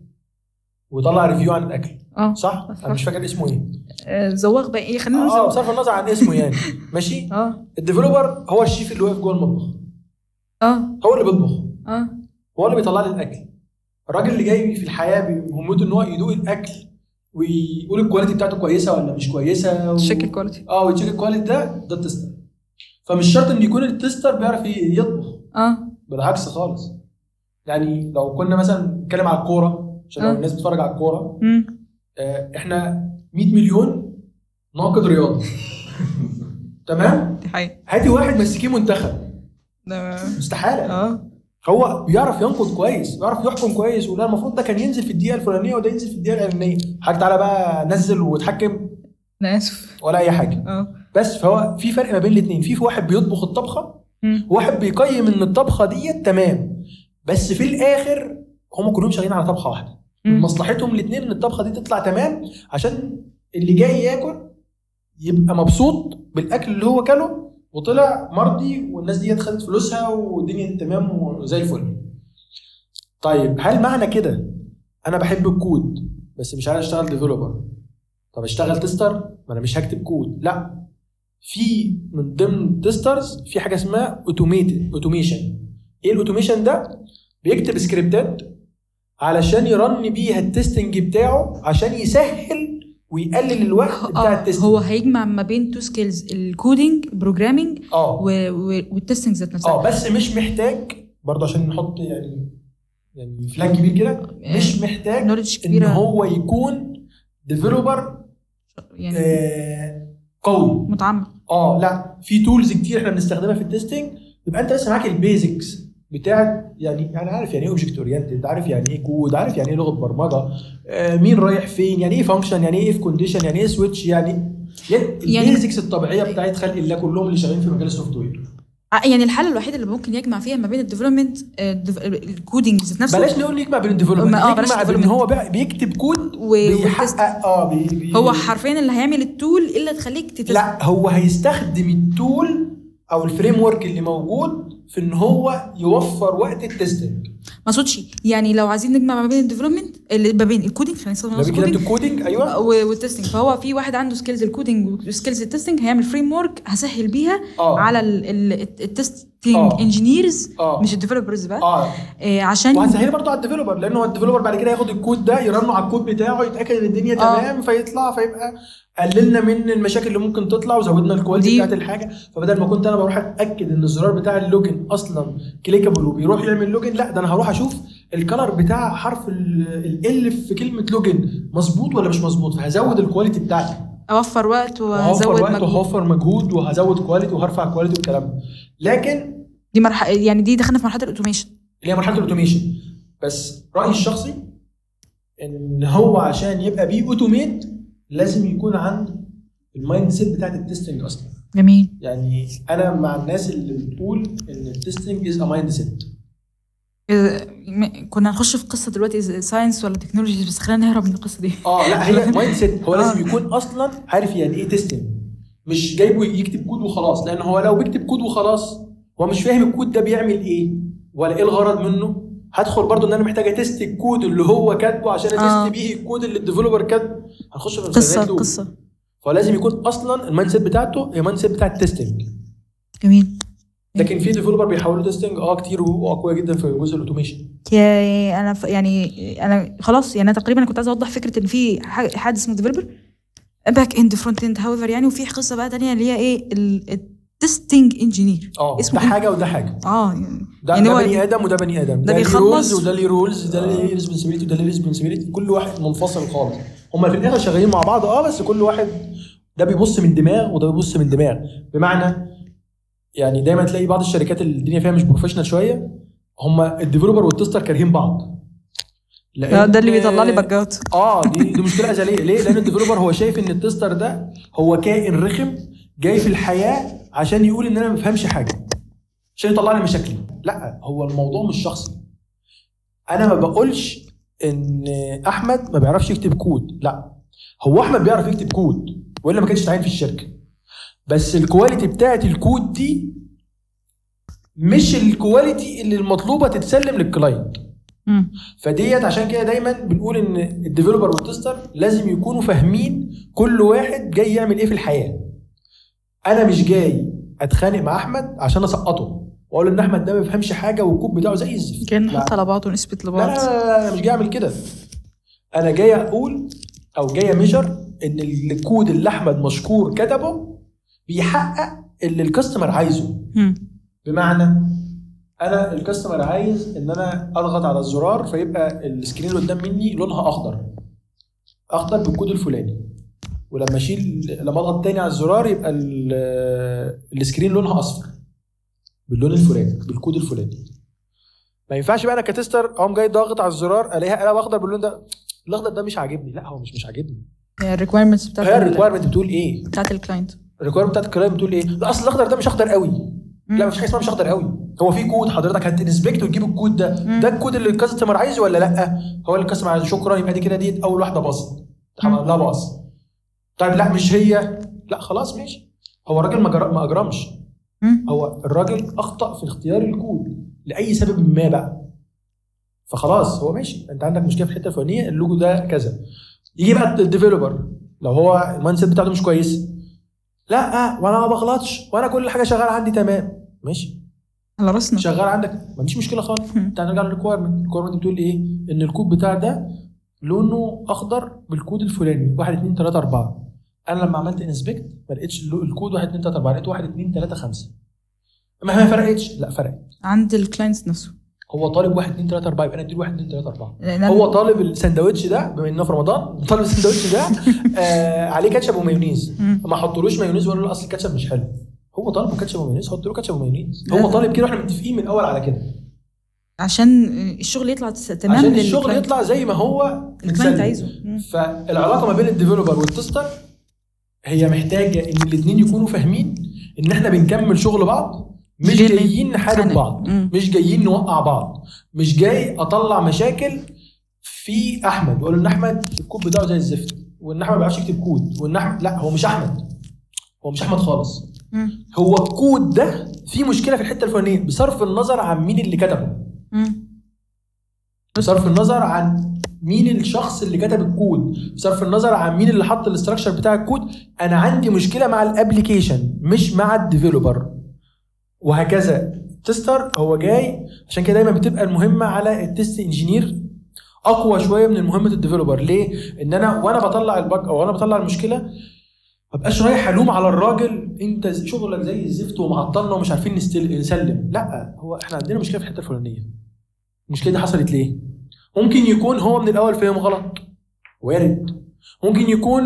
[SPEAKER 4] ويطلع ريفيو عن الاكل
[SPEAKER 3] اه
[SPEAKER 4] صح انا مش فاكر اسمه ايه
[SPEAKER 3] آه، زواغ بقى ايه خلينا
[SPEAKER 4] اه
[SPEAKER 3] نقول
[SPEAKER 4] بصرف النظر عن اسمه يعني ماشي
[SPEAKER 3] اه
[SPEAKER 4] الديفلوبر هو الشيف اللي واقف جوه المطبخ
[SPEAKER 3] اه
[SPEAKER 4] هو اللي بيطبخ
[SPEAKER 3] اه
[SPEAKER 4] هو اللي بيطلع لي الاكل الراجل اللي جاي في الحياه مهمته ان هو يدوق الاكل ويقول الكواليتي بتاعته كويسه ولا مش كويسه و...
[SPEAKER 3] تشيك الكواليتي
[SPEAKER 4] اه ويتشيك الكواليتي ده ده التستر فمش شرط ان يكون التستر بيعرف ي- يطبخ
[SPEAKER 3] اه
[SPEAKER 4] بالعكس خالص يعني لو كنا مثلا بنتكلم على الكوره عشان لو
[SPEAKER 3] آه.
[SPEAKER 4] الناس بتتفرج على الكوره
[SPEAKER 3] امم
[SPEAKER 4] آه، احنا 100 مليون ناقد رياضه تمام
[SPEAKER 3] دي حقيقة
[SPEAKER 4] هاتي واحد مسكيه منتخب مستحاله
[SPEAKER 3] اه
[SPEAKER 4] هو بيعرف ينقد كويس بيعرف يحكم كويس ولا المفروض ده كان ينزل في الدقيقه الفلانيه وده ينزل في الدقيقه العلانيه حاجة تعالى بقى نزل واتحكم
[SPEAKER 3] انا اسف
[SPEAKER 4] ولا اي حاجه
[SPEAKER 3] اه
[SPEAKER 4] بس فهو في فرق ما بين الاثنين في في واحد بيطبخ الطبخه
[SPEAKER 3] مم.
[SPEAKER 4] وواحد بيقيم ان الطبخه ديت تمام بس في الاخر هم كلهم شغالين على طبخه واحده
[SPEAKER 3] مم.
[SPEAKER 4] مصلحتهم الاثنين ان الطبخه دي تطلع تمام عشان اللي جاي ياكل يبقى مبسوط بالاكل اللي هو كله وطلع مرضي والناس دي خدت فلوسها والدنيا تمام وزي الفل طيب هل معنى كده انا بحب الكود بس مش عايز اشتغل ديفلوبر طب اشتغل تستر ما انا مش هكتب كود لا في من ضمن تيسترز في حاجه اسمها اوتوميتد اوتوميشن ايه الاوتوميشن ده بيكتب سكريبتات علشان يرن بيها التستنج بتاعه عشان يسهل ويقلل الوقت بتاع
[SPEAKER 3] اه
[SPEAKER 4] التستنج
[SPEAKER 3] هو هيجمع ما بين تو سكيلز الكودينج بروجرامينج
[SPEAKER 4] اه
[SPEAKER 3] والتستنج ذات نفسها
[SPEAKER 4] اه بس مش محتاج برضه عشان نحط يعني يعني فلاج كبير كده
[SPEAKER 3] يعني آه.
[SPEAKER 4] مش محتاج
[SPEAKER 3] نولج
[SPEAKER 4] ان
[SPEAKER 3] كبيره
[SPEAKER 4] هو يكون ديفلوبر
[SPEAKER 3] يعني
[SPEAKER 4] آه، قوي
[SPEAKER 3] متعمق
[SPEAKER 4] اه لا في تولز كتير احنا بنستخدمها في التستنج يبقى انت لسه معاك البيزكس بتاعت يعني يعني عارف يعني ايه اوبجكت اورينتد عارف يعني ايه كود عارف يعني ايه لغه برمجه آه مين رايح فين يعني ايه فانكشن يعني ايه اف كونديشن يعني ايه سويتش يعني يعني
[SPEAKER 3] يعني-
[SPEAKER 4] البيزكس الطبيعيه بتاعت خلق الله كلهم اللي شغالين في مجال السوفت وير
[SPEAKER 3] آه، يعني الحاله الوحيده اللي ممكن يجمع فيها ما بين آه، الديفلوبمنت الكودينج ذات نفسه
[SPEAKER 4] بلاش نقول يجمع بين الديفلوبمنت
[SPEAKER 3] ما- آه، بلاش
[SPEAKER 4] يجمع بين ان
[SPEAKER 3] development.
[SPEAKER 4] هو بقى بيكتب كود
[SPEAKER 3] و... والتست-
[SPEAKER 4] بيحقق اه بي بي
[SPEAKER 3] هو حرفيا اللي هيعمل التول اللي تخليك تتست
[SPEAKER 4] لا هو هيستخدم التول او الفريم ورك اللي موجود في ان هو يوفر وقت التستنج
[SPEAKER 3] ما اقصدش يعني لو عايزين نجمع ما بين الديفلوبمنت ما بين الكودينج خلينا نستخدم
[SPEAKER 4] لو
[SPEAKER 3] نفس
[SPEAKER 4] كتبت
[SPEAKER 3] الكودينج
[SPEAKER 4] الكودينج ايوه
[SPEAKER 3] والتستنج فهو في واحد عنده سكيلز الكودينج وسكيلز التستنج هيعمل فريم ورك هسهل بيها
[SPEAKER 4] اه
[SPEAKER 3] على التستنج
[SPEAKER 4] آه.
[SPEAKER 3] انجينيرز
[SPEAKER 4] اه
[SPEAKER 3] مش الديفلوبرز بقى
[SPEAKER 4] اه
[SPEAKER 3] آه، عشان
[SPEAKER 4] وهتسهلي برضه على الديفلوبر لان هو الديفلوبر بعد كده ياخد الكود ده يرنه على الكود بتاعه يتاكد ان الدنيا
[SPEAKER 3] آه.
[SPEAKER 4] تمام فيطلع فيبقى قللنا من المشاكل اللي ممكن تطلع وزودنا الكواليتي
[SPEAKER 3] دي-
[SPEAKER 4] بتاعت الحاجه فبدل ما كنت انا بروح اتاكد ان الزرار بتاع اللوجن اصلا كليكابل وبيروح يعمل لوجن لا ده انا هروح اشوف الكلر بتاع حرف ال في كلمه لوجن مظبوط ولا مش مظبوط فهزود الكواليتي بتاعتي
[SPEAKER 3] اوفر وقت
[SPEAKER 4] وهوفر
[SPEAKER 3] وازود
[SPEAKER 4] وقت
[SPEAKER 3] مجهود
[SPEAKER 4] وهوفر مجهود وهزود كواليتي وهرفع كواليتي والكلام ده لكن
[SPEAKER 3] دي مرحله يعني دي دخلنا في مرحله الاوتوميشن
[SPEAKER 4] اللي هي مرحله الاوتوميشن بس رايي الشخصي ان هو عشان يبقى بي اوتوميت لازم يكون عنده المايند سيت بتاعت التستنج اصلا
[SPEAKER 3] جميل
[SPEAKER 4] يعني انا مع الناس اللي بتقول ان التستنج از ا مايند سيت
[SPEAKER 3] إذا- م- كنا هنخش في قصه دلوقتي ساينس ولا تكنولوجي بس خلينا نهرب من القصه دي
[SPEAKER 4] اه لا هي مايند سيت هو
[SPEAKER 3] آه.
[SPEAKER 4] لازم يكون اصلا عارف يعني ايه تستنج مش جايبه يكتب كود وخلاص لان هو لو بيكتب كود وخلاص هو مش فاهم الكود ده بيعمل ايه ولا ايه الغرض منه هدخل برضو ان انا محتاج اتست الكود اللي هو كاتبه عشان اتست
[SPEAKER 3] آه.
[SPEAKER 4] بيه الكود اللي الديفلوبر كاتبه هنخش في
[SPEAKER 3] قصه قصه
[SPEAKER 4] فهو لازم يكون اصلا المايند سيت بتاعته هي مايند سيت بتاع التستنج
[SPEAKER 3] جميل
[SPEAKER 4] لكن في ديفلوبر بيحاولوا تستنج اه كتير واقوياء جدا في جزء الاوتوميشن
[SPEAKER 3] يا انا ف... يعني انا خلاص يعني انا تقريبا كنت عايزه اوضح فكره ان في ح- حد اسمه ديفلوبر باك اند فرونت اند هاويفر يعني وفي قصه بقى تانية اللي هي ايه التستنج انجينير
[SPEAKER 4] اه ده
[SPEAKER 3] اسمه إيه؟
[SPEAKER 4] حاجه وده حاجه
[SPEAKER 3] اه يعني
[SPEAKER 4] ده,
[SPEAKER 3] يعني
[SPEAKER 4] ده
[SPEAKER 3] هو-
[SPEAKER 4] بني ادم وده بني ادم
[SPEAKER 3] ده
[SPEAKER 4] ليه
[SPEAKER 3] بيخلص. آه.
[SPEAKER 4] rules وده ليه رولز ده ليه ريسبونسبيلتي وده ليه ريسبونسبيلتي كل واحد منفصل خالص هما في الاخر شغالين مع بعض اه بس كل واحد ده بيبص من دماغ وده بيبص من دماغ بمعنى يعني دايما تلاقي بعض الشركات اللي الدنيا فيها مش بروفيشنال شويه هما الديفلوبر والتستر كارهين بعض
[SPEAKER 3] ده, آه، ده اللي بيطلع لي باج اوت
[SPEAKER 4] اه دي دي مشكله ازليه ليه؟ لان الديفلوبر هو شايف ان التستر ده هو كائن رخم جاي في الحياه عشان يقول ان انا ما بفهمش حاجه عشان يطلع لي مشاكلي لا هو الموضوع مش شخصي انا ما بقولش ان احمد ما بيعرفش يكتب كود لا هو احمد بيعرف يكتب كود والا ما كانش اتعين في الشركه بس الكواليتي بتاعه الكود دي مش الكواليتي اللي المطلوبه تتسلم للكلاينت فديت عشان كده دايما بنقول ان الديفلوبر والتستر لازم يكونوا فاهمين كل واحد جاي يعمل ايه في الحياه انا مش جاي اتخانق مع احمد عشان اسقطه واقول ان احمد ده ما بيفهمش حاجه والكود بتاعه زي الزفت
[SPEAKER 3] كان
[SPEAKER 4] لا.
[SPEAKER 3] نحط على بعض ونثبت
[SPEAKER 4] لا لا
[SPEAKER 3] لبعض
[SPEAKER 4] لا لا، انا مش جاي اعمل كده انا جاي اقول او جاي ميجر ان الكود اللي احمد مشكور كتبه بيحقق اللي الكاستمر عايزه
[SPEAKER 3] مم.
[SPEAKER 4] بمعنى انا الكاستمر عايز ان انا اضغط على الزرار فيبقى السكرين اللي قدام مني لونها اخضر اخضر بالكود الفلاني ولما اشيل لما اضغط تاني على الزرار يبقى ال- السكرين لونها اصفر باللون الفلاني بالكود الفلاني ما ينفعش بقى انا كتستر اقوم جاي ضاغط على الزرار الاقيها قلم اخضر باللون ده الاخضر ده مش عاجبني لا هو مش مش عاجبني
[SPEAKER 3] هي الريكويرمنتس يعني بتاعت
[SPEAKER 4] هي
[SPEAKER 3] ال-
[SPEAKER 4] الريكويرمنت بتقول ايه
[SPEAKER 3] بتاعت الكلاينت
[SPEAKER 4] الريكويرمنت بتاعت الكلام بتقول ايه لا اصل الاخضر ده مش اخضر قوي لا مفيش حاجه اسمها مش اخضر قوي هو في كود حضرتك هتنسبكت وتجيب الكود ده
[SPEAKER 3] مم.
[SPEAKER 4] ده الكود اللي الكاستمر عايزه ولا لا هو اللي الكاستمر عايزه شكرا يبقى دي كده دي اول واحده باصت لا باص طيب لا مش هي لا خلاص ماشي هو الراجل ما جر- ما اجرمش
[SPEAKER 3] مم.
[SPEAKER 4] هو الراجل اخطا في اختيار الكود لاي سبب ما بقى فخلاص هو ماشي انت عندك مشكله في الحته الفلانيه اللوجو ده كذا يجي بقى الديفيلوبر لو هو المايند سيت بتاعته مش كويس لا وانا ما بغلطش وانا كل حاجه شغاله عندي تمام ماشي
[SPEAKER 3] على راسنا
[SPEAKER 4] شغال عندك ما فيش مشكله خالص
[SPEAKER 3] مم.
[SPEAKER 4] تعال نرجع للريكويرمنت الريكويرمنت بتقول ايه ان الكود بتاع ده لونه اخضر بالكود الفلاني 1 2 3 4 انا لما عملت انسبكت ما لقيتش اللو- الكود 1 2 3 4 لقيت 1 2 3 5 ما هي ما فرقتش لا فرقت
[SPEAKER 3] عند الكلاينت نفسه
[SPEAKER 4] هو طالب 1 2 3 4 يبقى انا اديله 1 2 3 4
[SPEAKER 3] لأن أنا-
[SPEAKER 4] هو طالب السندوتش ده بما انه في رمضان طالب السندوتش ده آه عليه كاتشب ومايونيز
[SPEAKER 3] مم.
[SPEAKER 4] ما حطولوش مايونيز ولا اصل الكاتشب مش حلو هو طالبه كاتشب ومايونيز حط له كاتشب ومايونيز هو
[SPEAKER 3] لا.
[SPEAKER 4] طالب كده واحنا متفقين من الاول على كده
[SPEAKER 3] عشان الشغل يطلع تس- تمام
[SPEAKER 4] عشان
[SPEAKER 3] لل-
[SPEAKER 4] الشغل يطلع زي ما هو
[SPEAKER 3] الكلاينت
[SPEAKER 4] متسلم.
[SPEAKER 3] عايزه مم.
[SPEAKER 4] فالعلاقه ما بين الديفلوبر والتستر هي محتاجه ان الاثنين يكونوا فاهمين ان احنا بنكمل شغل بعض مش
[SPEAKER 3] جاي-
[SPEAKER 4] جايين نحارب
[SPEAKER 3] خانق.
[SPEAKER 4] بعض
[SPEAKER 3] مم.
[SPEAKER 4] مش جايين نوقع بعض مش جاي اطلع مشاكل في احمد واقول ان احمد الكود بتاعه زي الزفت وان احمد ما بيعرفش يكتب كود وان احمد لا هو مش احمد هو مش احمد خالص
[SPEAKER 3] مم.
[SPEAKER 4] هو الكود ده فيه مشكله في الحته الفلانيه بصرف النظر عن مين اللي كتبه
[SPEAKER 3] مم.
[SPEAKER 4] بصرف النظر عن مين الشخص اللي كتب الكود بصرف النظر عن مين اللي حط الاستراكشر بتاع الكود انا عندي مشكله مع الابلكيشن مش مع الديفلوبر وهكذا تستر هو جاي عشان كده دايما بتبقى المهمه على التست انجينير اقوى شويه من مهمه الديفلوبر ليه ان انا وانا بطلع الباج او وانا بطلع المشكله ما بقاش رايح الوم على الراجل انت شغلك زي الزفت ومعطلنا ومش عارفين نستل- نسلم لا هو احنا عندنا مشكله في الحته الفلانيه المشكله دي حصلت ليه ممكن يكون هو من الاول فاهم غلط وارد ممكن يكون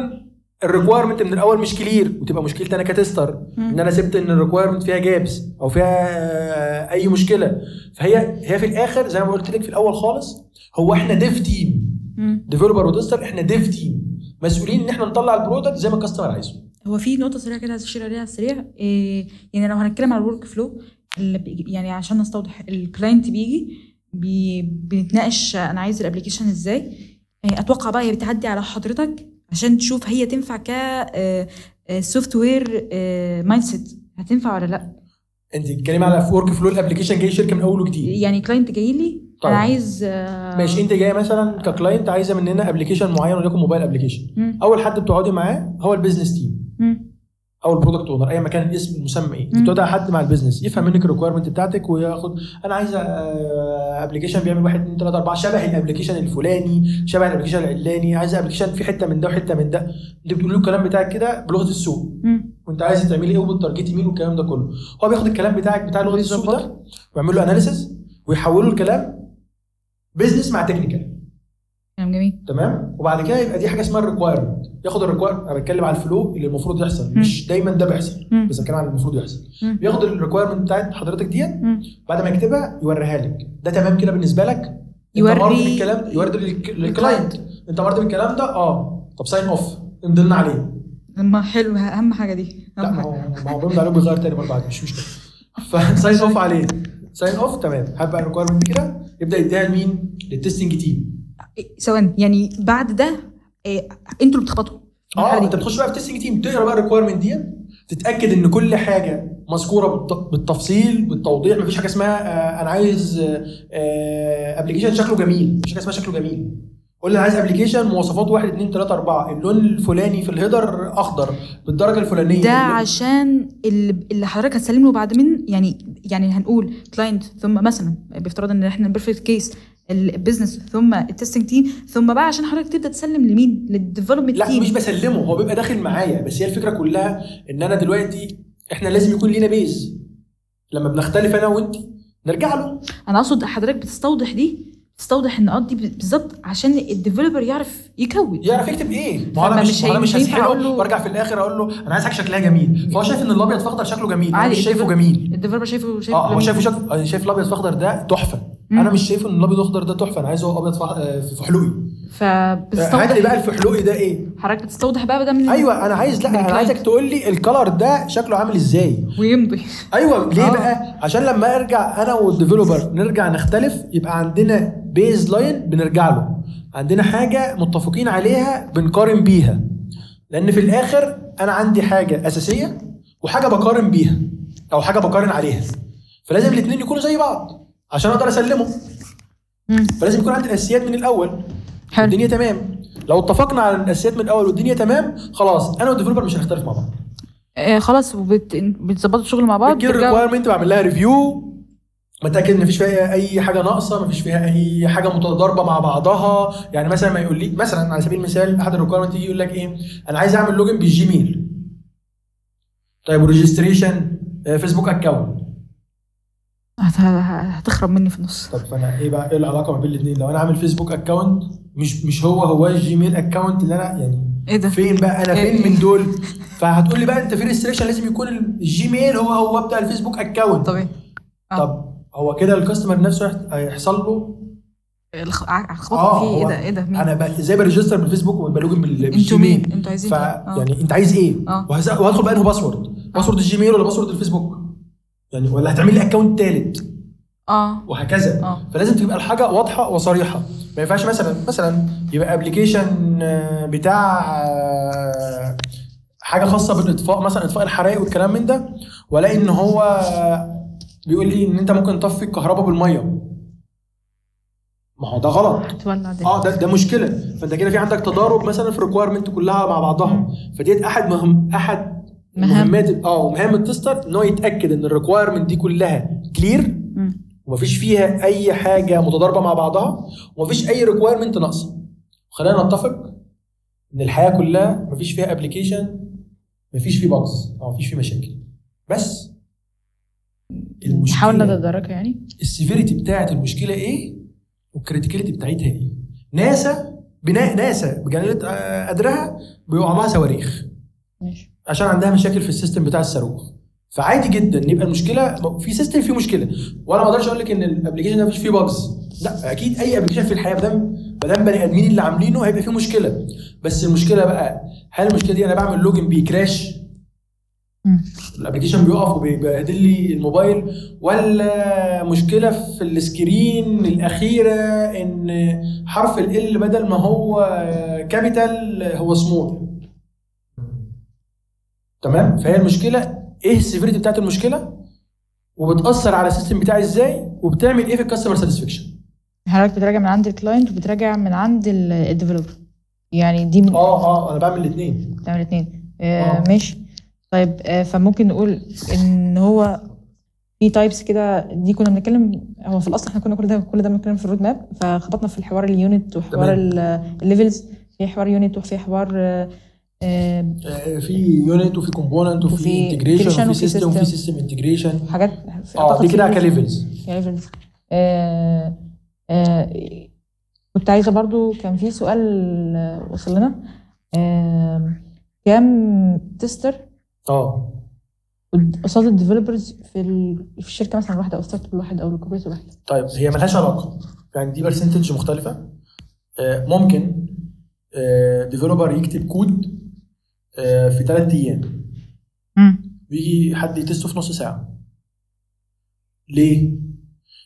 [SPEAKER 4] الريكويرمنت من الاول مش كلير وتبقى مشكلتي انا كتستر ان انا سبت ان الريكويرمنت فيها جابس او فيها اي مشكله فهي هي في الاخر زي ما قلت لك في الاول خالص هو احنا ديف تيم
[SPEAKER 3] مم.
[SPEAKER 4] ديفلوبر وتستر احنا ديف تيم مسؤولين ان احنا نطلع البرودكت زي ما الكاستمر عايزه
[SPEAKER 3] هو في نقطه سريعه كده عايز اشير عليها على السريع إيه يعني لو هنتكلم على الورك فلو اللي بيجي- يعني عشان نستوضح الكلاينت بيجي بي بنتناقش انا عايز الابلكيشن ازاي إيه اتوقع بقى هي بتعدي على حضرتك عشان تشوف هي تنفع ك آه، سوفت وير مايند سيت آه، هتنفع ولا لا
[SPEAKER 4] انت بتتكلمي على ورك فلو الابلكيشن جاي شركه من اول وجديد
[SPEAKER 3] يعني كلاينت جاي لي
[SPEAKER 4] طيب.
[SPEAKER 3] انا عايز آه،
[SPEAKER 4] ماشي انت جايه مثلا ككلاينت عايزه مننا ابلكيشن معين وليكن موبايل ابلكيشن
[SPEAKER 3] مم.
[SPEAKER 4] اول حد بتقعدي معاه هو البيزنس تيم
[SPEAKER 3] مم.
[SPEAKER 4] او البرودكت اونر اي مكان الاسم المسمى ايه
[SPEAKER 3] مم.
[SPEAKER 4] بتقعد على حد مع البيزنس يفهم منك الريكويرمنت بتاعتك وياخد انا عايزه ابلكيشن بيعمل 1 2 3 4 شبه الابلكيشن الفلاني شبه الابلكيشن العلاني عايزه ابلكيشن في حته من ده وحته من ده انت بتقول له الكلام بتاعك كده بلغه السوق
[SPEAKER 3] مم.
[SPEAKER 4] وانت عايز تعملي ايه وبالتارجت مين والكلام ده كله هو بياخد الكلام بتاعك بتاع لغه السوق ده ويعمل له اناليسيس ويحوله الكلام بزنس مع تكنيكال
[SPEAKER 3] كلام جميل
[SPEAKER 4] تمام وبعد كده يبقى دي حاجه اسمها الريكوايرمنت ياخد الريكوايرمنت انا بتكلم على الفلو اللي المفروض يحصل مش دايما ده بيحصل
[SPEAKER 3] مم.
[SPEAKER 4] بس بتكلم على اللي المفروض يحصل
[SPEAKER 3] مم.
[SPEAKER 4] بياخد الريكوايرمنت بتاعت حضرتك ديت
[SPEAKER 3] مم.
[SPEAKER 4] بعد ما يكتبها يوريها لك ده تمام كده بالنسبه لك يوري انت مرضي
[SPEAKER 3] يوري-
[SPEAKER 4] بالكلام ده يوري للك- للكلاينت انت مرضي بالكلام ده اه طب ساين اوف امضي لنا عليه
[SPEAKER 3] ما حلو اهم حاجه دي
[SPEAKER 4] لا
[SPEAKER 3] اهم
[SPEAKER 4] ما
[SPEAKER 3] حاجه
[SPEAKER 4] هو ما هو بيمضي عليه بيغير تاني برضه عادي مش مشكله فساين اوف عليه ساين اوف تمام هبقى الريكويرمنت كده يبدا يديها لمين؟ للتستنج تيم
[SPEAKER 3] إيه، ثواني يعني بعد ده إيه انتوا اللي بتخبطوا في
[SPEAKER 4] اه
[SPEAKER 3] المرحلة دي.
[SPEAKER 4] انت بتخش بقى في التستنج تيم تقرا بقى الريكويرمنت دي تتاكد ان كل حاجه مذكوره بالت- بالتفصيل بالتوضيح مفيش حاجه اسمها آه، انا عايز ابلكيشن شكله جميل مفيش حاجه اسمها شكله جميل قول لي انا عايز ابلكيشن مواصفات 1 2 3 4 اللون الفلاني في الهيدر اخضر بالدرجه الفلانيه
[SPEAKER 3] ده عشان اللي, اللي حضرتك هتسلم له بعد من يعني يعني هنقول كلاينت ثم مثلا بافتراض ان احنا بيرفكت كيس البيزنس ثم التستنج تيم ثم بقى عشان حضرتك تبدا تسلم لمين للديفلوبمنت
[SPEAKER 4] لا
[SPEAKER 3] تيم
[SPEAKER 4] مش بسلمه هو بيبقى داخل معايا بس هي الفكره كلها ان انا دلوقتي احنا لازم يكون لينا بيز لما بنختلف انا وانت نرجع له
[SPEAKER 3] انا اقصد حضرتك بتستوضح دي بتستوضح النقاط دي بالظبط عشان الديفلوبر يعرف يكود
[SPEAKER 4] يعرف يكتب ايه ما هو انا
[SPEAKER 3] فما
[SPEAKER 4] مش
[SPEAKER 3] مش
[SPEAKER 4] ما هو انا مش
[SPEAKER 3] هينفع
[SPEAKER 4] هسحله
[SPEAKER 3] أقول له-
[SPEAKER 4] وارجع في الاخر اقول له انا عايز حاجه شكلها جميل فهو شايف ان الابيض في اخضر شكله جميل انا
[SPEAKER 3] عادي،
[SPEAKER 4] مش شايفه
[SPEAKER 3] الديفلوبر-
[SPEAKER 4] جميل
[SPEAKER 3] الديفلوبر شايفه شايفه
[SPEAKER 4] اه هو
[SPEAKER 3] جميل.
[SPEAKER 4] شايفه شك... أنا شايف الابيض في اخضر ده تحفه
[SPEAKER 3] مم.
[SPEAKER 4] انا مش شايف ان الابيض الاخضر ده تحفه انا عايزه ابيض في- آه، في فحلوقي هات لي
[SPEAKER 3] فبتستوضح
[SPEAKER 4] بقى الفحلوقي ده ايه
[SPEAKER 3] حضرتك بتستوضح بقى ده من
[SPEAKER 4] ايوه انا عايز لا
[SPEAKER 3] من
[SPEAKER 4] انا عايزك
[SPEAKER 3] client.
[SPEAKER 4] تقول لي الكلر ده شكله عامل ازاي
[SPEAKER 3] ويمضي
[SPEAKER 4] ايوه ليه
[SPEAKER 3] آه.
[SPEAKER 4] بقى عشان لما ارجع انا والديفلوبر نرجع نختلف يبقى عندنا بيز لاين بنرجع له عندنا حاجه متفقين عليها بنقارن بيها لان في الاخر انا عندي حاجه اساسيه وحاجه بقارن بيها او حاجه بقارن عليها فلازم الاثنين يكونوا زي بعض عشان اقدر اسلمه
[SPEAKER 3] مم.
[SPEAKER 4] فلازم يكون عندي الاساسيات من الاول
[SPEAKER 3] حلو.
[SPEAKER 4] الدنيا تمام لو اتفقنا على الاساسيات من الاول والدنيا تمام خلاص انا والديفلوبر مش هنختلف مع بعض
[SPEAKER 3] آه خلاص وبت- بتظبطوا الشغل مع بعض
[SPEAKER 4] بتجيب
[SPEAKER 3] بترجعوا-
[SPEAKER 4] الريكوايرمنت بعمل لها ريفيو بتاكد ان مفيش فيها اي حاجه ناقصه مفيش فيها اي حاجه متضاربه مع بعضها يعني مثلا ما يقول لي مثلا على سبيل المثال احد الريكوايرمنت يجي يقول لك ايه انا عايز اعمل لوجن بالجيميل طيب آه، وريجستريشن فيسبوك اكونت
[SPEAKER 3] هت- هت- هتخرب مني في النص
[SPEAKER 4] طب فانا ايه بقى ايه العلاقه ما بين الاثنين لو انا عامل فيسبوك اكونت مش مش هو هو الجيميل اكونت اللي انا يعني
[SPEAKER 3] ايه ده
[SPEAKER 4] فين بقى انا
[SPEAKER 3] إيه؟
[SPEAKER 4] فين من دول فهتقول لي بقى انت في ريستريكشن لازم يكون الجيميل هو هو بتاع الفيسبوك اكونت
[SPEAKER 3] طب ايه آه.
[SPEAKER 4] طب هو كده الكاستمر نفسه هيح- هيحصل له
[SPEAKER 3] الخ- ع- الخبط
[SPEAKER 4] اه
[SPEAKER 3] فيه ايه
[SPEAKER 4] هو
[SPEAKER 3] ده ايه ده مين
[SPEAKER 4] انا بقى ازاي بريجستر بالفيسبوك وبلوجن بال-
[SPEAKER 3] انتوا مين
[SPEAKER 4] بالجيميل
[SPEAKER 3] انتوا عايزين
[SPEAKER 4] ف
[SPEAKER 3] آه.
[SPEAKER 4] يعني انت عايز ايه
[SPEAKER 3] آه.
[SPEAKER 4] وهز- وهدخل بقى انه باسورد باسورد الجيميل ولا باسورد الفيسبوك يعني ولا هتعمل لي اكونت ثالث
[SPEAKER 3] اه
[SPEAKER 4] وهكذا
[SPEAKER 3] آه.
[SPEAKER 4] فلازم تبقى الحاجه واضحه وصريحه ما ينفعش مثلا مثلا يبقى ابلكيشن بتاع آه، حاجه خاصه بالاطفاء مثلا اطفاء الحرائق والكلام من ده والاقي ان هو آه، بيقول لي ان انت ممكن تطفي الكهرباء بالميه ما هو ده غلط
[SPEAKER 3] هتولع ده
[SPEAKER 4] اه ده ده مشكله فانت كده في عندك تضارب مثلا في الريكويرمنت كلها مع بعضها فديت احد مهم احد
[SPEAKER 3] مهام.
[SPEAKER 4] مهمات اه مهام التستر ان هو يتاكد ان الريكويرمنت دي كلها كلير
[SPEAKER 3] مم.
[SPEAKER 4] ومفيش فيها اي حاجه متضاربه مع بعضها ومفيش اي ريكويرمنت ناقصه خلينا نتفق ان الحياه كلها مفيش فيها ابلكيشن مفيش فيه باجز او مفيش فيه مشاكل بس
[SPEAKER 3] نحاول
[SPEAKER 4] المشكله
[SPEAKER 3] نتداركها يعني
[SPEAKER 4] السيفيريتي بتاعت المشكله ايه والكريتيكاليتي بتاعتها ايه ناسا بناء ناسا بجلاله آه، قدرها بيقع لها صواريخ
[SPEAKER 3] ماشي
[SPEAKER 4] عشان عندها مشاكل في السيستم بتاع الصاروخ فعادي جدا ان يبقى المشكله في سيستم فيه مشكله وانا ما اقدرش اقول لك ان الابلكيشن ده مفيش فيه باجز لا اكيد اي ابلكيشن في الحياه مادام مادام بني ادمين اللي عاملينه هيبقى فيه مشكله بس المشكله بقى هل المشكله دي انا بعمل لوجن بيكراش
[SPEAKER 3] مم.
[SPEAKER 4] الابلكيشن بيقف وبيبهدل لي الموبايل ولا مشكله في السكرين الاخيره ان حرف ال L بدل ما هو كابيتال هو سمول تمام فهي المشكله ايه السيفيريتي بتاعت المشكله وبتاثر على السيستم بتاعي ازاي وبتعمل ايه في الكاستمر ساتسفكشن
[SPEAKER 7] حضرتك بتراجع من عند الكلاينت وبتراجع من عند ال- الديفلوبر يعني دي من
[SPEAKER 4] اه اه انا بعمل الاثنين
[SPEAKER 7] بتعمل الاثنين آه
[SPEAKER 4] آه.
[SPEAKER 7] ماشي طيب آه فممكن نقول ان هو في تايبس كده دي كنا بنتكلم هو في الاصل احنا كنا كل ده كل ده بنتكلم في الرود ماب فخبطنا في الحوار اليونت وحوار
[SPEAKER 4] تمام.
[SPEAKER 7] الليفلز في حوار يونت وفي حوار آه، آه،
[SPEAKER 4] في يونت وفي كومبوننت وفي
[SPEAKER 7] وفي
[SPEAKER 4] انتجريشن
[SPEAKER 7] integration
[SPEAKER 4] وفي
[SPEAKER 7] وفي
[SPEAKER 4] سيستم وفي
[SPEAKER 7] system.
[SPEAKER 4] سيستم انتجريشن
[SPEAKER 7] حاجات
[SPEAKER 4] اه
[SPEAKER 7] أعتقد
[SPEAKER 4] دي
[SPEAKER 7] في
[SPEAKER 4] كده
[SPEAKER 7] levels.
[SPEAKER 4] كليفلز
[SPEAKER 7] يعني في- آه آه كنت عايزة برضو كان في سؤال آه، وصل لنا آه كام تستر
[SPEAKER 4] اه
[SPEAKER 7] قصاد الديفلوبرز في ال- في الشركة مثلا الواحدة أو ستارت اب الواحد أو الكوبريت الواحد
[SPEAKER 4] طيب هي ملهاش علاقه يعني دي برسنتج مختلفه آه، ممكن ديفلوبر يكتب كود آه، في ثلاث ايام
[SPEAKER 3] مم.
[SPEAKER 4] ويجي حد يتسته في نص ساعه ليه؟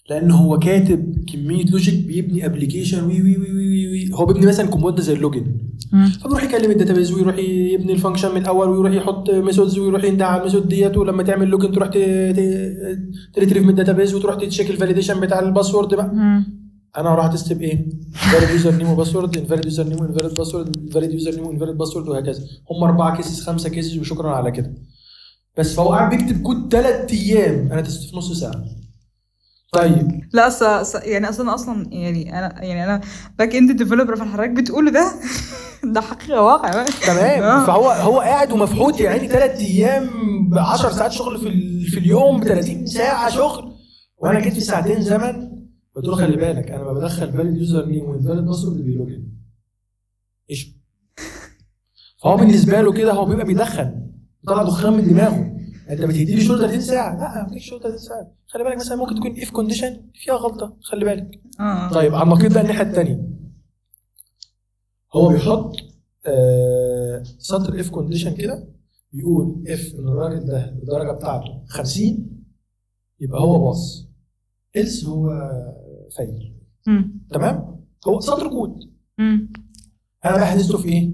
[SPEAKER 4] لان هو كاتب كميه لوجيك بيبني ابلكيشن وي وي وي وي وي- وي هو بيبني مثلا كومبوند زي اللوجن
[SPEAKER 3] مم.
[SPEAKER 4] فبيروح يكلم الداتابيز ويروح يبني الفانكشن من الاول ويروح يحط ميثودز ويروح يندع على الميثود ديت ولما تعمل لوجن تروح ت- ت- تريتريف من الداتابيز وتروح تتشيك الفاليديشن بتاع الباسورد بقى
[SPEAKER 3] مم.
[SPEAKER 4] انا هروح اتست بايه؟ انفاليد يوزر نيم وباسورد انفاليد يوزر نيم وانفاليد باسورد انفاليد يوزر نيم وانفاليد باسورد وهكذا هم اربعه كيسز خمسه كيسز وشكرا على كده بس فهو قاعد بيكتب كود ثلاث ايام انا تست في نص ساعه طيب
[SPEAKER 3] لا أص... أص- يعني اصلا اصلا يعني انا يعني انا باك اند ديفلوبر فحضرتك بتقول ده [laughs] ده حقيقه واقع بقى.
[SPEAKER 4] تمام
[SPEAKER 3] آه.
[SPEAKER 4] فهو هو قاعد ومفحوط يعني يا عيني ثلاث ايام ب 10 ساعات شغل في ال- في اليوم ب 30 ساعه شغل وانا جيت في ساعتين زمن قلت له خلي بالك انا ما بدخل فاليد يوزر نيم وانفاليد باسورد بيلوجن ايش فهو بالنسبه له كده هو بيبقى بيدخن بيطلع دخان من دماغه انت بتديلي شغل 30 ساعه لا ما بديش شغل 30 ساعه خلي بالك مثلا ممكن تكون اف كونديشن فيها غلطه خلي بالك
[SPEAKER 3] اه
[SPEAKER 4] طيب على النقيض بقى الناحيه الثانيه هو بيحط آه، سطر اف كونديشن كده بيقول اف ان الراجل ده الدرجه بتاعته 50 يبقى هو باص الس هو فايل
[SPEAKER 3] مم.
[SPEAKER 4] تمام هو سطر كود
[SPEAKER 3] مم.
[SPEAKER 4] انا بقى هدسته في ايه؟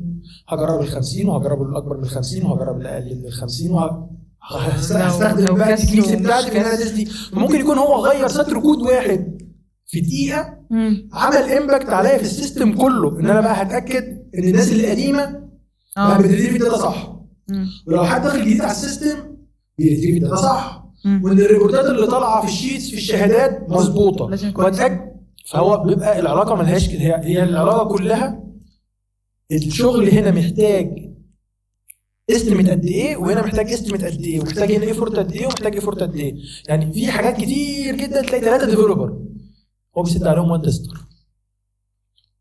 [SPEAKER 4] هجرب ال 50 وهجرب الاكبر من ال 50 وهجرب الاقل من ال 50 وه... هست-
[SPEAKER 3] لو- لو
[SPEAKER 4] هستخدم بقى
[SPEAKER 3] كسر
[SPEAKER 4] التكنيكس
[SPEAKER 3] ومش
[SPEAKER 4] بتاعتي في ان انا
[SPEAKER 3] كسر.
[SPEAKER 4] أدرس دي ممكن يكون هو غير سطر كود واحد في دقيقه
[SPEAKER 3] مم.
[SPEAKER 4] عمل امباكت عليا في السيستم كله ان انا بقى هتاكد ان الناس اللي قديمه
[SPEAKER 3] اه
[SPEAKER 4] بقى بتريتريف الداتا صح
[SPEAKER 3] مم.
[SPEAKER 4] ولو حد داخل جديد على السيستم بيريتريف الداتا صح
[SPEAKER 3] مم.
[SPEAKER 4] وان الريبورتات اللي طالعه في الشيتس في الشهادات مظبوطه
[SPEAKER 3] لازم يكون-
[SPEAKER 4] واتاكد فهو بيبقى العلاقه ملهاش كده. هي هي العلاقه كلها الشغل هنا محتاج استمت قد ايه وهنا محتاج استمت قد ايه ومحتاج هنا ايفورت قد ايه ومحتاج ايفورت قد ايه يعني في حاجات كتير جدا تلاقي ثلاثه ديفلوبر هو بيسد عليهم وان تيستر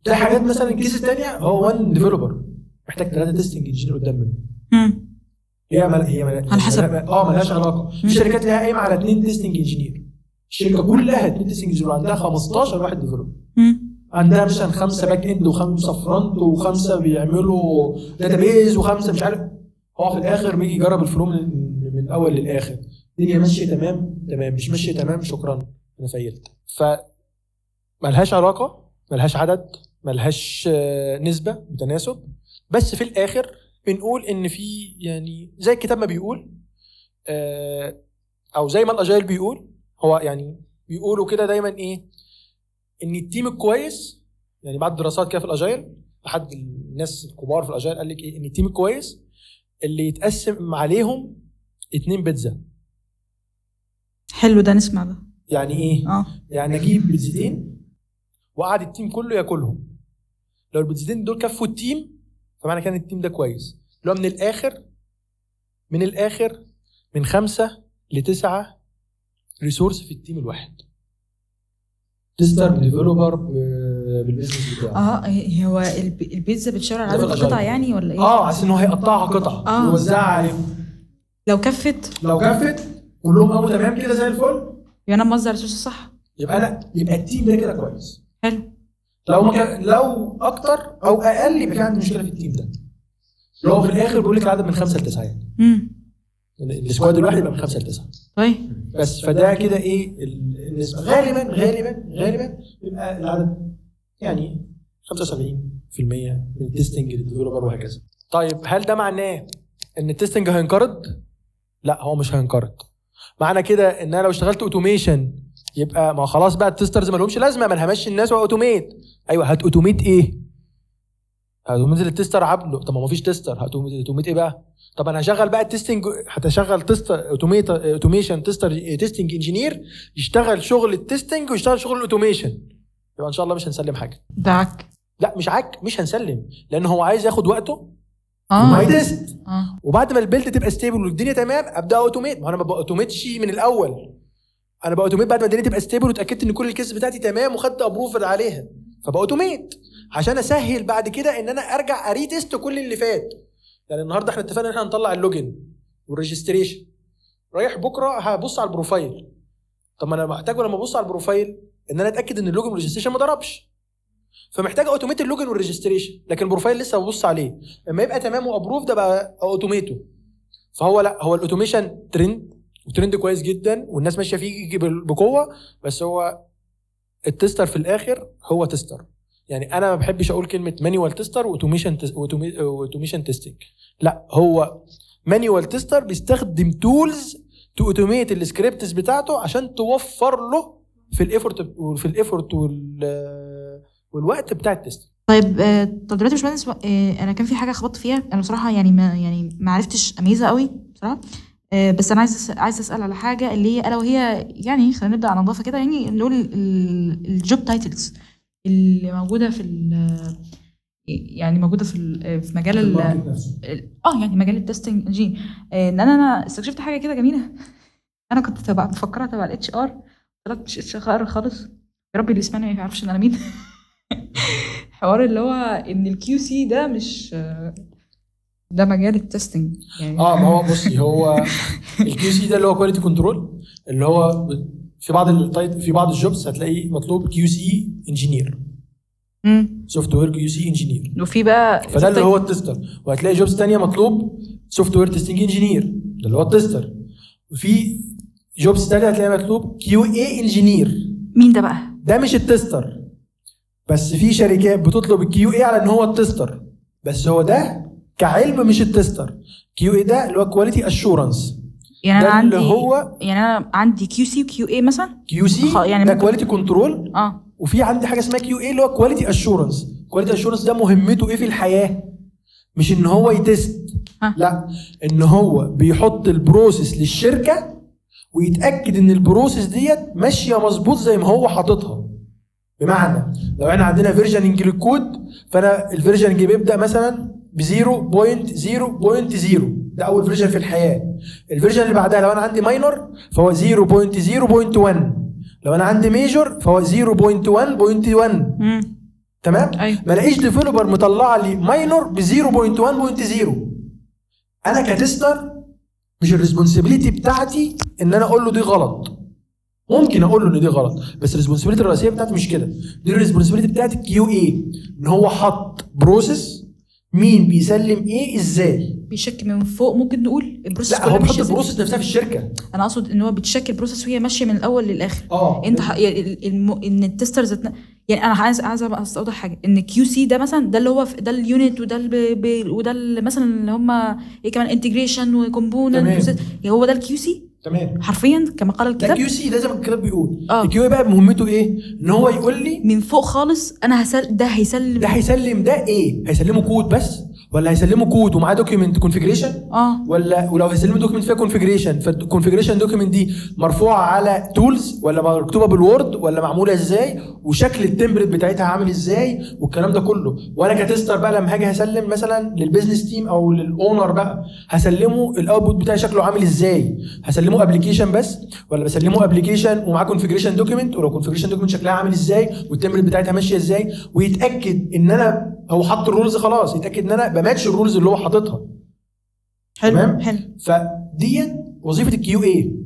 [SPEAKER 4] ده حاجات مثلا الكيس الثانيه هو وان ديفلوبر محتاج ثلاثه تيستنج انجينير قدام منه
[SPEAKER 3] مم.
[SPEAKER 4] هي مل... هي مل...
[SPEAKER 3] على حسب.
[SPEAKER 4] اه ملهاش علاقه في شركات لها قايمه على اثنين تيستنج انجينير الشركه كلها اثنين تيستنج انجينير عندها 15 واحد ديفلوبر
[SPEAKER 3] مم.
[SPEAKER 4] عندها مثلا خمسه باك اند وخمسه فرونت وخمسه بيعملوا داتابيز وخمسه مش عارف هو في الاخر بيجي يجرب الفلو من من الاول للاخر الدنيا ماشيه تمام تمام مش ماشيه تمام شكرا انا فيلت ف ملهاش علاقه ملهاش عدد ملهاش آه، نسبه وتناسب بس في الاخر بنقول ان في يعني زي الكتاب ما بيقول آه، او زي ما الاجايل بيقول هو يعني بيقولوا كده دايما ايه ان التيم الكويس يعني بعد دراسات كده في الاجايل احد الناس الكبار في الاجايل قال لك ايه ان التيم الكويس اللي يتقسم عليهم اتنين بيتزا
[SPEAKER 3] حلو ده نسمع ده
[SPEAKER 4] يعني ايه
[SPEAKER 3] اه
[SPEAKER 4] يعني اجيب بيتزتين وقعد التيم كله ياكلهم لو البيتزتين دول كفوا التيم فمعنى كان التيم ده كويس لو من الاخر من الاخر من خمسة لتسعة ريسورس في التيم الواحد تستر ديفلوبر بالبيزنس بتاعه
[SPEAKER 3] اه إيه هو الب- البيتزا بتشرع
[SPEAKER 4] ده
[SPEAKER 3] عدد
[SPEAKER 4] بالأجايل.
[SPEAKER 3] القطع يعني ولا ايه؟
[SPEAKER 4] اه عشان هو هيقطعها قطع
[SPEAKER 3] آه.
[SPEAKER 4] يوزعها عليهم
[SPEAKER 3] لو كفت
[SPEAKER 4] لو كفت كلهم قاموا تمام كده زي الفل
[SPEAKER 3] يبقى انا مصدر الريسورس صح
[SPEAKER 4] يبقى انا يبقى التيم ده كده كويس
[SPEAKER 3] حلو
[SPEAKER 4] لو ما كان لو اكتر او اقل يبقى في عندي مشكله في التيم ده اللي هو في الاخر بيقول لك عدد من خمسه لتسعه يعني
[SPEAKER 3] امم
[SPEAKER 4] السكواد الواحد يبقى من خمسه لتسعه
[SPEAKER 3] طيب
[SPEAKER 4] بس فده كده ايه ال- النسبه غالبا غالبا غالبا بيبقى العدد يعني 75% من التستنج للديفلوبر وهكذا طيب هل ده معناه ان التستنج هينقرض؟ لا هو مش هينقرض معنى كده ان انا لو اشتغلت اوتوميشن يبقى ما خلاص بقى التسترز ما لهمش لازمه ما انا همشي الناس واوتوميت ايوه هات اوتوميت ايه؟ هتوميت التستر عبده طب ما فيش تستر هتوميت ايه بقى؟ طب انا هشغل بقى التستنج هتشغل تست اوتوميت اوتوميشن تستر تستنج انجينير يشتغل شغل التستنج ويشتغل شغل الاوتوميشن يبقى ان شاء الله مش هنسلم حاجه
[SPEAKER 3] دعك
[SPEAKER 4] لا مش عك مش هنسلم لان هو عايز ياخد وقته
[SPEAKER 3] اه
[SPEAKER 4] وهيتست
[SPEAKER 3] اه
[SPEAKER 4] وبعد ما البيلد تبقى ستيبل والدنيا تمام ابدا اوتوميت ما هو انا ما باوتوميتش من الاول انا باوتوميت بعد ما الدنيا تبقى ستيبل واتاكدت ان كل الكيس بتاعتي تمام وخدت ابروفل عليها فباوتوميت عشان اسهل بعد كده ان انا ارجع اريتست كل اللي فات يعني النهارده احنا اتفقنا ان احنا هنطلع اللوجن والريجستريشن رايح بكره هبص على البروفايل طب ما انا محتاجه لما ابص على البروفايل ان انا اتاكد ان اللوجن والريجستريشن ما ضربش فمحتاج اوتوميت اللوجن والريجستريشن لكن البروفايل لسه ببص عليه اما يبقى تمام وابروف ده بقى اوتوميته فهو لا هو الاوتوميشن ترند وترند كويس جدا والناس ماشيه فيه بال- بقوه بس هو التستر في الاخر هو تستر يعني انا ما بحبش اقول كلمه مانيوال تستر واوتوميشن اوتوميشن تيستنج لا هو مانيوال تيستر بيستخدم تولز تو اوتوميت السكريبتس بتاعته عشان توفر له في الايفورت في الايفورت وال والوقت بتاع التست
[SPEAKER 3] طيب آه، طب دلوقتي يا باشمهندس آه، انا كان في حاجه خبطت فيها انا بصراحه يعني ما يعني ما عرفتش اميزها قوي بصراحه آه، بس انا عايز أس- عايز اسال على حاجه اللي هي الا وهي يعني خلينا نبدا على نظافه كده يعني نقول الجوب تايتلز اللي موجوده في ال- يعني موجوده في ال- في مجال ال- ال- اه يعني مجال آه، التستنج انجين ان انا انا استكشفت حاجه كده جميله انا كنت تبع مفكره تبع الاتش ار طلعت مش اتش ار خالص يا رب اللي يسمعني ما يعرفش ان انا مين [laughs] حوار اللي هو ان الكيو سي ده مش ده مجال التستنج يعني
[SPEAKER 4] اه ما هو بصي هو الكيو سي ده اللي هو كواليتي كنترول اللي هو في بعض التايت في بعض الجوبز هتلاقيه مطلوب كيو سي انجينير
[SPEAKER 3] مم.
[SPEAKER 4] سوفت وير كيو سي انجينير
[SPEAKER 3] وفي بقى
[SPEAKER 4] فده اللي هو التستر وهتلاقي جوبز تانية مطلوب سوفت وير تيستنج انجينير ده اللي هو التستر وفي جوبز تانية هتلاقي مطلوب كيو اي انجينير
[SPEAKER 3] مين ده بقى؟
[SPEAKER 4] ده مش التستر بس في شركات بتطلب الكيو اي على ان هو التستر بس هو ده كعلم مش التستر كيو اي ده اللي هو كواليتي اشورنس
[SPEAKER 3] يعني انا
[SPEAKER 4] ده
[SPEAKER 3] عندي
[SPEAKER 4] اللي هو
[SPEAKER 3] يعني انا عندي كيو سي وكيو اي مثلا
[SPEAKER 4] كيو سي
[SPEAKER 3] خ- يعني
[SPEAKER 4] ده
[SPEAKER 3] ممكن-
[SPEAKER 4] كواليتي كنترول
[SPEAKER 3] اه
[SPEAKER 4] وفي عندي حاجه اسمها كيو اي اللي هو كواليتي اشورنس كواليتي اشورنس ده مهمته ايه في الحياه مش ان هو يتست
[SPEAKER 3] ها.
[SPEAKER 4] لا ان هو بيحط البروسيس للشركه ويتاكد ان البروسيس ديت ماشيه مظبوط زي ما هو حاططها بمعنى لو احنا عندنا فيرجننج للكود فانا الفيرجننج بيبدا مثلا ب 0.0.0 ده اول فيرجن في الحياه الفيرجن اللي بعدها لو انا عندي ماينور فهو 0.0.1 لو انا عندي ميجور فهو 0.1.1
[SPEAKER 3] امم
[SPEAKER 4] تمام
[SPEAKER 3] أيوة.
[SPEAKER 4] ما الاقيش ديفلوبر مطلع لي ماينور ب 0.1.0 انا كتستر مش الريسبونسبيلتي بتاعتي ان انا اقول له دي غلط ممكن اقول له ان دي غلط بس الريسبونسبيلتي الرئيسيه بتاعتي مش كده دي الريسبونسبيلتي بتاعتي كيو اي ان هو حط بروسيس مين بيسلم ايه ازاي
[SPEAKER 3] بيشك من فوق ممكن نقول البروسيس
[SPEAKER 4] لا هو
[SPEAKER 3] كلها
[SPEAKER 4] بيحط
[SPEAKER 3] ماشيه إزاي؟
[SPEAKER 4] البروسيس نفسها في الشركه
[SPEAKER 3] انا اقصد ان هو بيتشكل بروسيس وهي ماشيه من الاول للاخر
[SPEAKER 4] اه
[SPEAKER 3] انت ح... يعني ال- الم... ان التسترز اتنا... يعني انا عايز عايز أبقى استوضح حاجه ان كيو سي ده مثلا ده اللي هو في... ده اليونت وده ال... ب... وده ال... مثلا اللي هم ايه كمان انتجريشن
[SPEAKER 4] تمام.
[SPEAKER 3] وكومبوننت يعني هو ده الكيو سي
[SPEAKER 4] تمام
[SPEAKER 3] حرفيا كما قال
[SPEAKER 4] ده
[SPEAKER 3] الكتاب
[SPEAKER 4] كيو سي ده زي ما الكتاب بيقول
[SPEAKER 3] آه.
[SPEAKER 4] الكيو اي بقى مهمته ايه ان هو يقول لي
[SPEAKER 3] من فوق خالص انا هسل ده هيسلم
[SPEAKER 4] ده هيسلم ده ايه؟ هيسلمه كود بس؟ ولا هيسلمه كود ومعاه دوكيومنت كونفجريشن؟
[SPEAKER 3] اه
[SPEAKER 4] ولا ولو هيسلمه دوكيومنت فيها كونفجريشن فالكونفجريشن دوكيومنت دي مرفوعه على تولز ولا مكتوبه بالوورد ولا معموله ازاي؟ وشكل التمبلت بتاعتها عامل ازاي؟ والكلام ده كله، وانا كتستر بقى لما هاجي هسلم مثلا للبيزنس تيم او للاونر بقى هسلمه الاوتبوت بتاعي شكله عامل ازاي؟ هسلمه ابلكيشن بس ولا بسلمه ابلكيشن ومعاه كونفجريشن دوكيمنت ولو كونفجريشن دوكيمنت شكلها عامل ازاي والتمبلت بتاعتها ماشيه ازاي ويتاكد ان انا هو حط الرولز خلاص يتاكد ان انا بماتش الرولز اللي هو حاططها تمام؟
[SPEAKER 3] حلو حلو
[SPEAKER 4] فديت وظيفه الكيو اي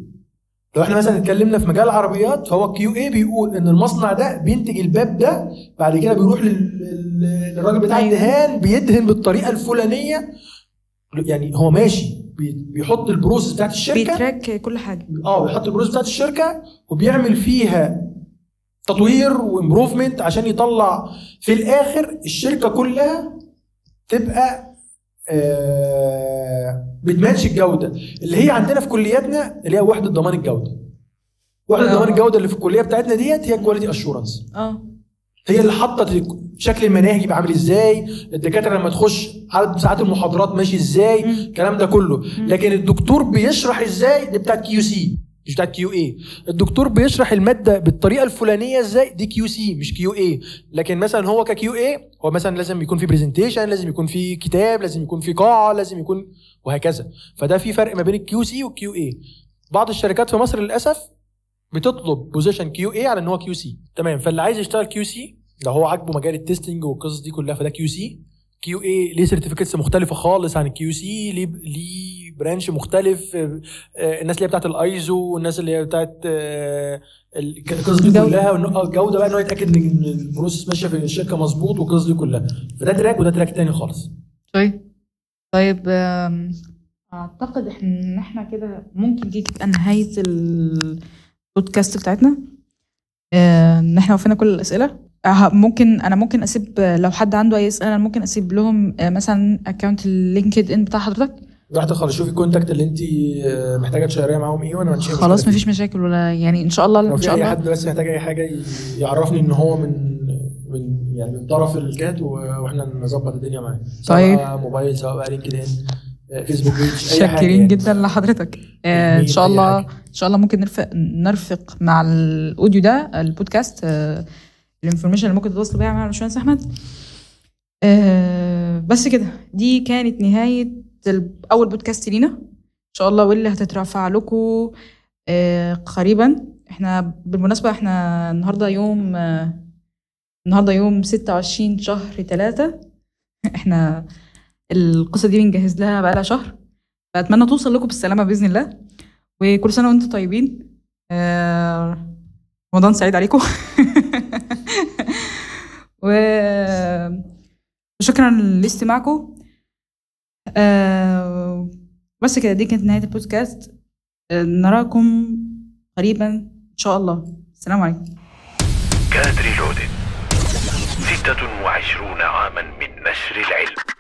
[SPEAKER 4] لو احنا مثلا اتكلمنا في مجال العربيات فهو الكيو اي بيقول ان المصنع ده بينتج الباب ده بعد كده بيروح لل- لل- للراجل بتاع
[SPEAKER 3] أيوة.
[SPEAKER 4] الدهان بيدهن بالطريقه الفلانيه يعني هو ماشي بي- بيحط البروسيس بتاعت الشركه
[SPEAKER 3] بيتراك كل حاجه
[SPEAKER 4] اه بيحط البروسيس بتاعت الشركه وبيعمل فيها تطوير وامبروفمنت عشان يطلع في الاخر الشركه كلها تبقى آه بتماتش الجوده اللي هي عندنا في كلياتنا اللي هي وحده ضمان الجوده وحده
[SPEAKER 3] آه.
[SPEAKER 4] ضمان الجوده اللي في الكليه بتاعتنا ديت هي كواليتي اشورنس
[SPEAKER 3] اه
[SPEAKER 4] هي اللي حطت الك- شكل المناهج يبقى عامل ازاي الدكاتره لما تخش عدد ساعات المحاضرات ماشي ازاي
[SPEAKER 3] مم.
[SPEAKER 4] الكلام ده كله لكن الدكتور بيشرح ازاي دي بتاعت كيو سي مش بتاعت كيو اي الدكتور بيشرح الماده بالطريقه الفلانيه ازاي دي كيو سي مش كيو اي لكن مثلا هو ككيو اي هو مثلا لازم يكون في برزنتيشن لازم يكون في كتاب لازم يكون في قاعه لازم يكون وهكذا فده في فرق ما بين الكيو سي والكيو اي بعض الشركات في مصر للاسف بتطلب بوزيشن كيو اي على ان هو كيو سي تمام فاللي عايز يشتغل كيو سي لو هو عاجبه مجال التستنج والقصص دي كلها فده كيو سي كيو اي ليه سيرتيفيكتس مختلفه خالص عن الكيو سي ليه ليه برانش مختلف آه، آه، الناس اللي هي بتاعت الايزو والناس اللي هي بتاعت آه، ال- كانت القصص دي
[SPEAKER 8] الجودة.
[SPEAKER 4] كلها والن- آه، الجوده بقى ان هو يتاكد ان إن البروسيس ماشيه في الشركه مظبوط والقصص دي كلها فده تراك وده تراك تاني خالص
[SPEAKER 3] طيب طيب آم، اعتقد احنا ان احنا كده ممكن دي تبقى نهايه البودكاست بتاعتنا آه، ان احنا وفينا كل الاسئله آه، ممكن انا ممكن اسيب لو حد عنده اي اسئله انا ممكن اسيب لهم آه، مثلا اكونت اللينكد ان بتاع حضرتك
[SPEAKER 4] رحت خالص شوفي الكونتاكت اللي انت آه، محتاجه تشيريها معاهم ايه وانا هنشير
[SPEAKER 3] خلاص
[SPEAKER 4] مشكلة فيه.
[SPEAKER 3] مفيش مشاكل ولا يعني ان شاء الله
[SPEAKER 4] لو
[SPEAKER 3] ان
[SPEAKER 4] في
[SPEAKER 3] شاء
[SPEAKER 4] اي
[SPEAKER 3] الله
[SPEAKER 4] حد بس محتاج اي حاجه ي- يعرفني ان هو من من يعني من طرف الجهات و- واحنا نظبط الدنيا معاه
[SPEAKER 3] طيب.
[SPEAKER 4] سواء موبايل سواء بقى لينكد ان آه، فيسبوك بيج اي حاجه
[SPEAKER 3] شاكرين
[SPEAKER 4] يعني.
[SPEAKER 3] جدا لحضرتك آه، ان
[SPEAKER 4] مية
[SPEAKER 3] شاء
[SPEAKER 4] أي
[SPEAKER 3] الله
[SPEAKER 4] حاجة.
[SPEAKER 3] ان شاء الله ممكن نرفق نرفق مع الاوديو ده البودكاست آه، الانفورميشن اللي ممكن تتواصلوا بيها مع الباشمهندس احمد آه، بس كده دي كانت نهايه ال- اول بودكاست لينا ان شاء الله واللي هتترفع لكم آه، قريبا احنا بالمناسبه احنا النهارده يوم آه، النهارده يوم 26 شهر [laughs] 3 احنا القصه دي بنجهز لها بقالها شهر فاتمنى توصل لكم بالسلامه باذن الله وكل سنه وانتم طيبين آه، رمضان سعيد عليكم [laughs] و- وشكرا لاستماعكم آه، بس كده دي كانت نهايه البودكاست آه، نراكم قريبا ان شاء الله السلام عليكم
[SPEAKER 1] كادري لودن ستة وعشرون عاما من نشر العلم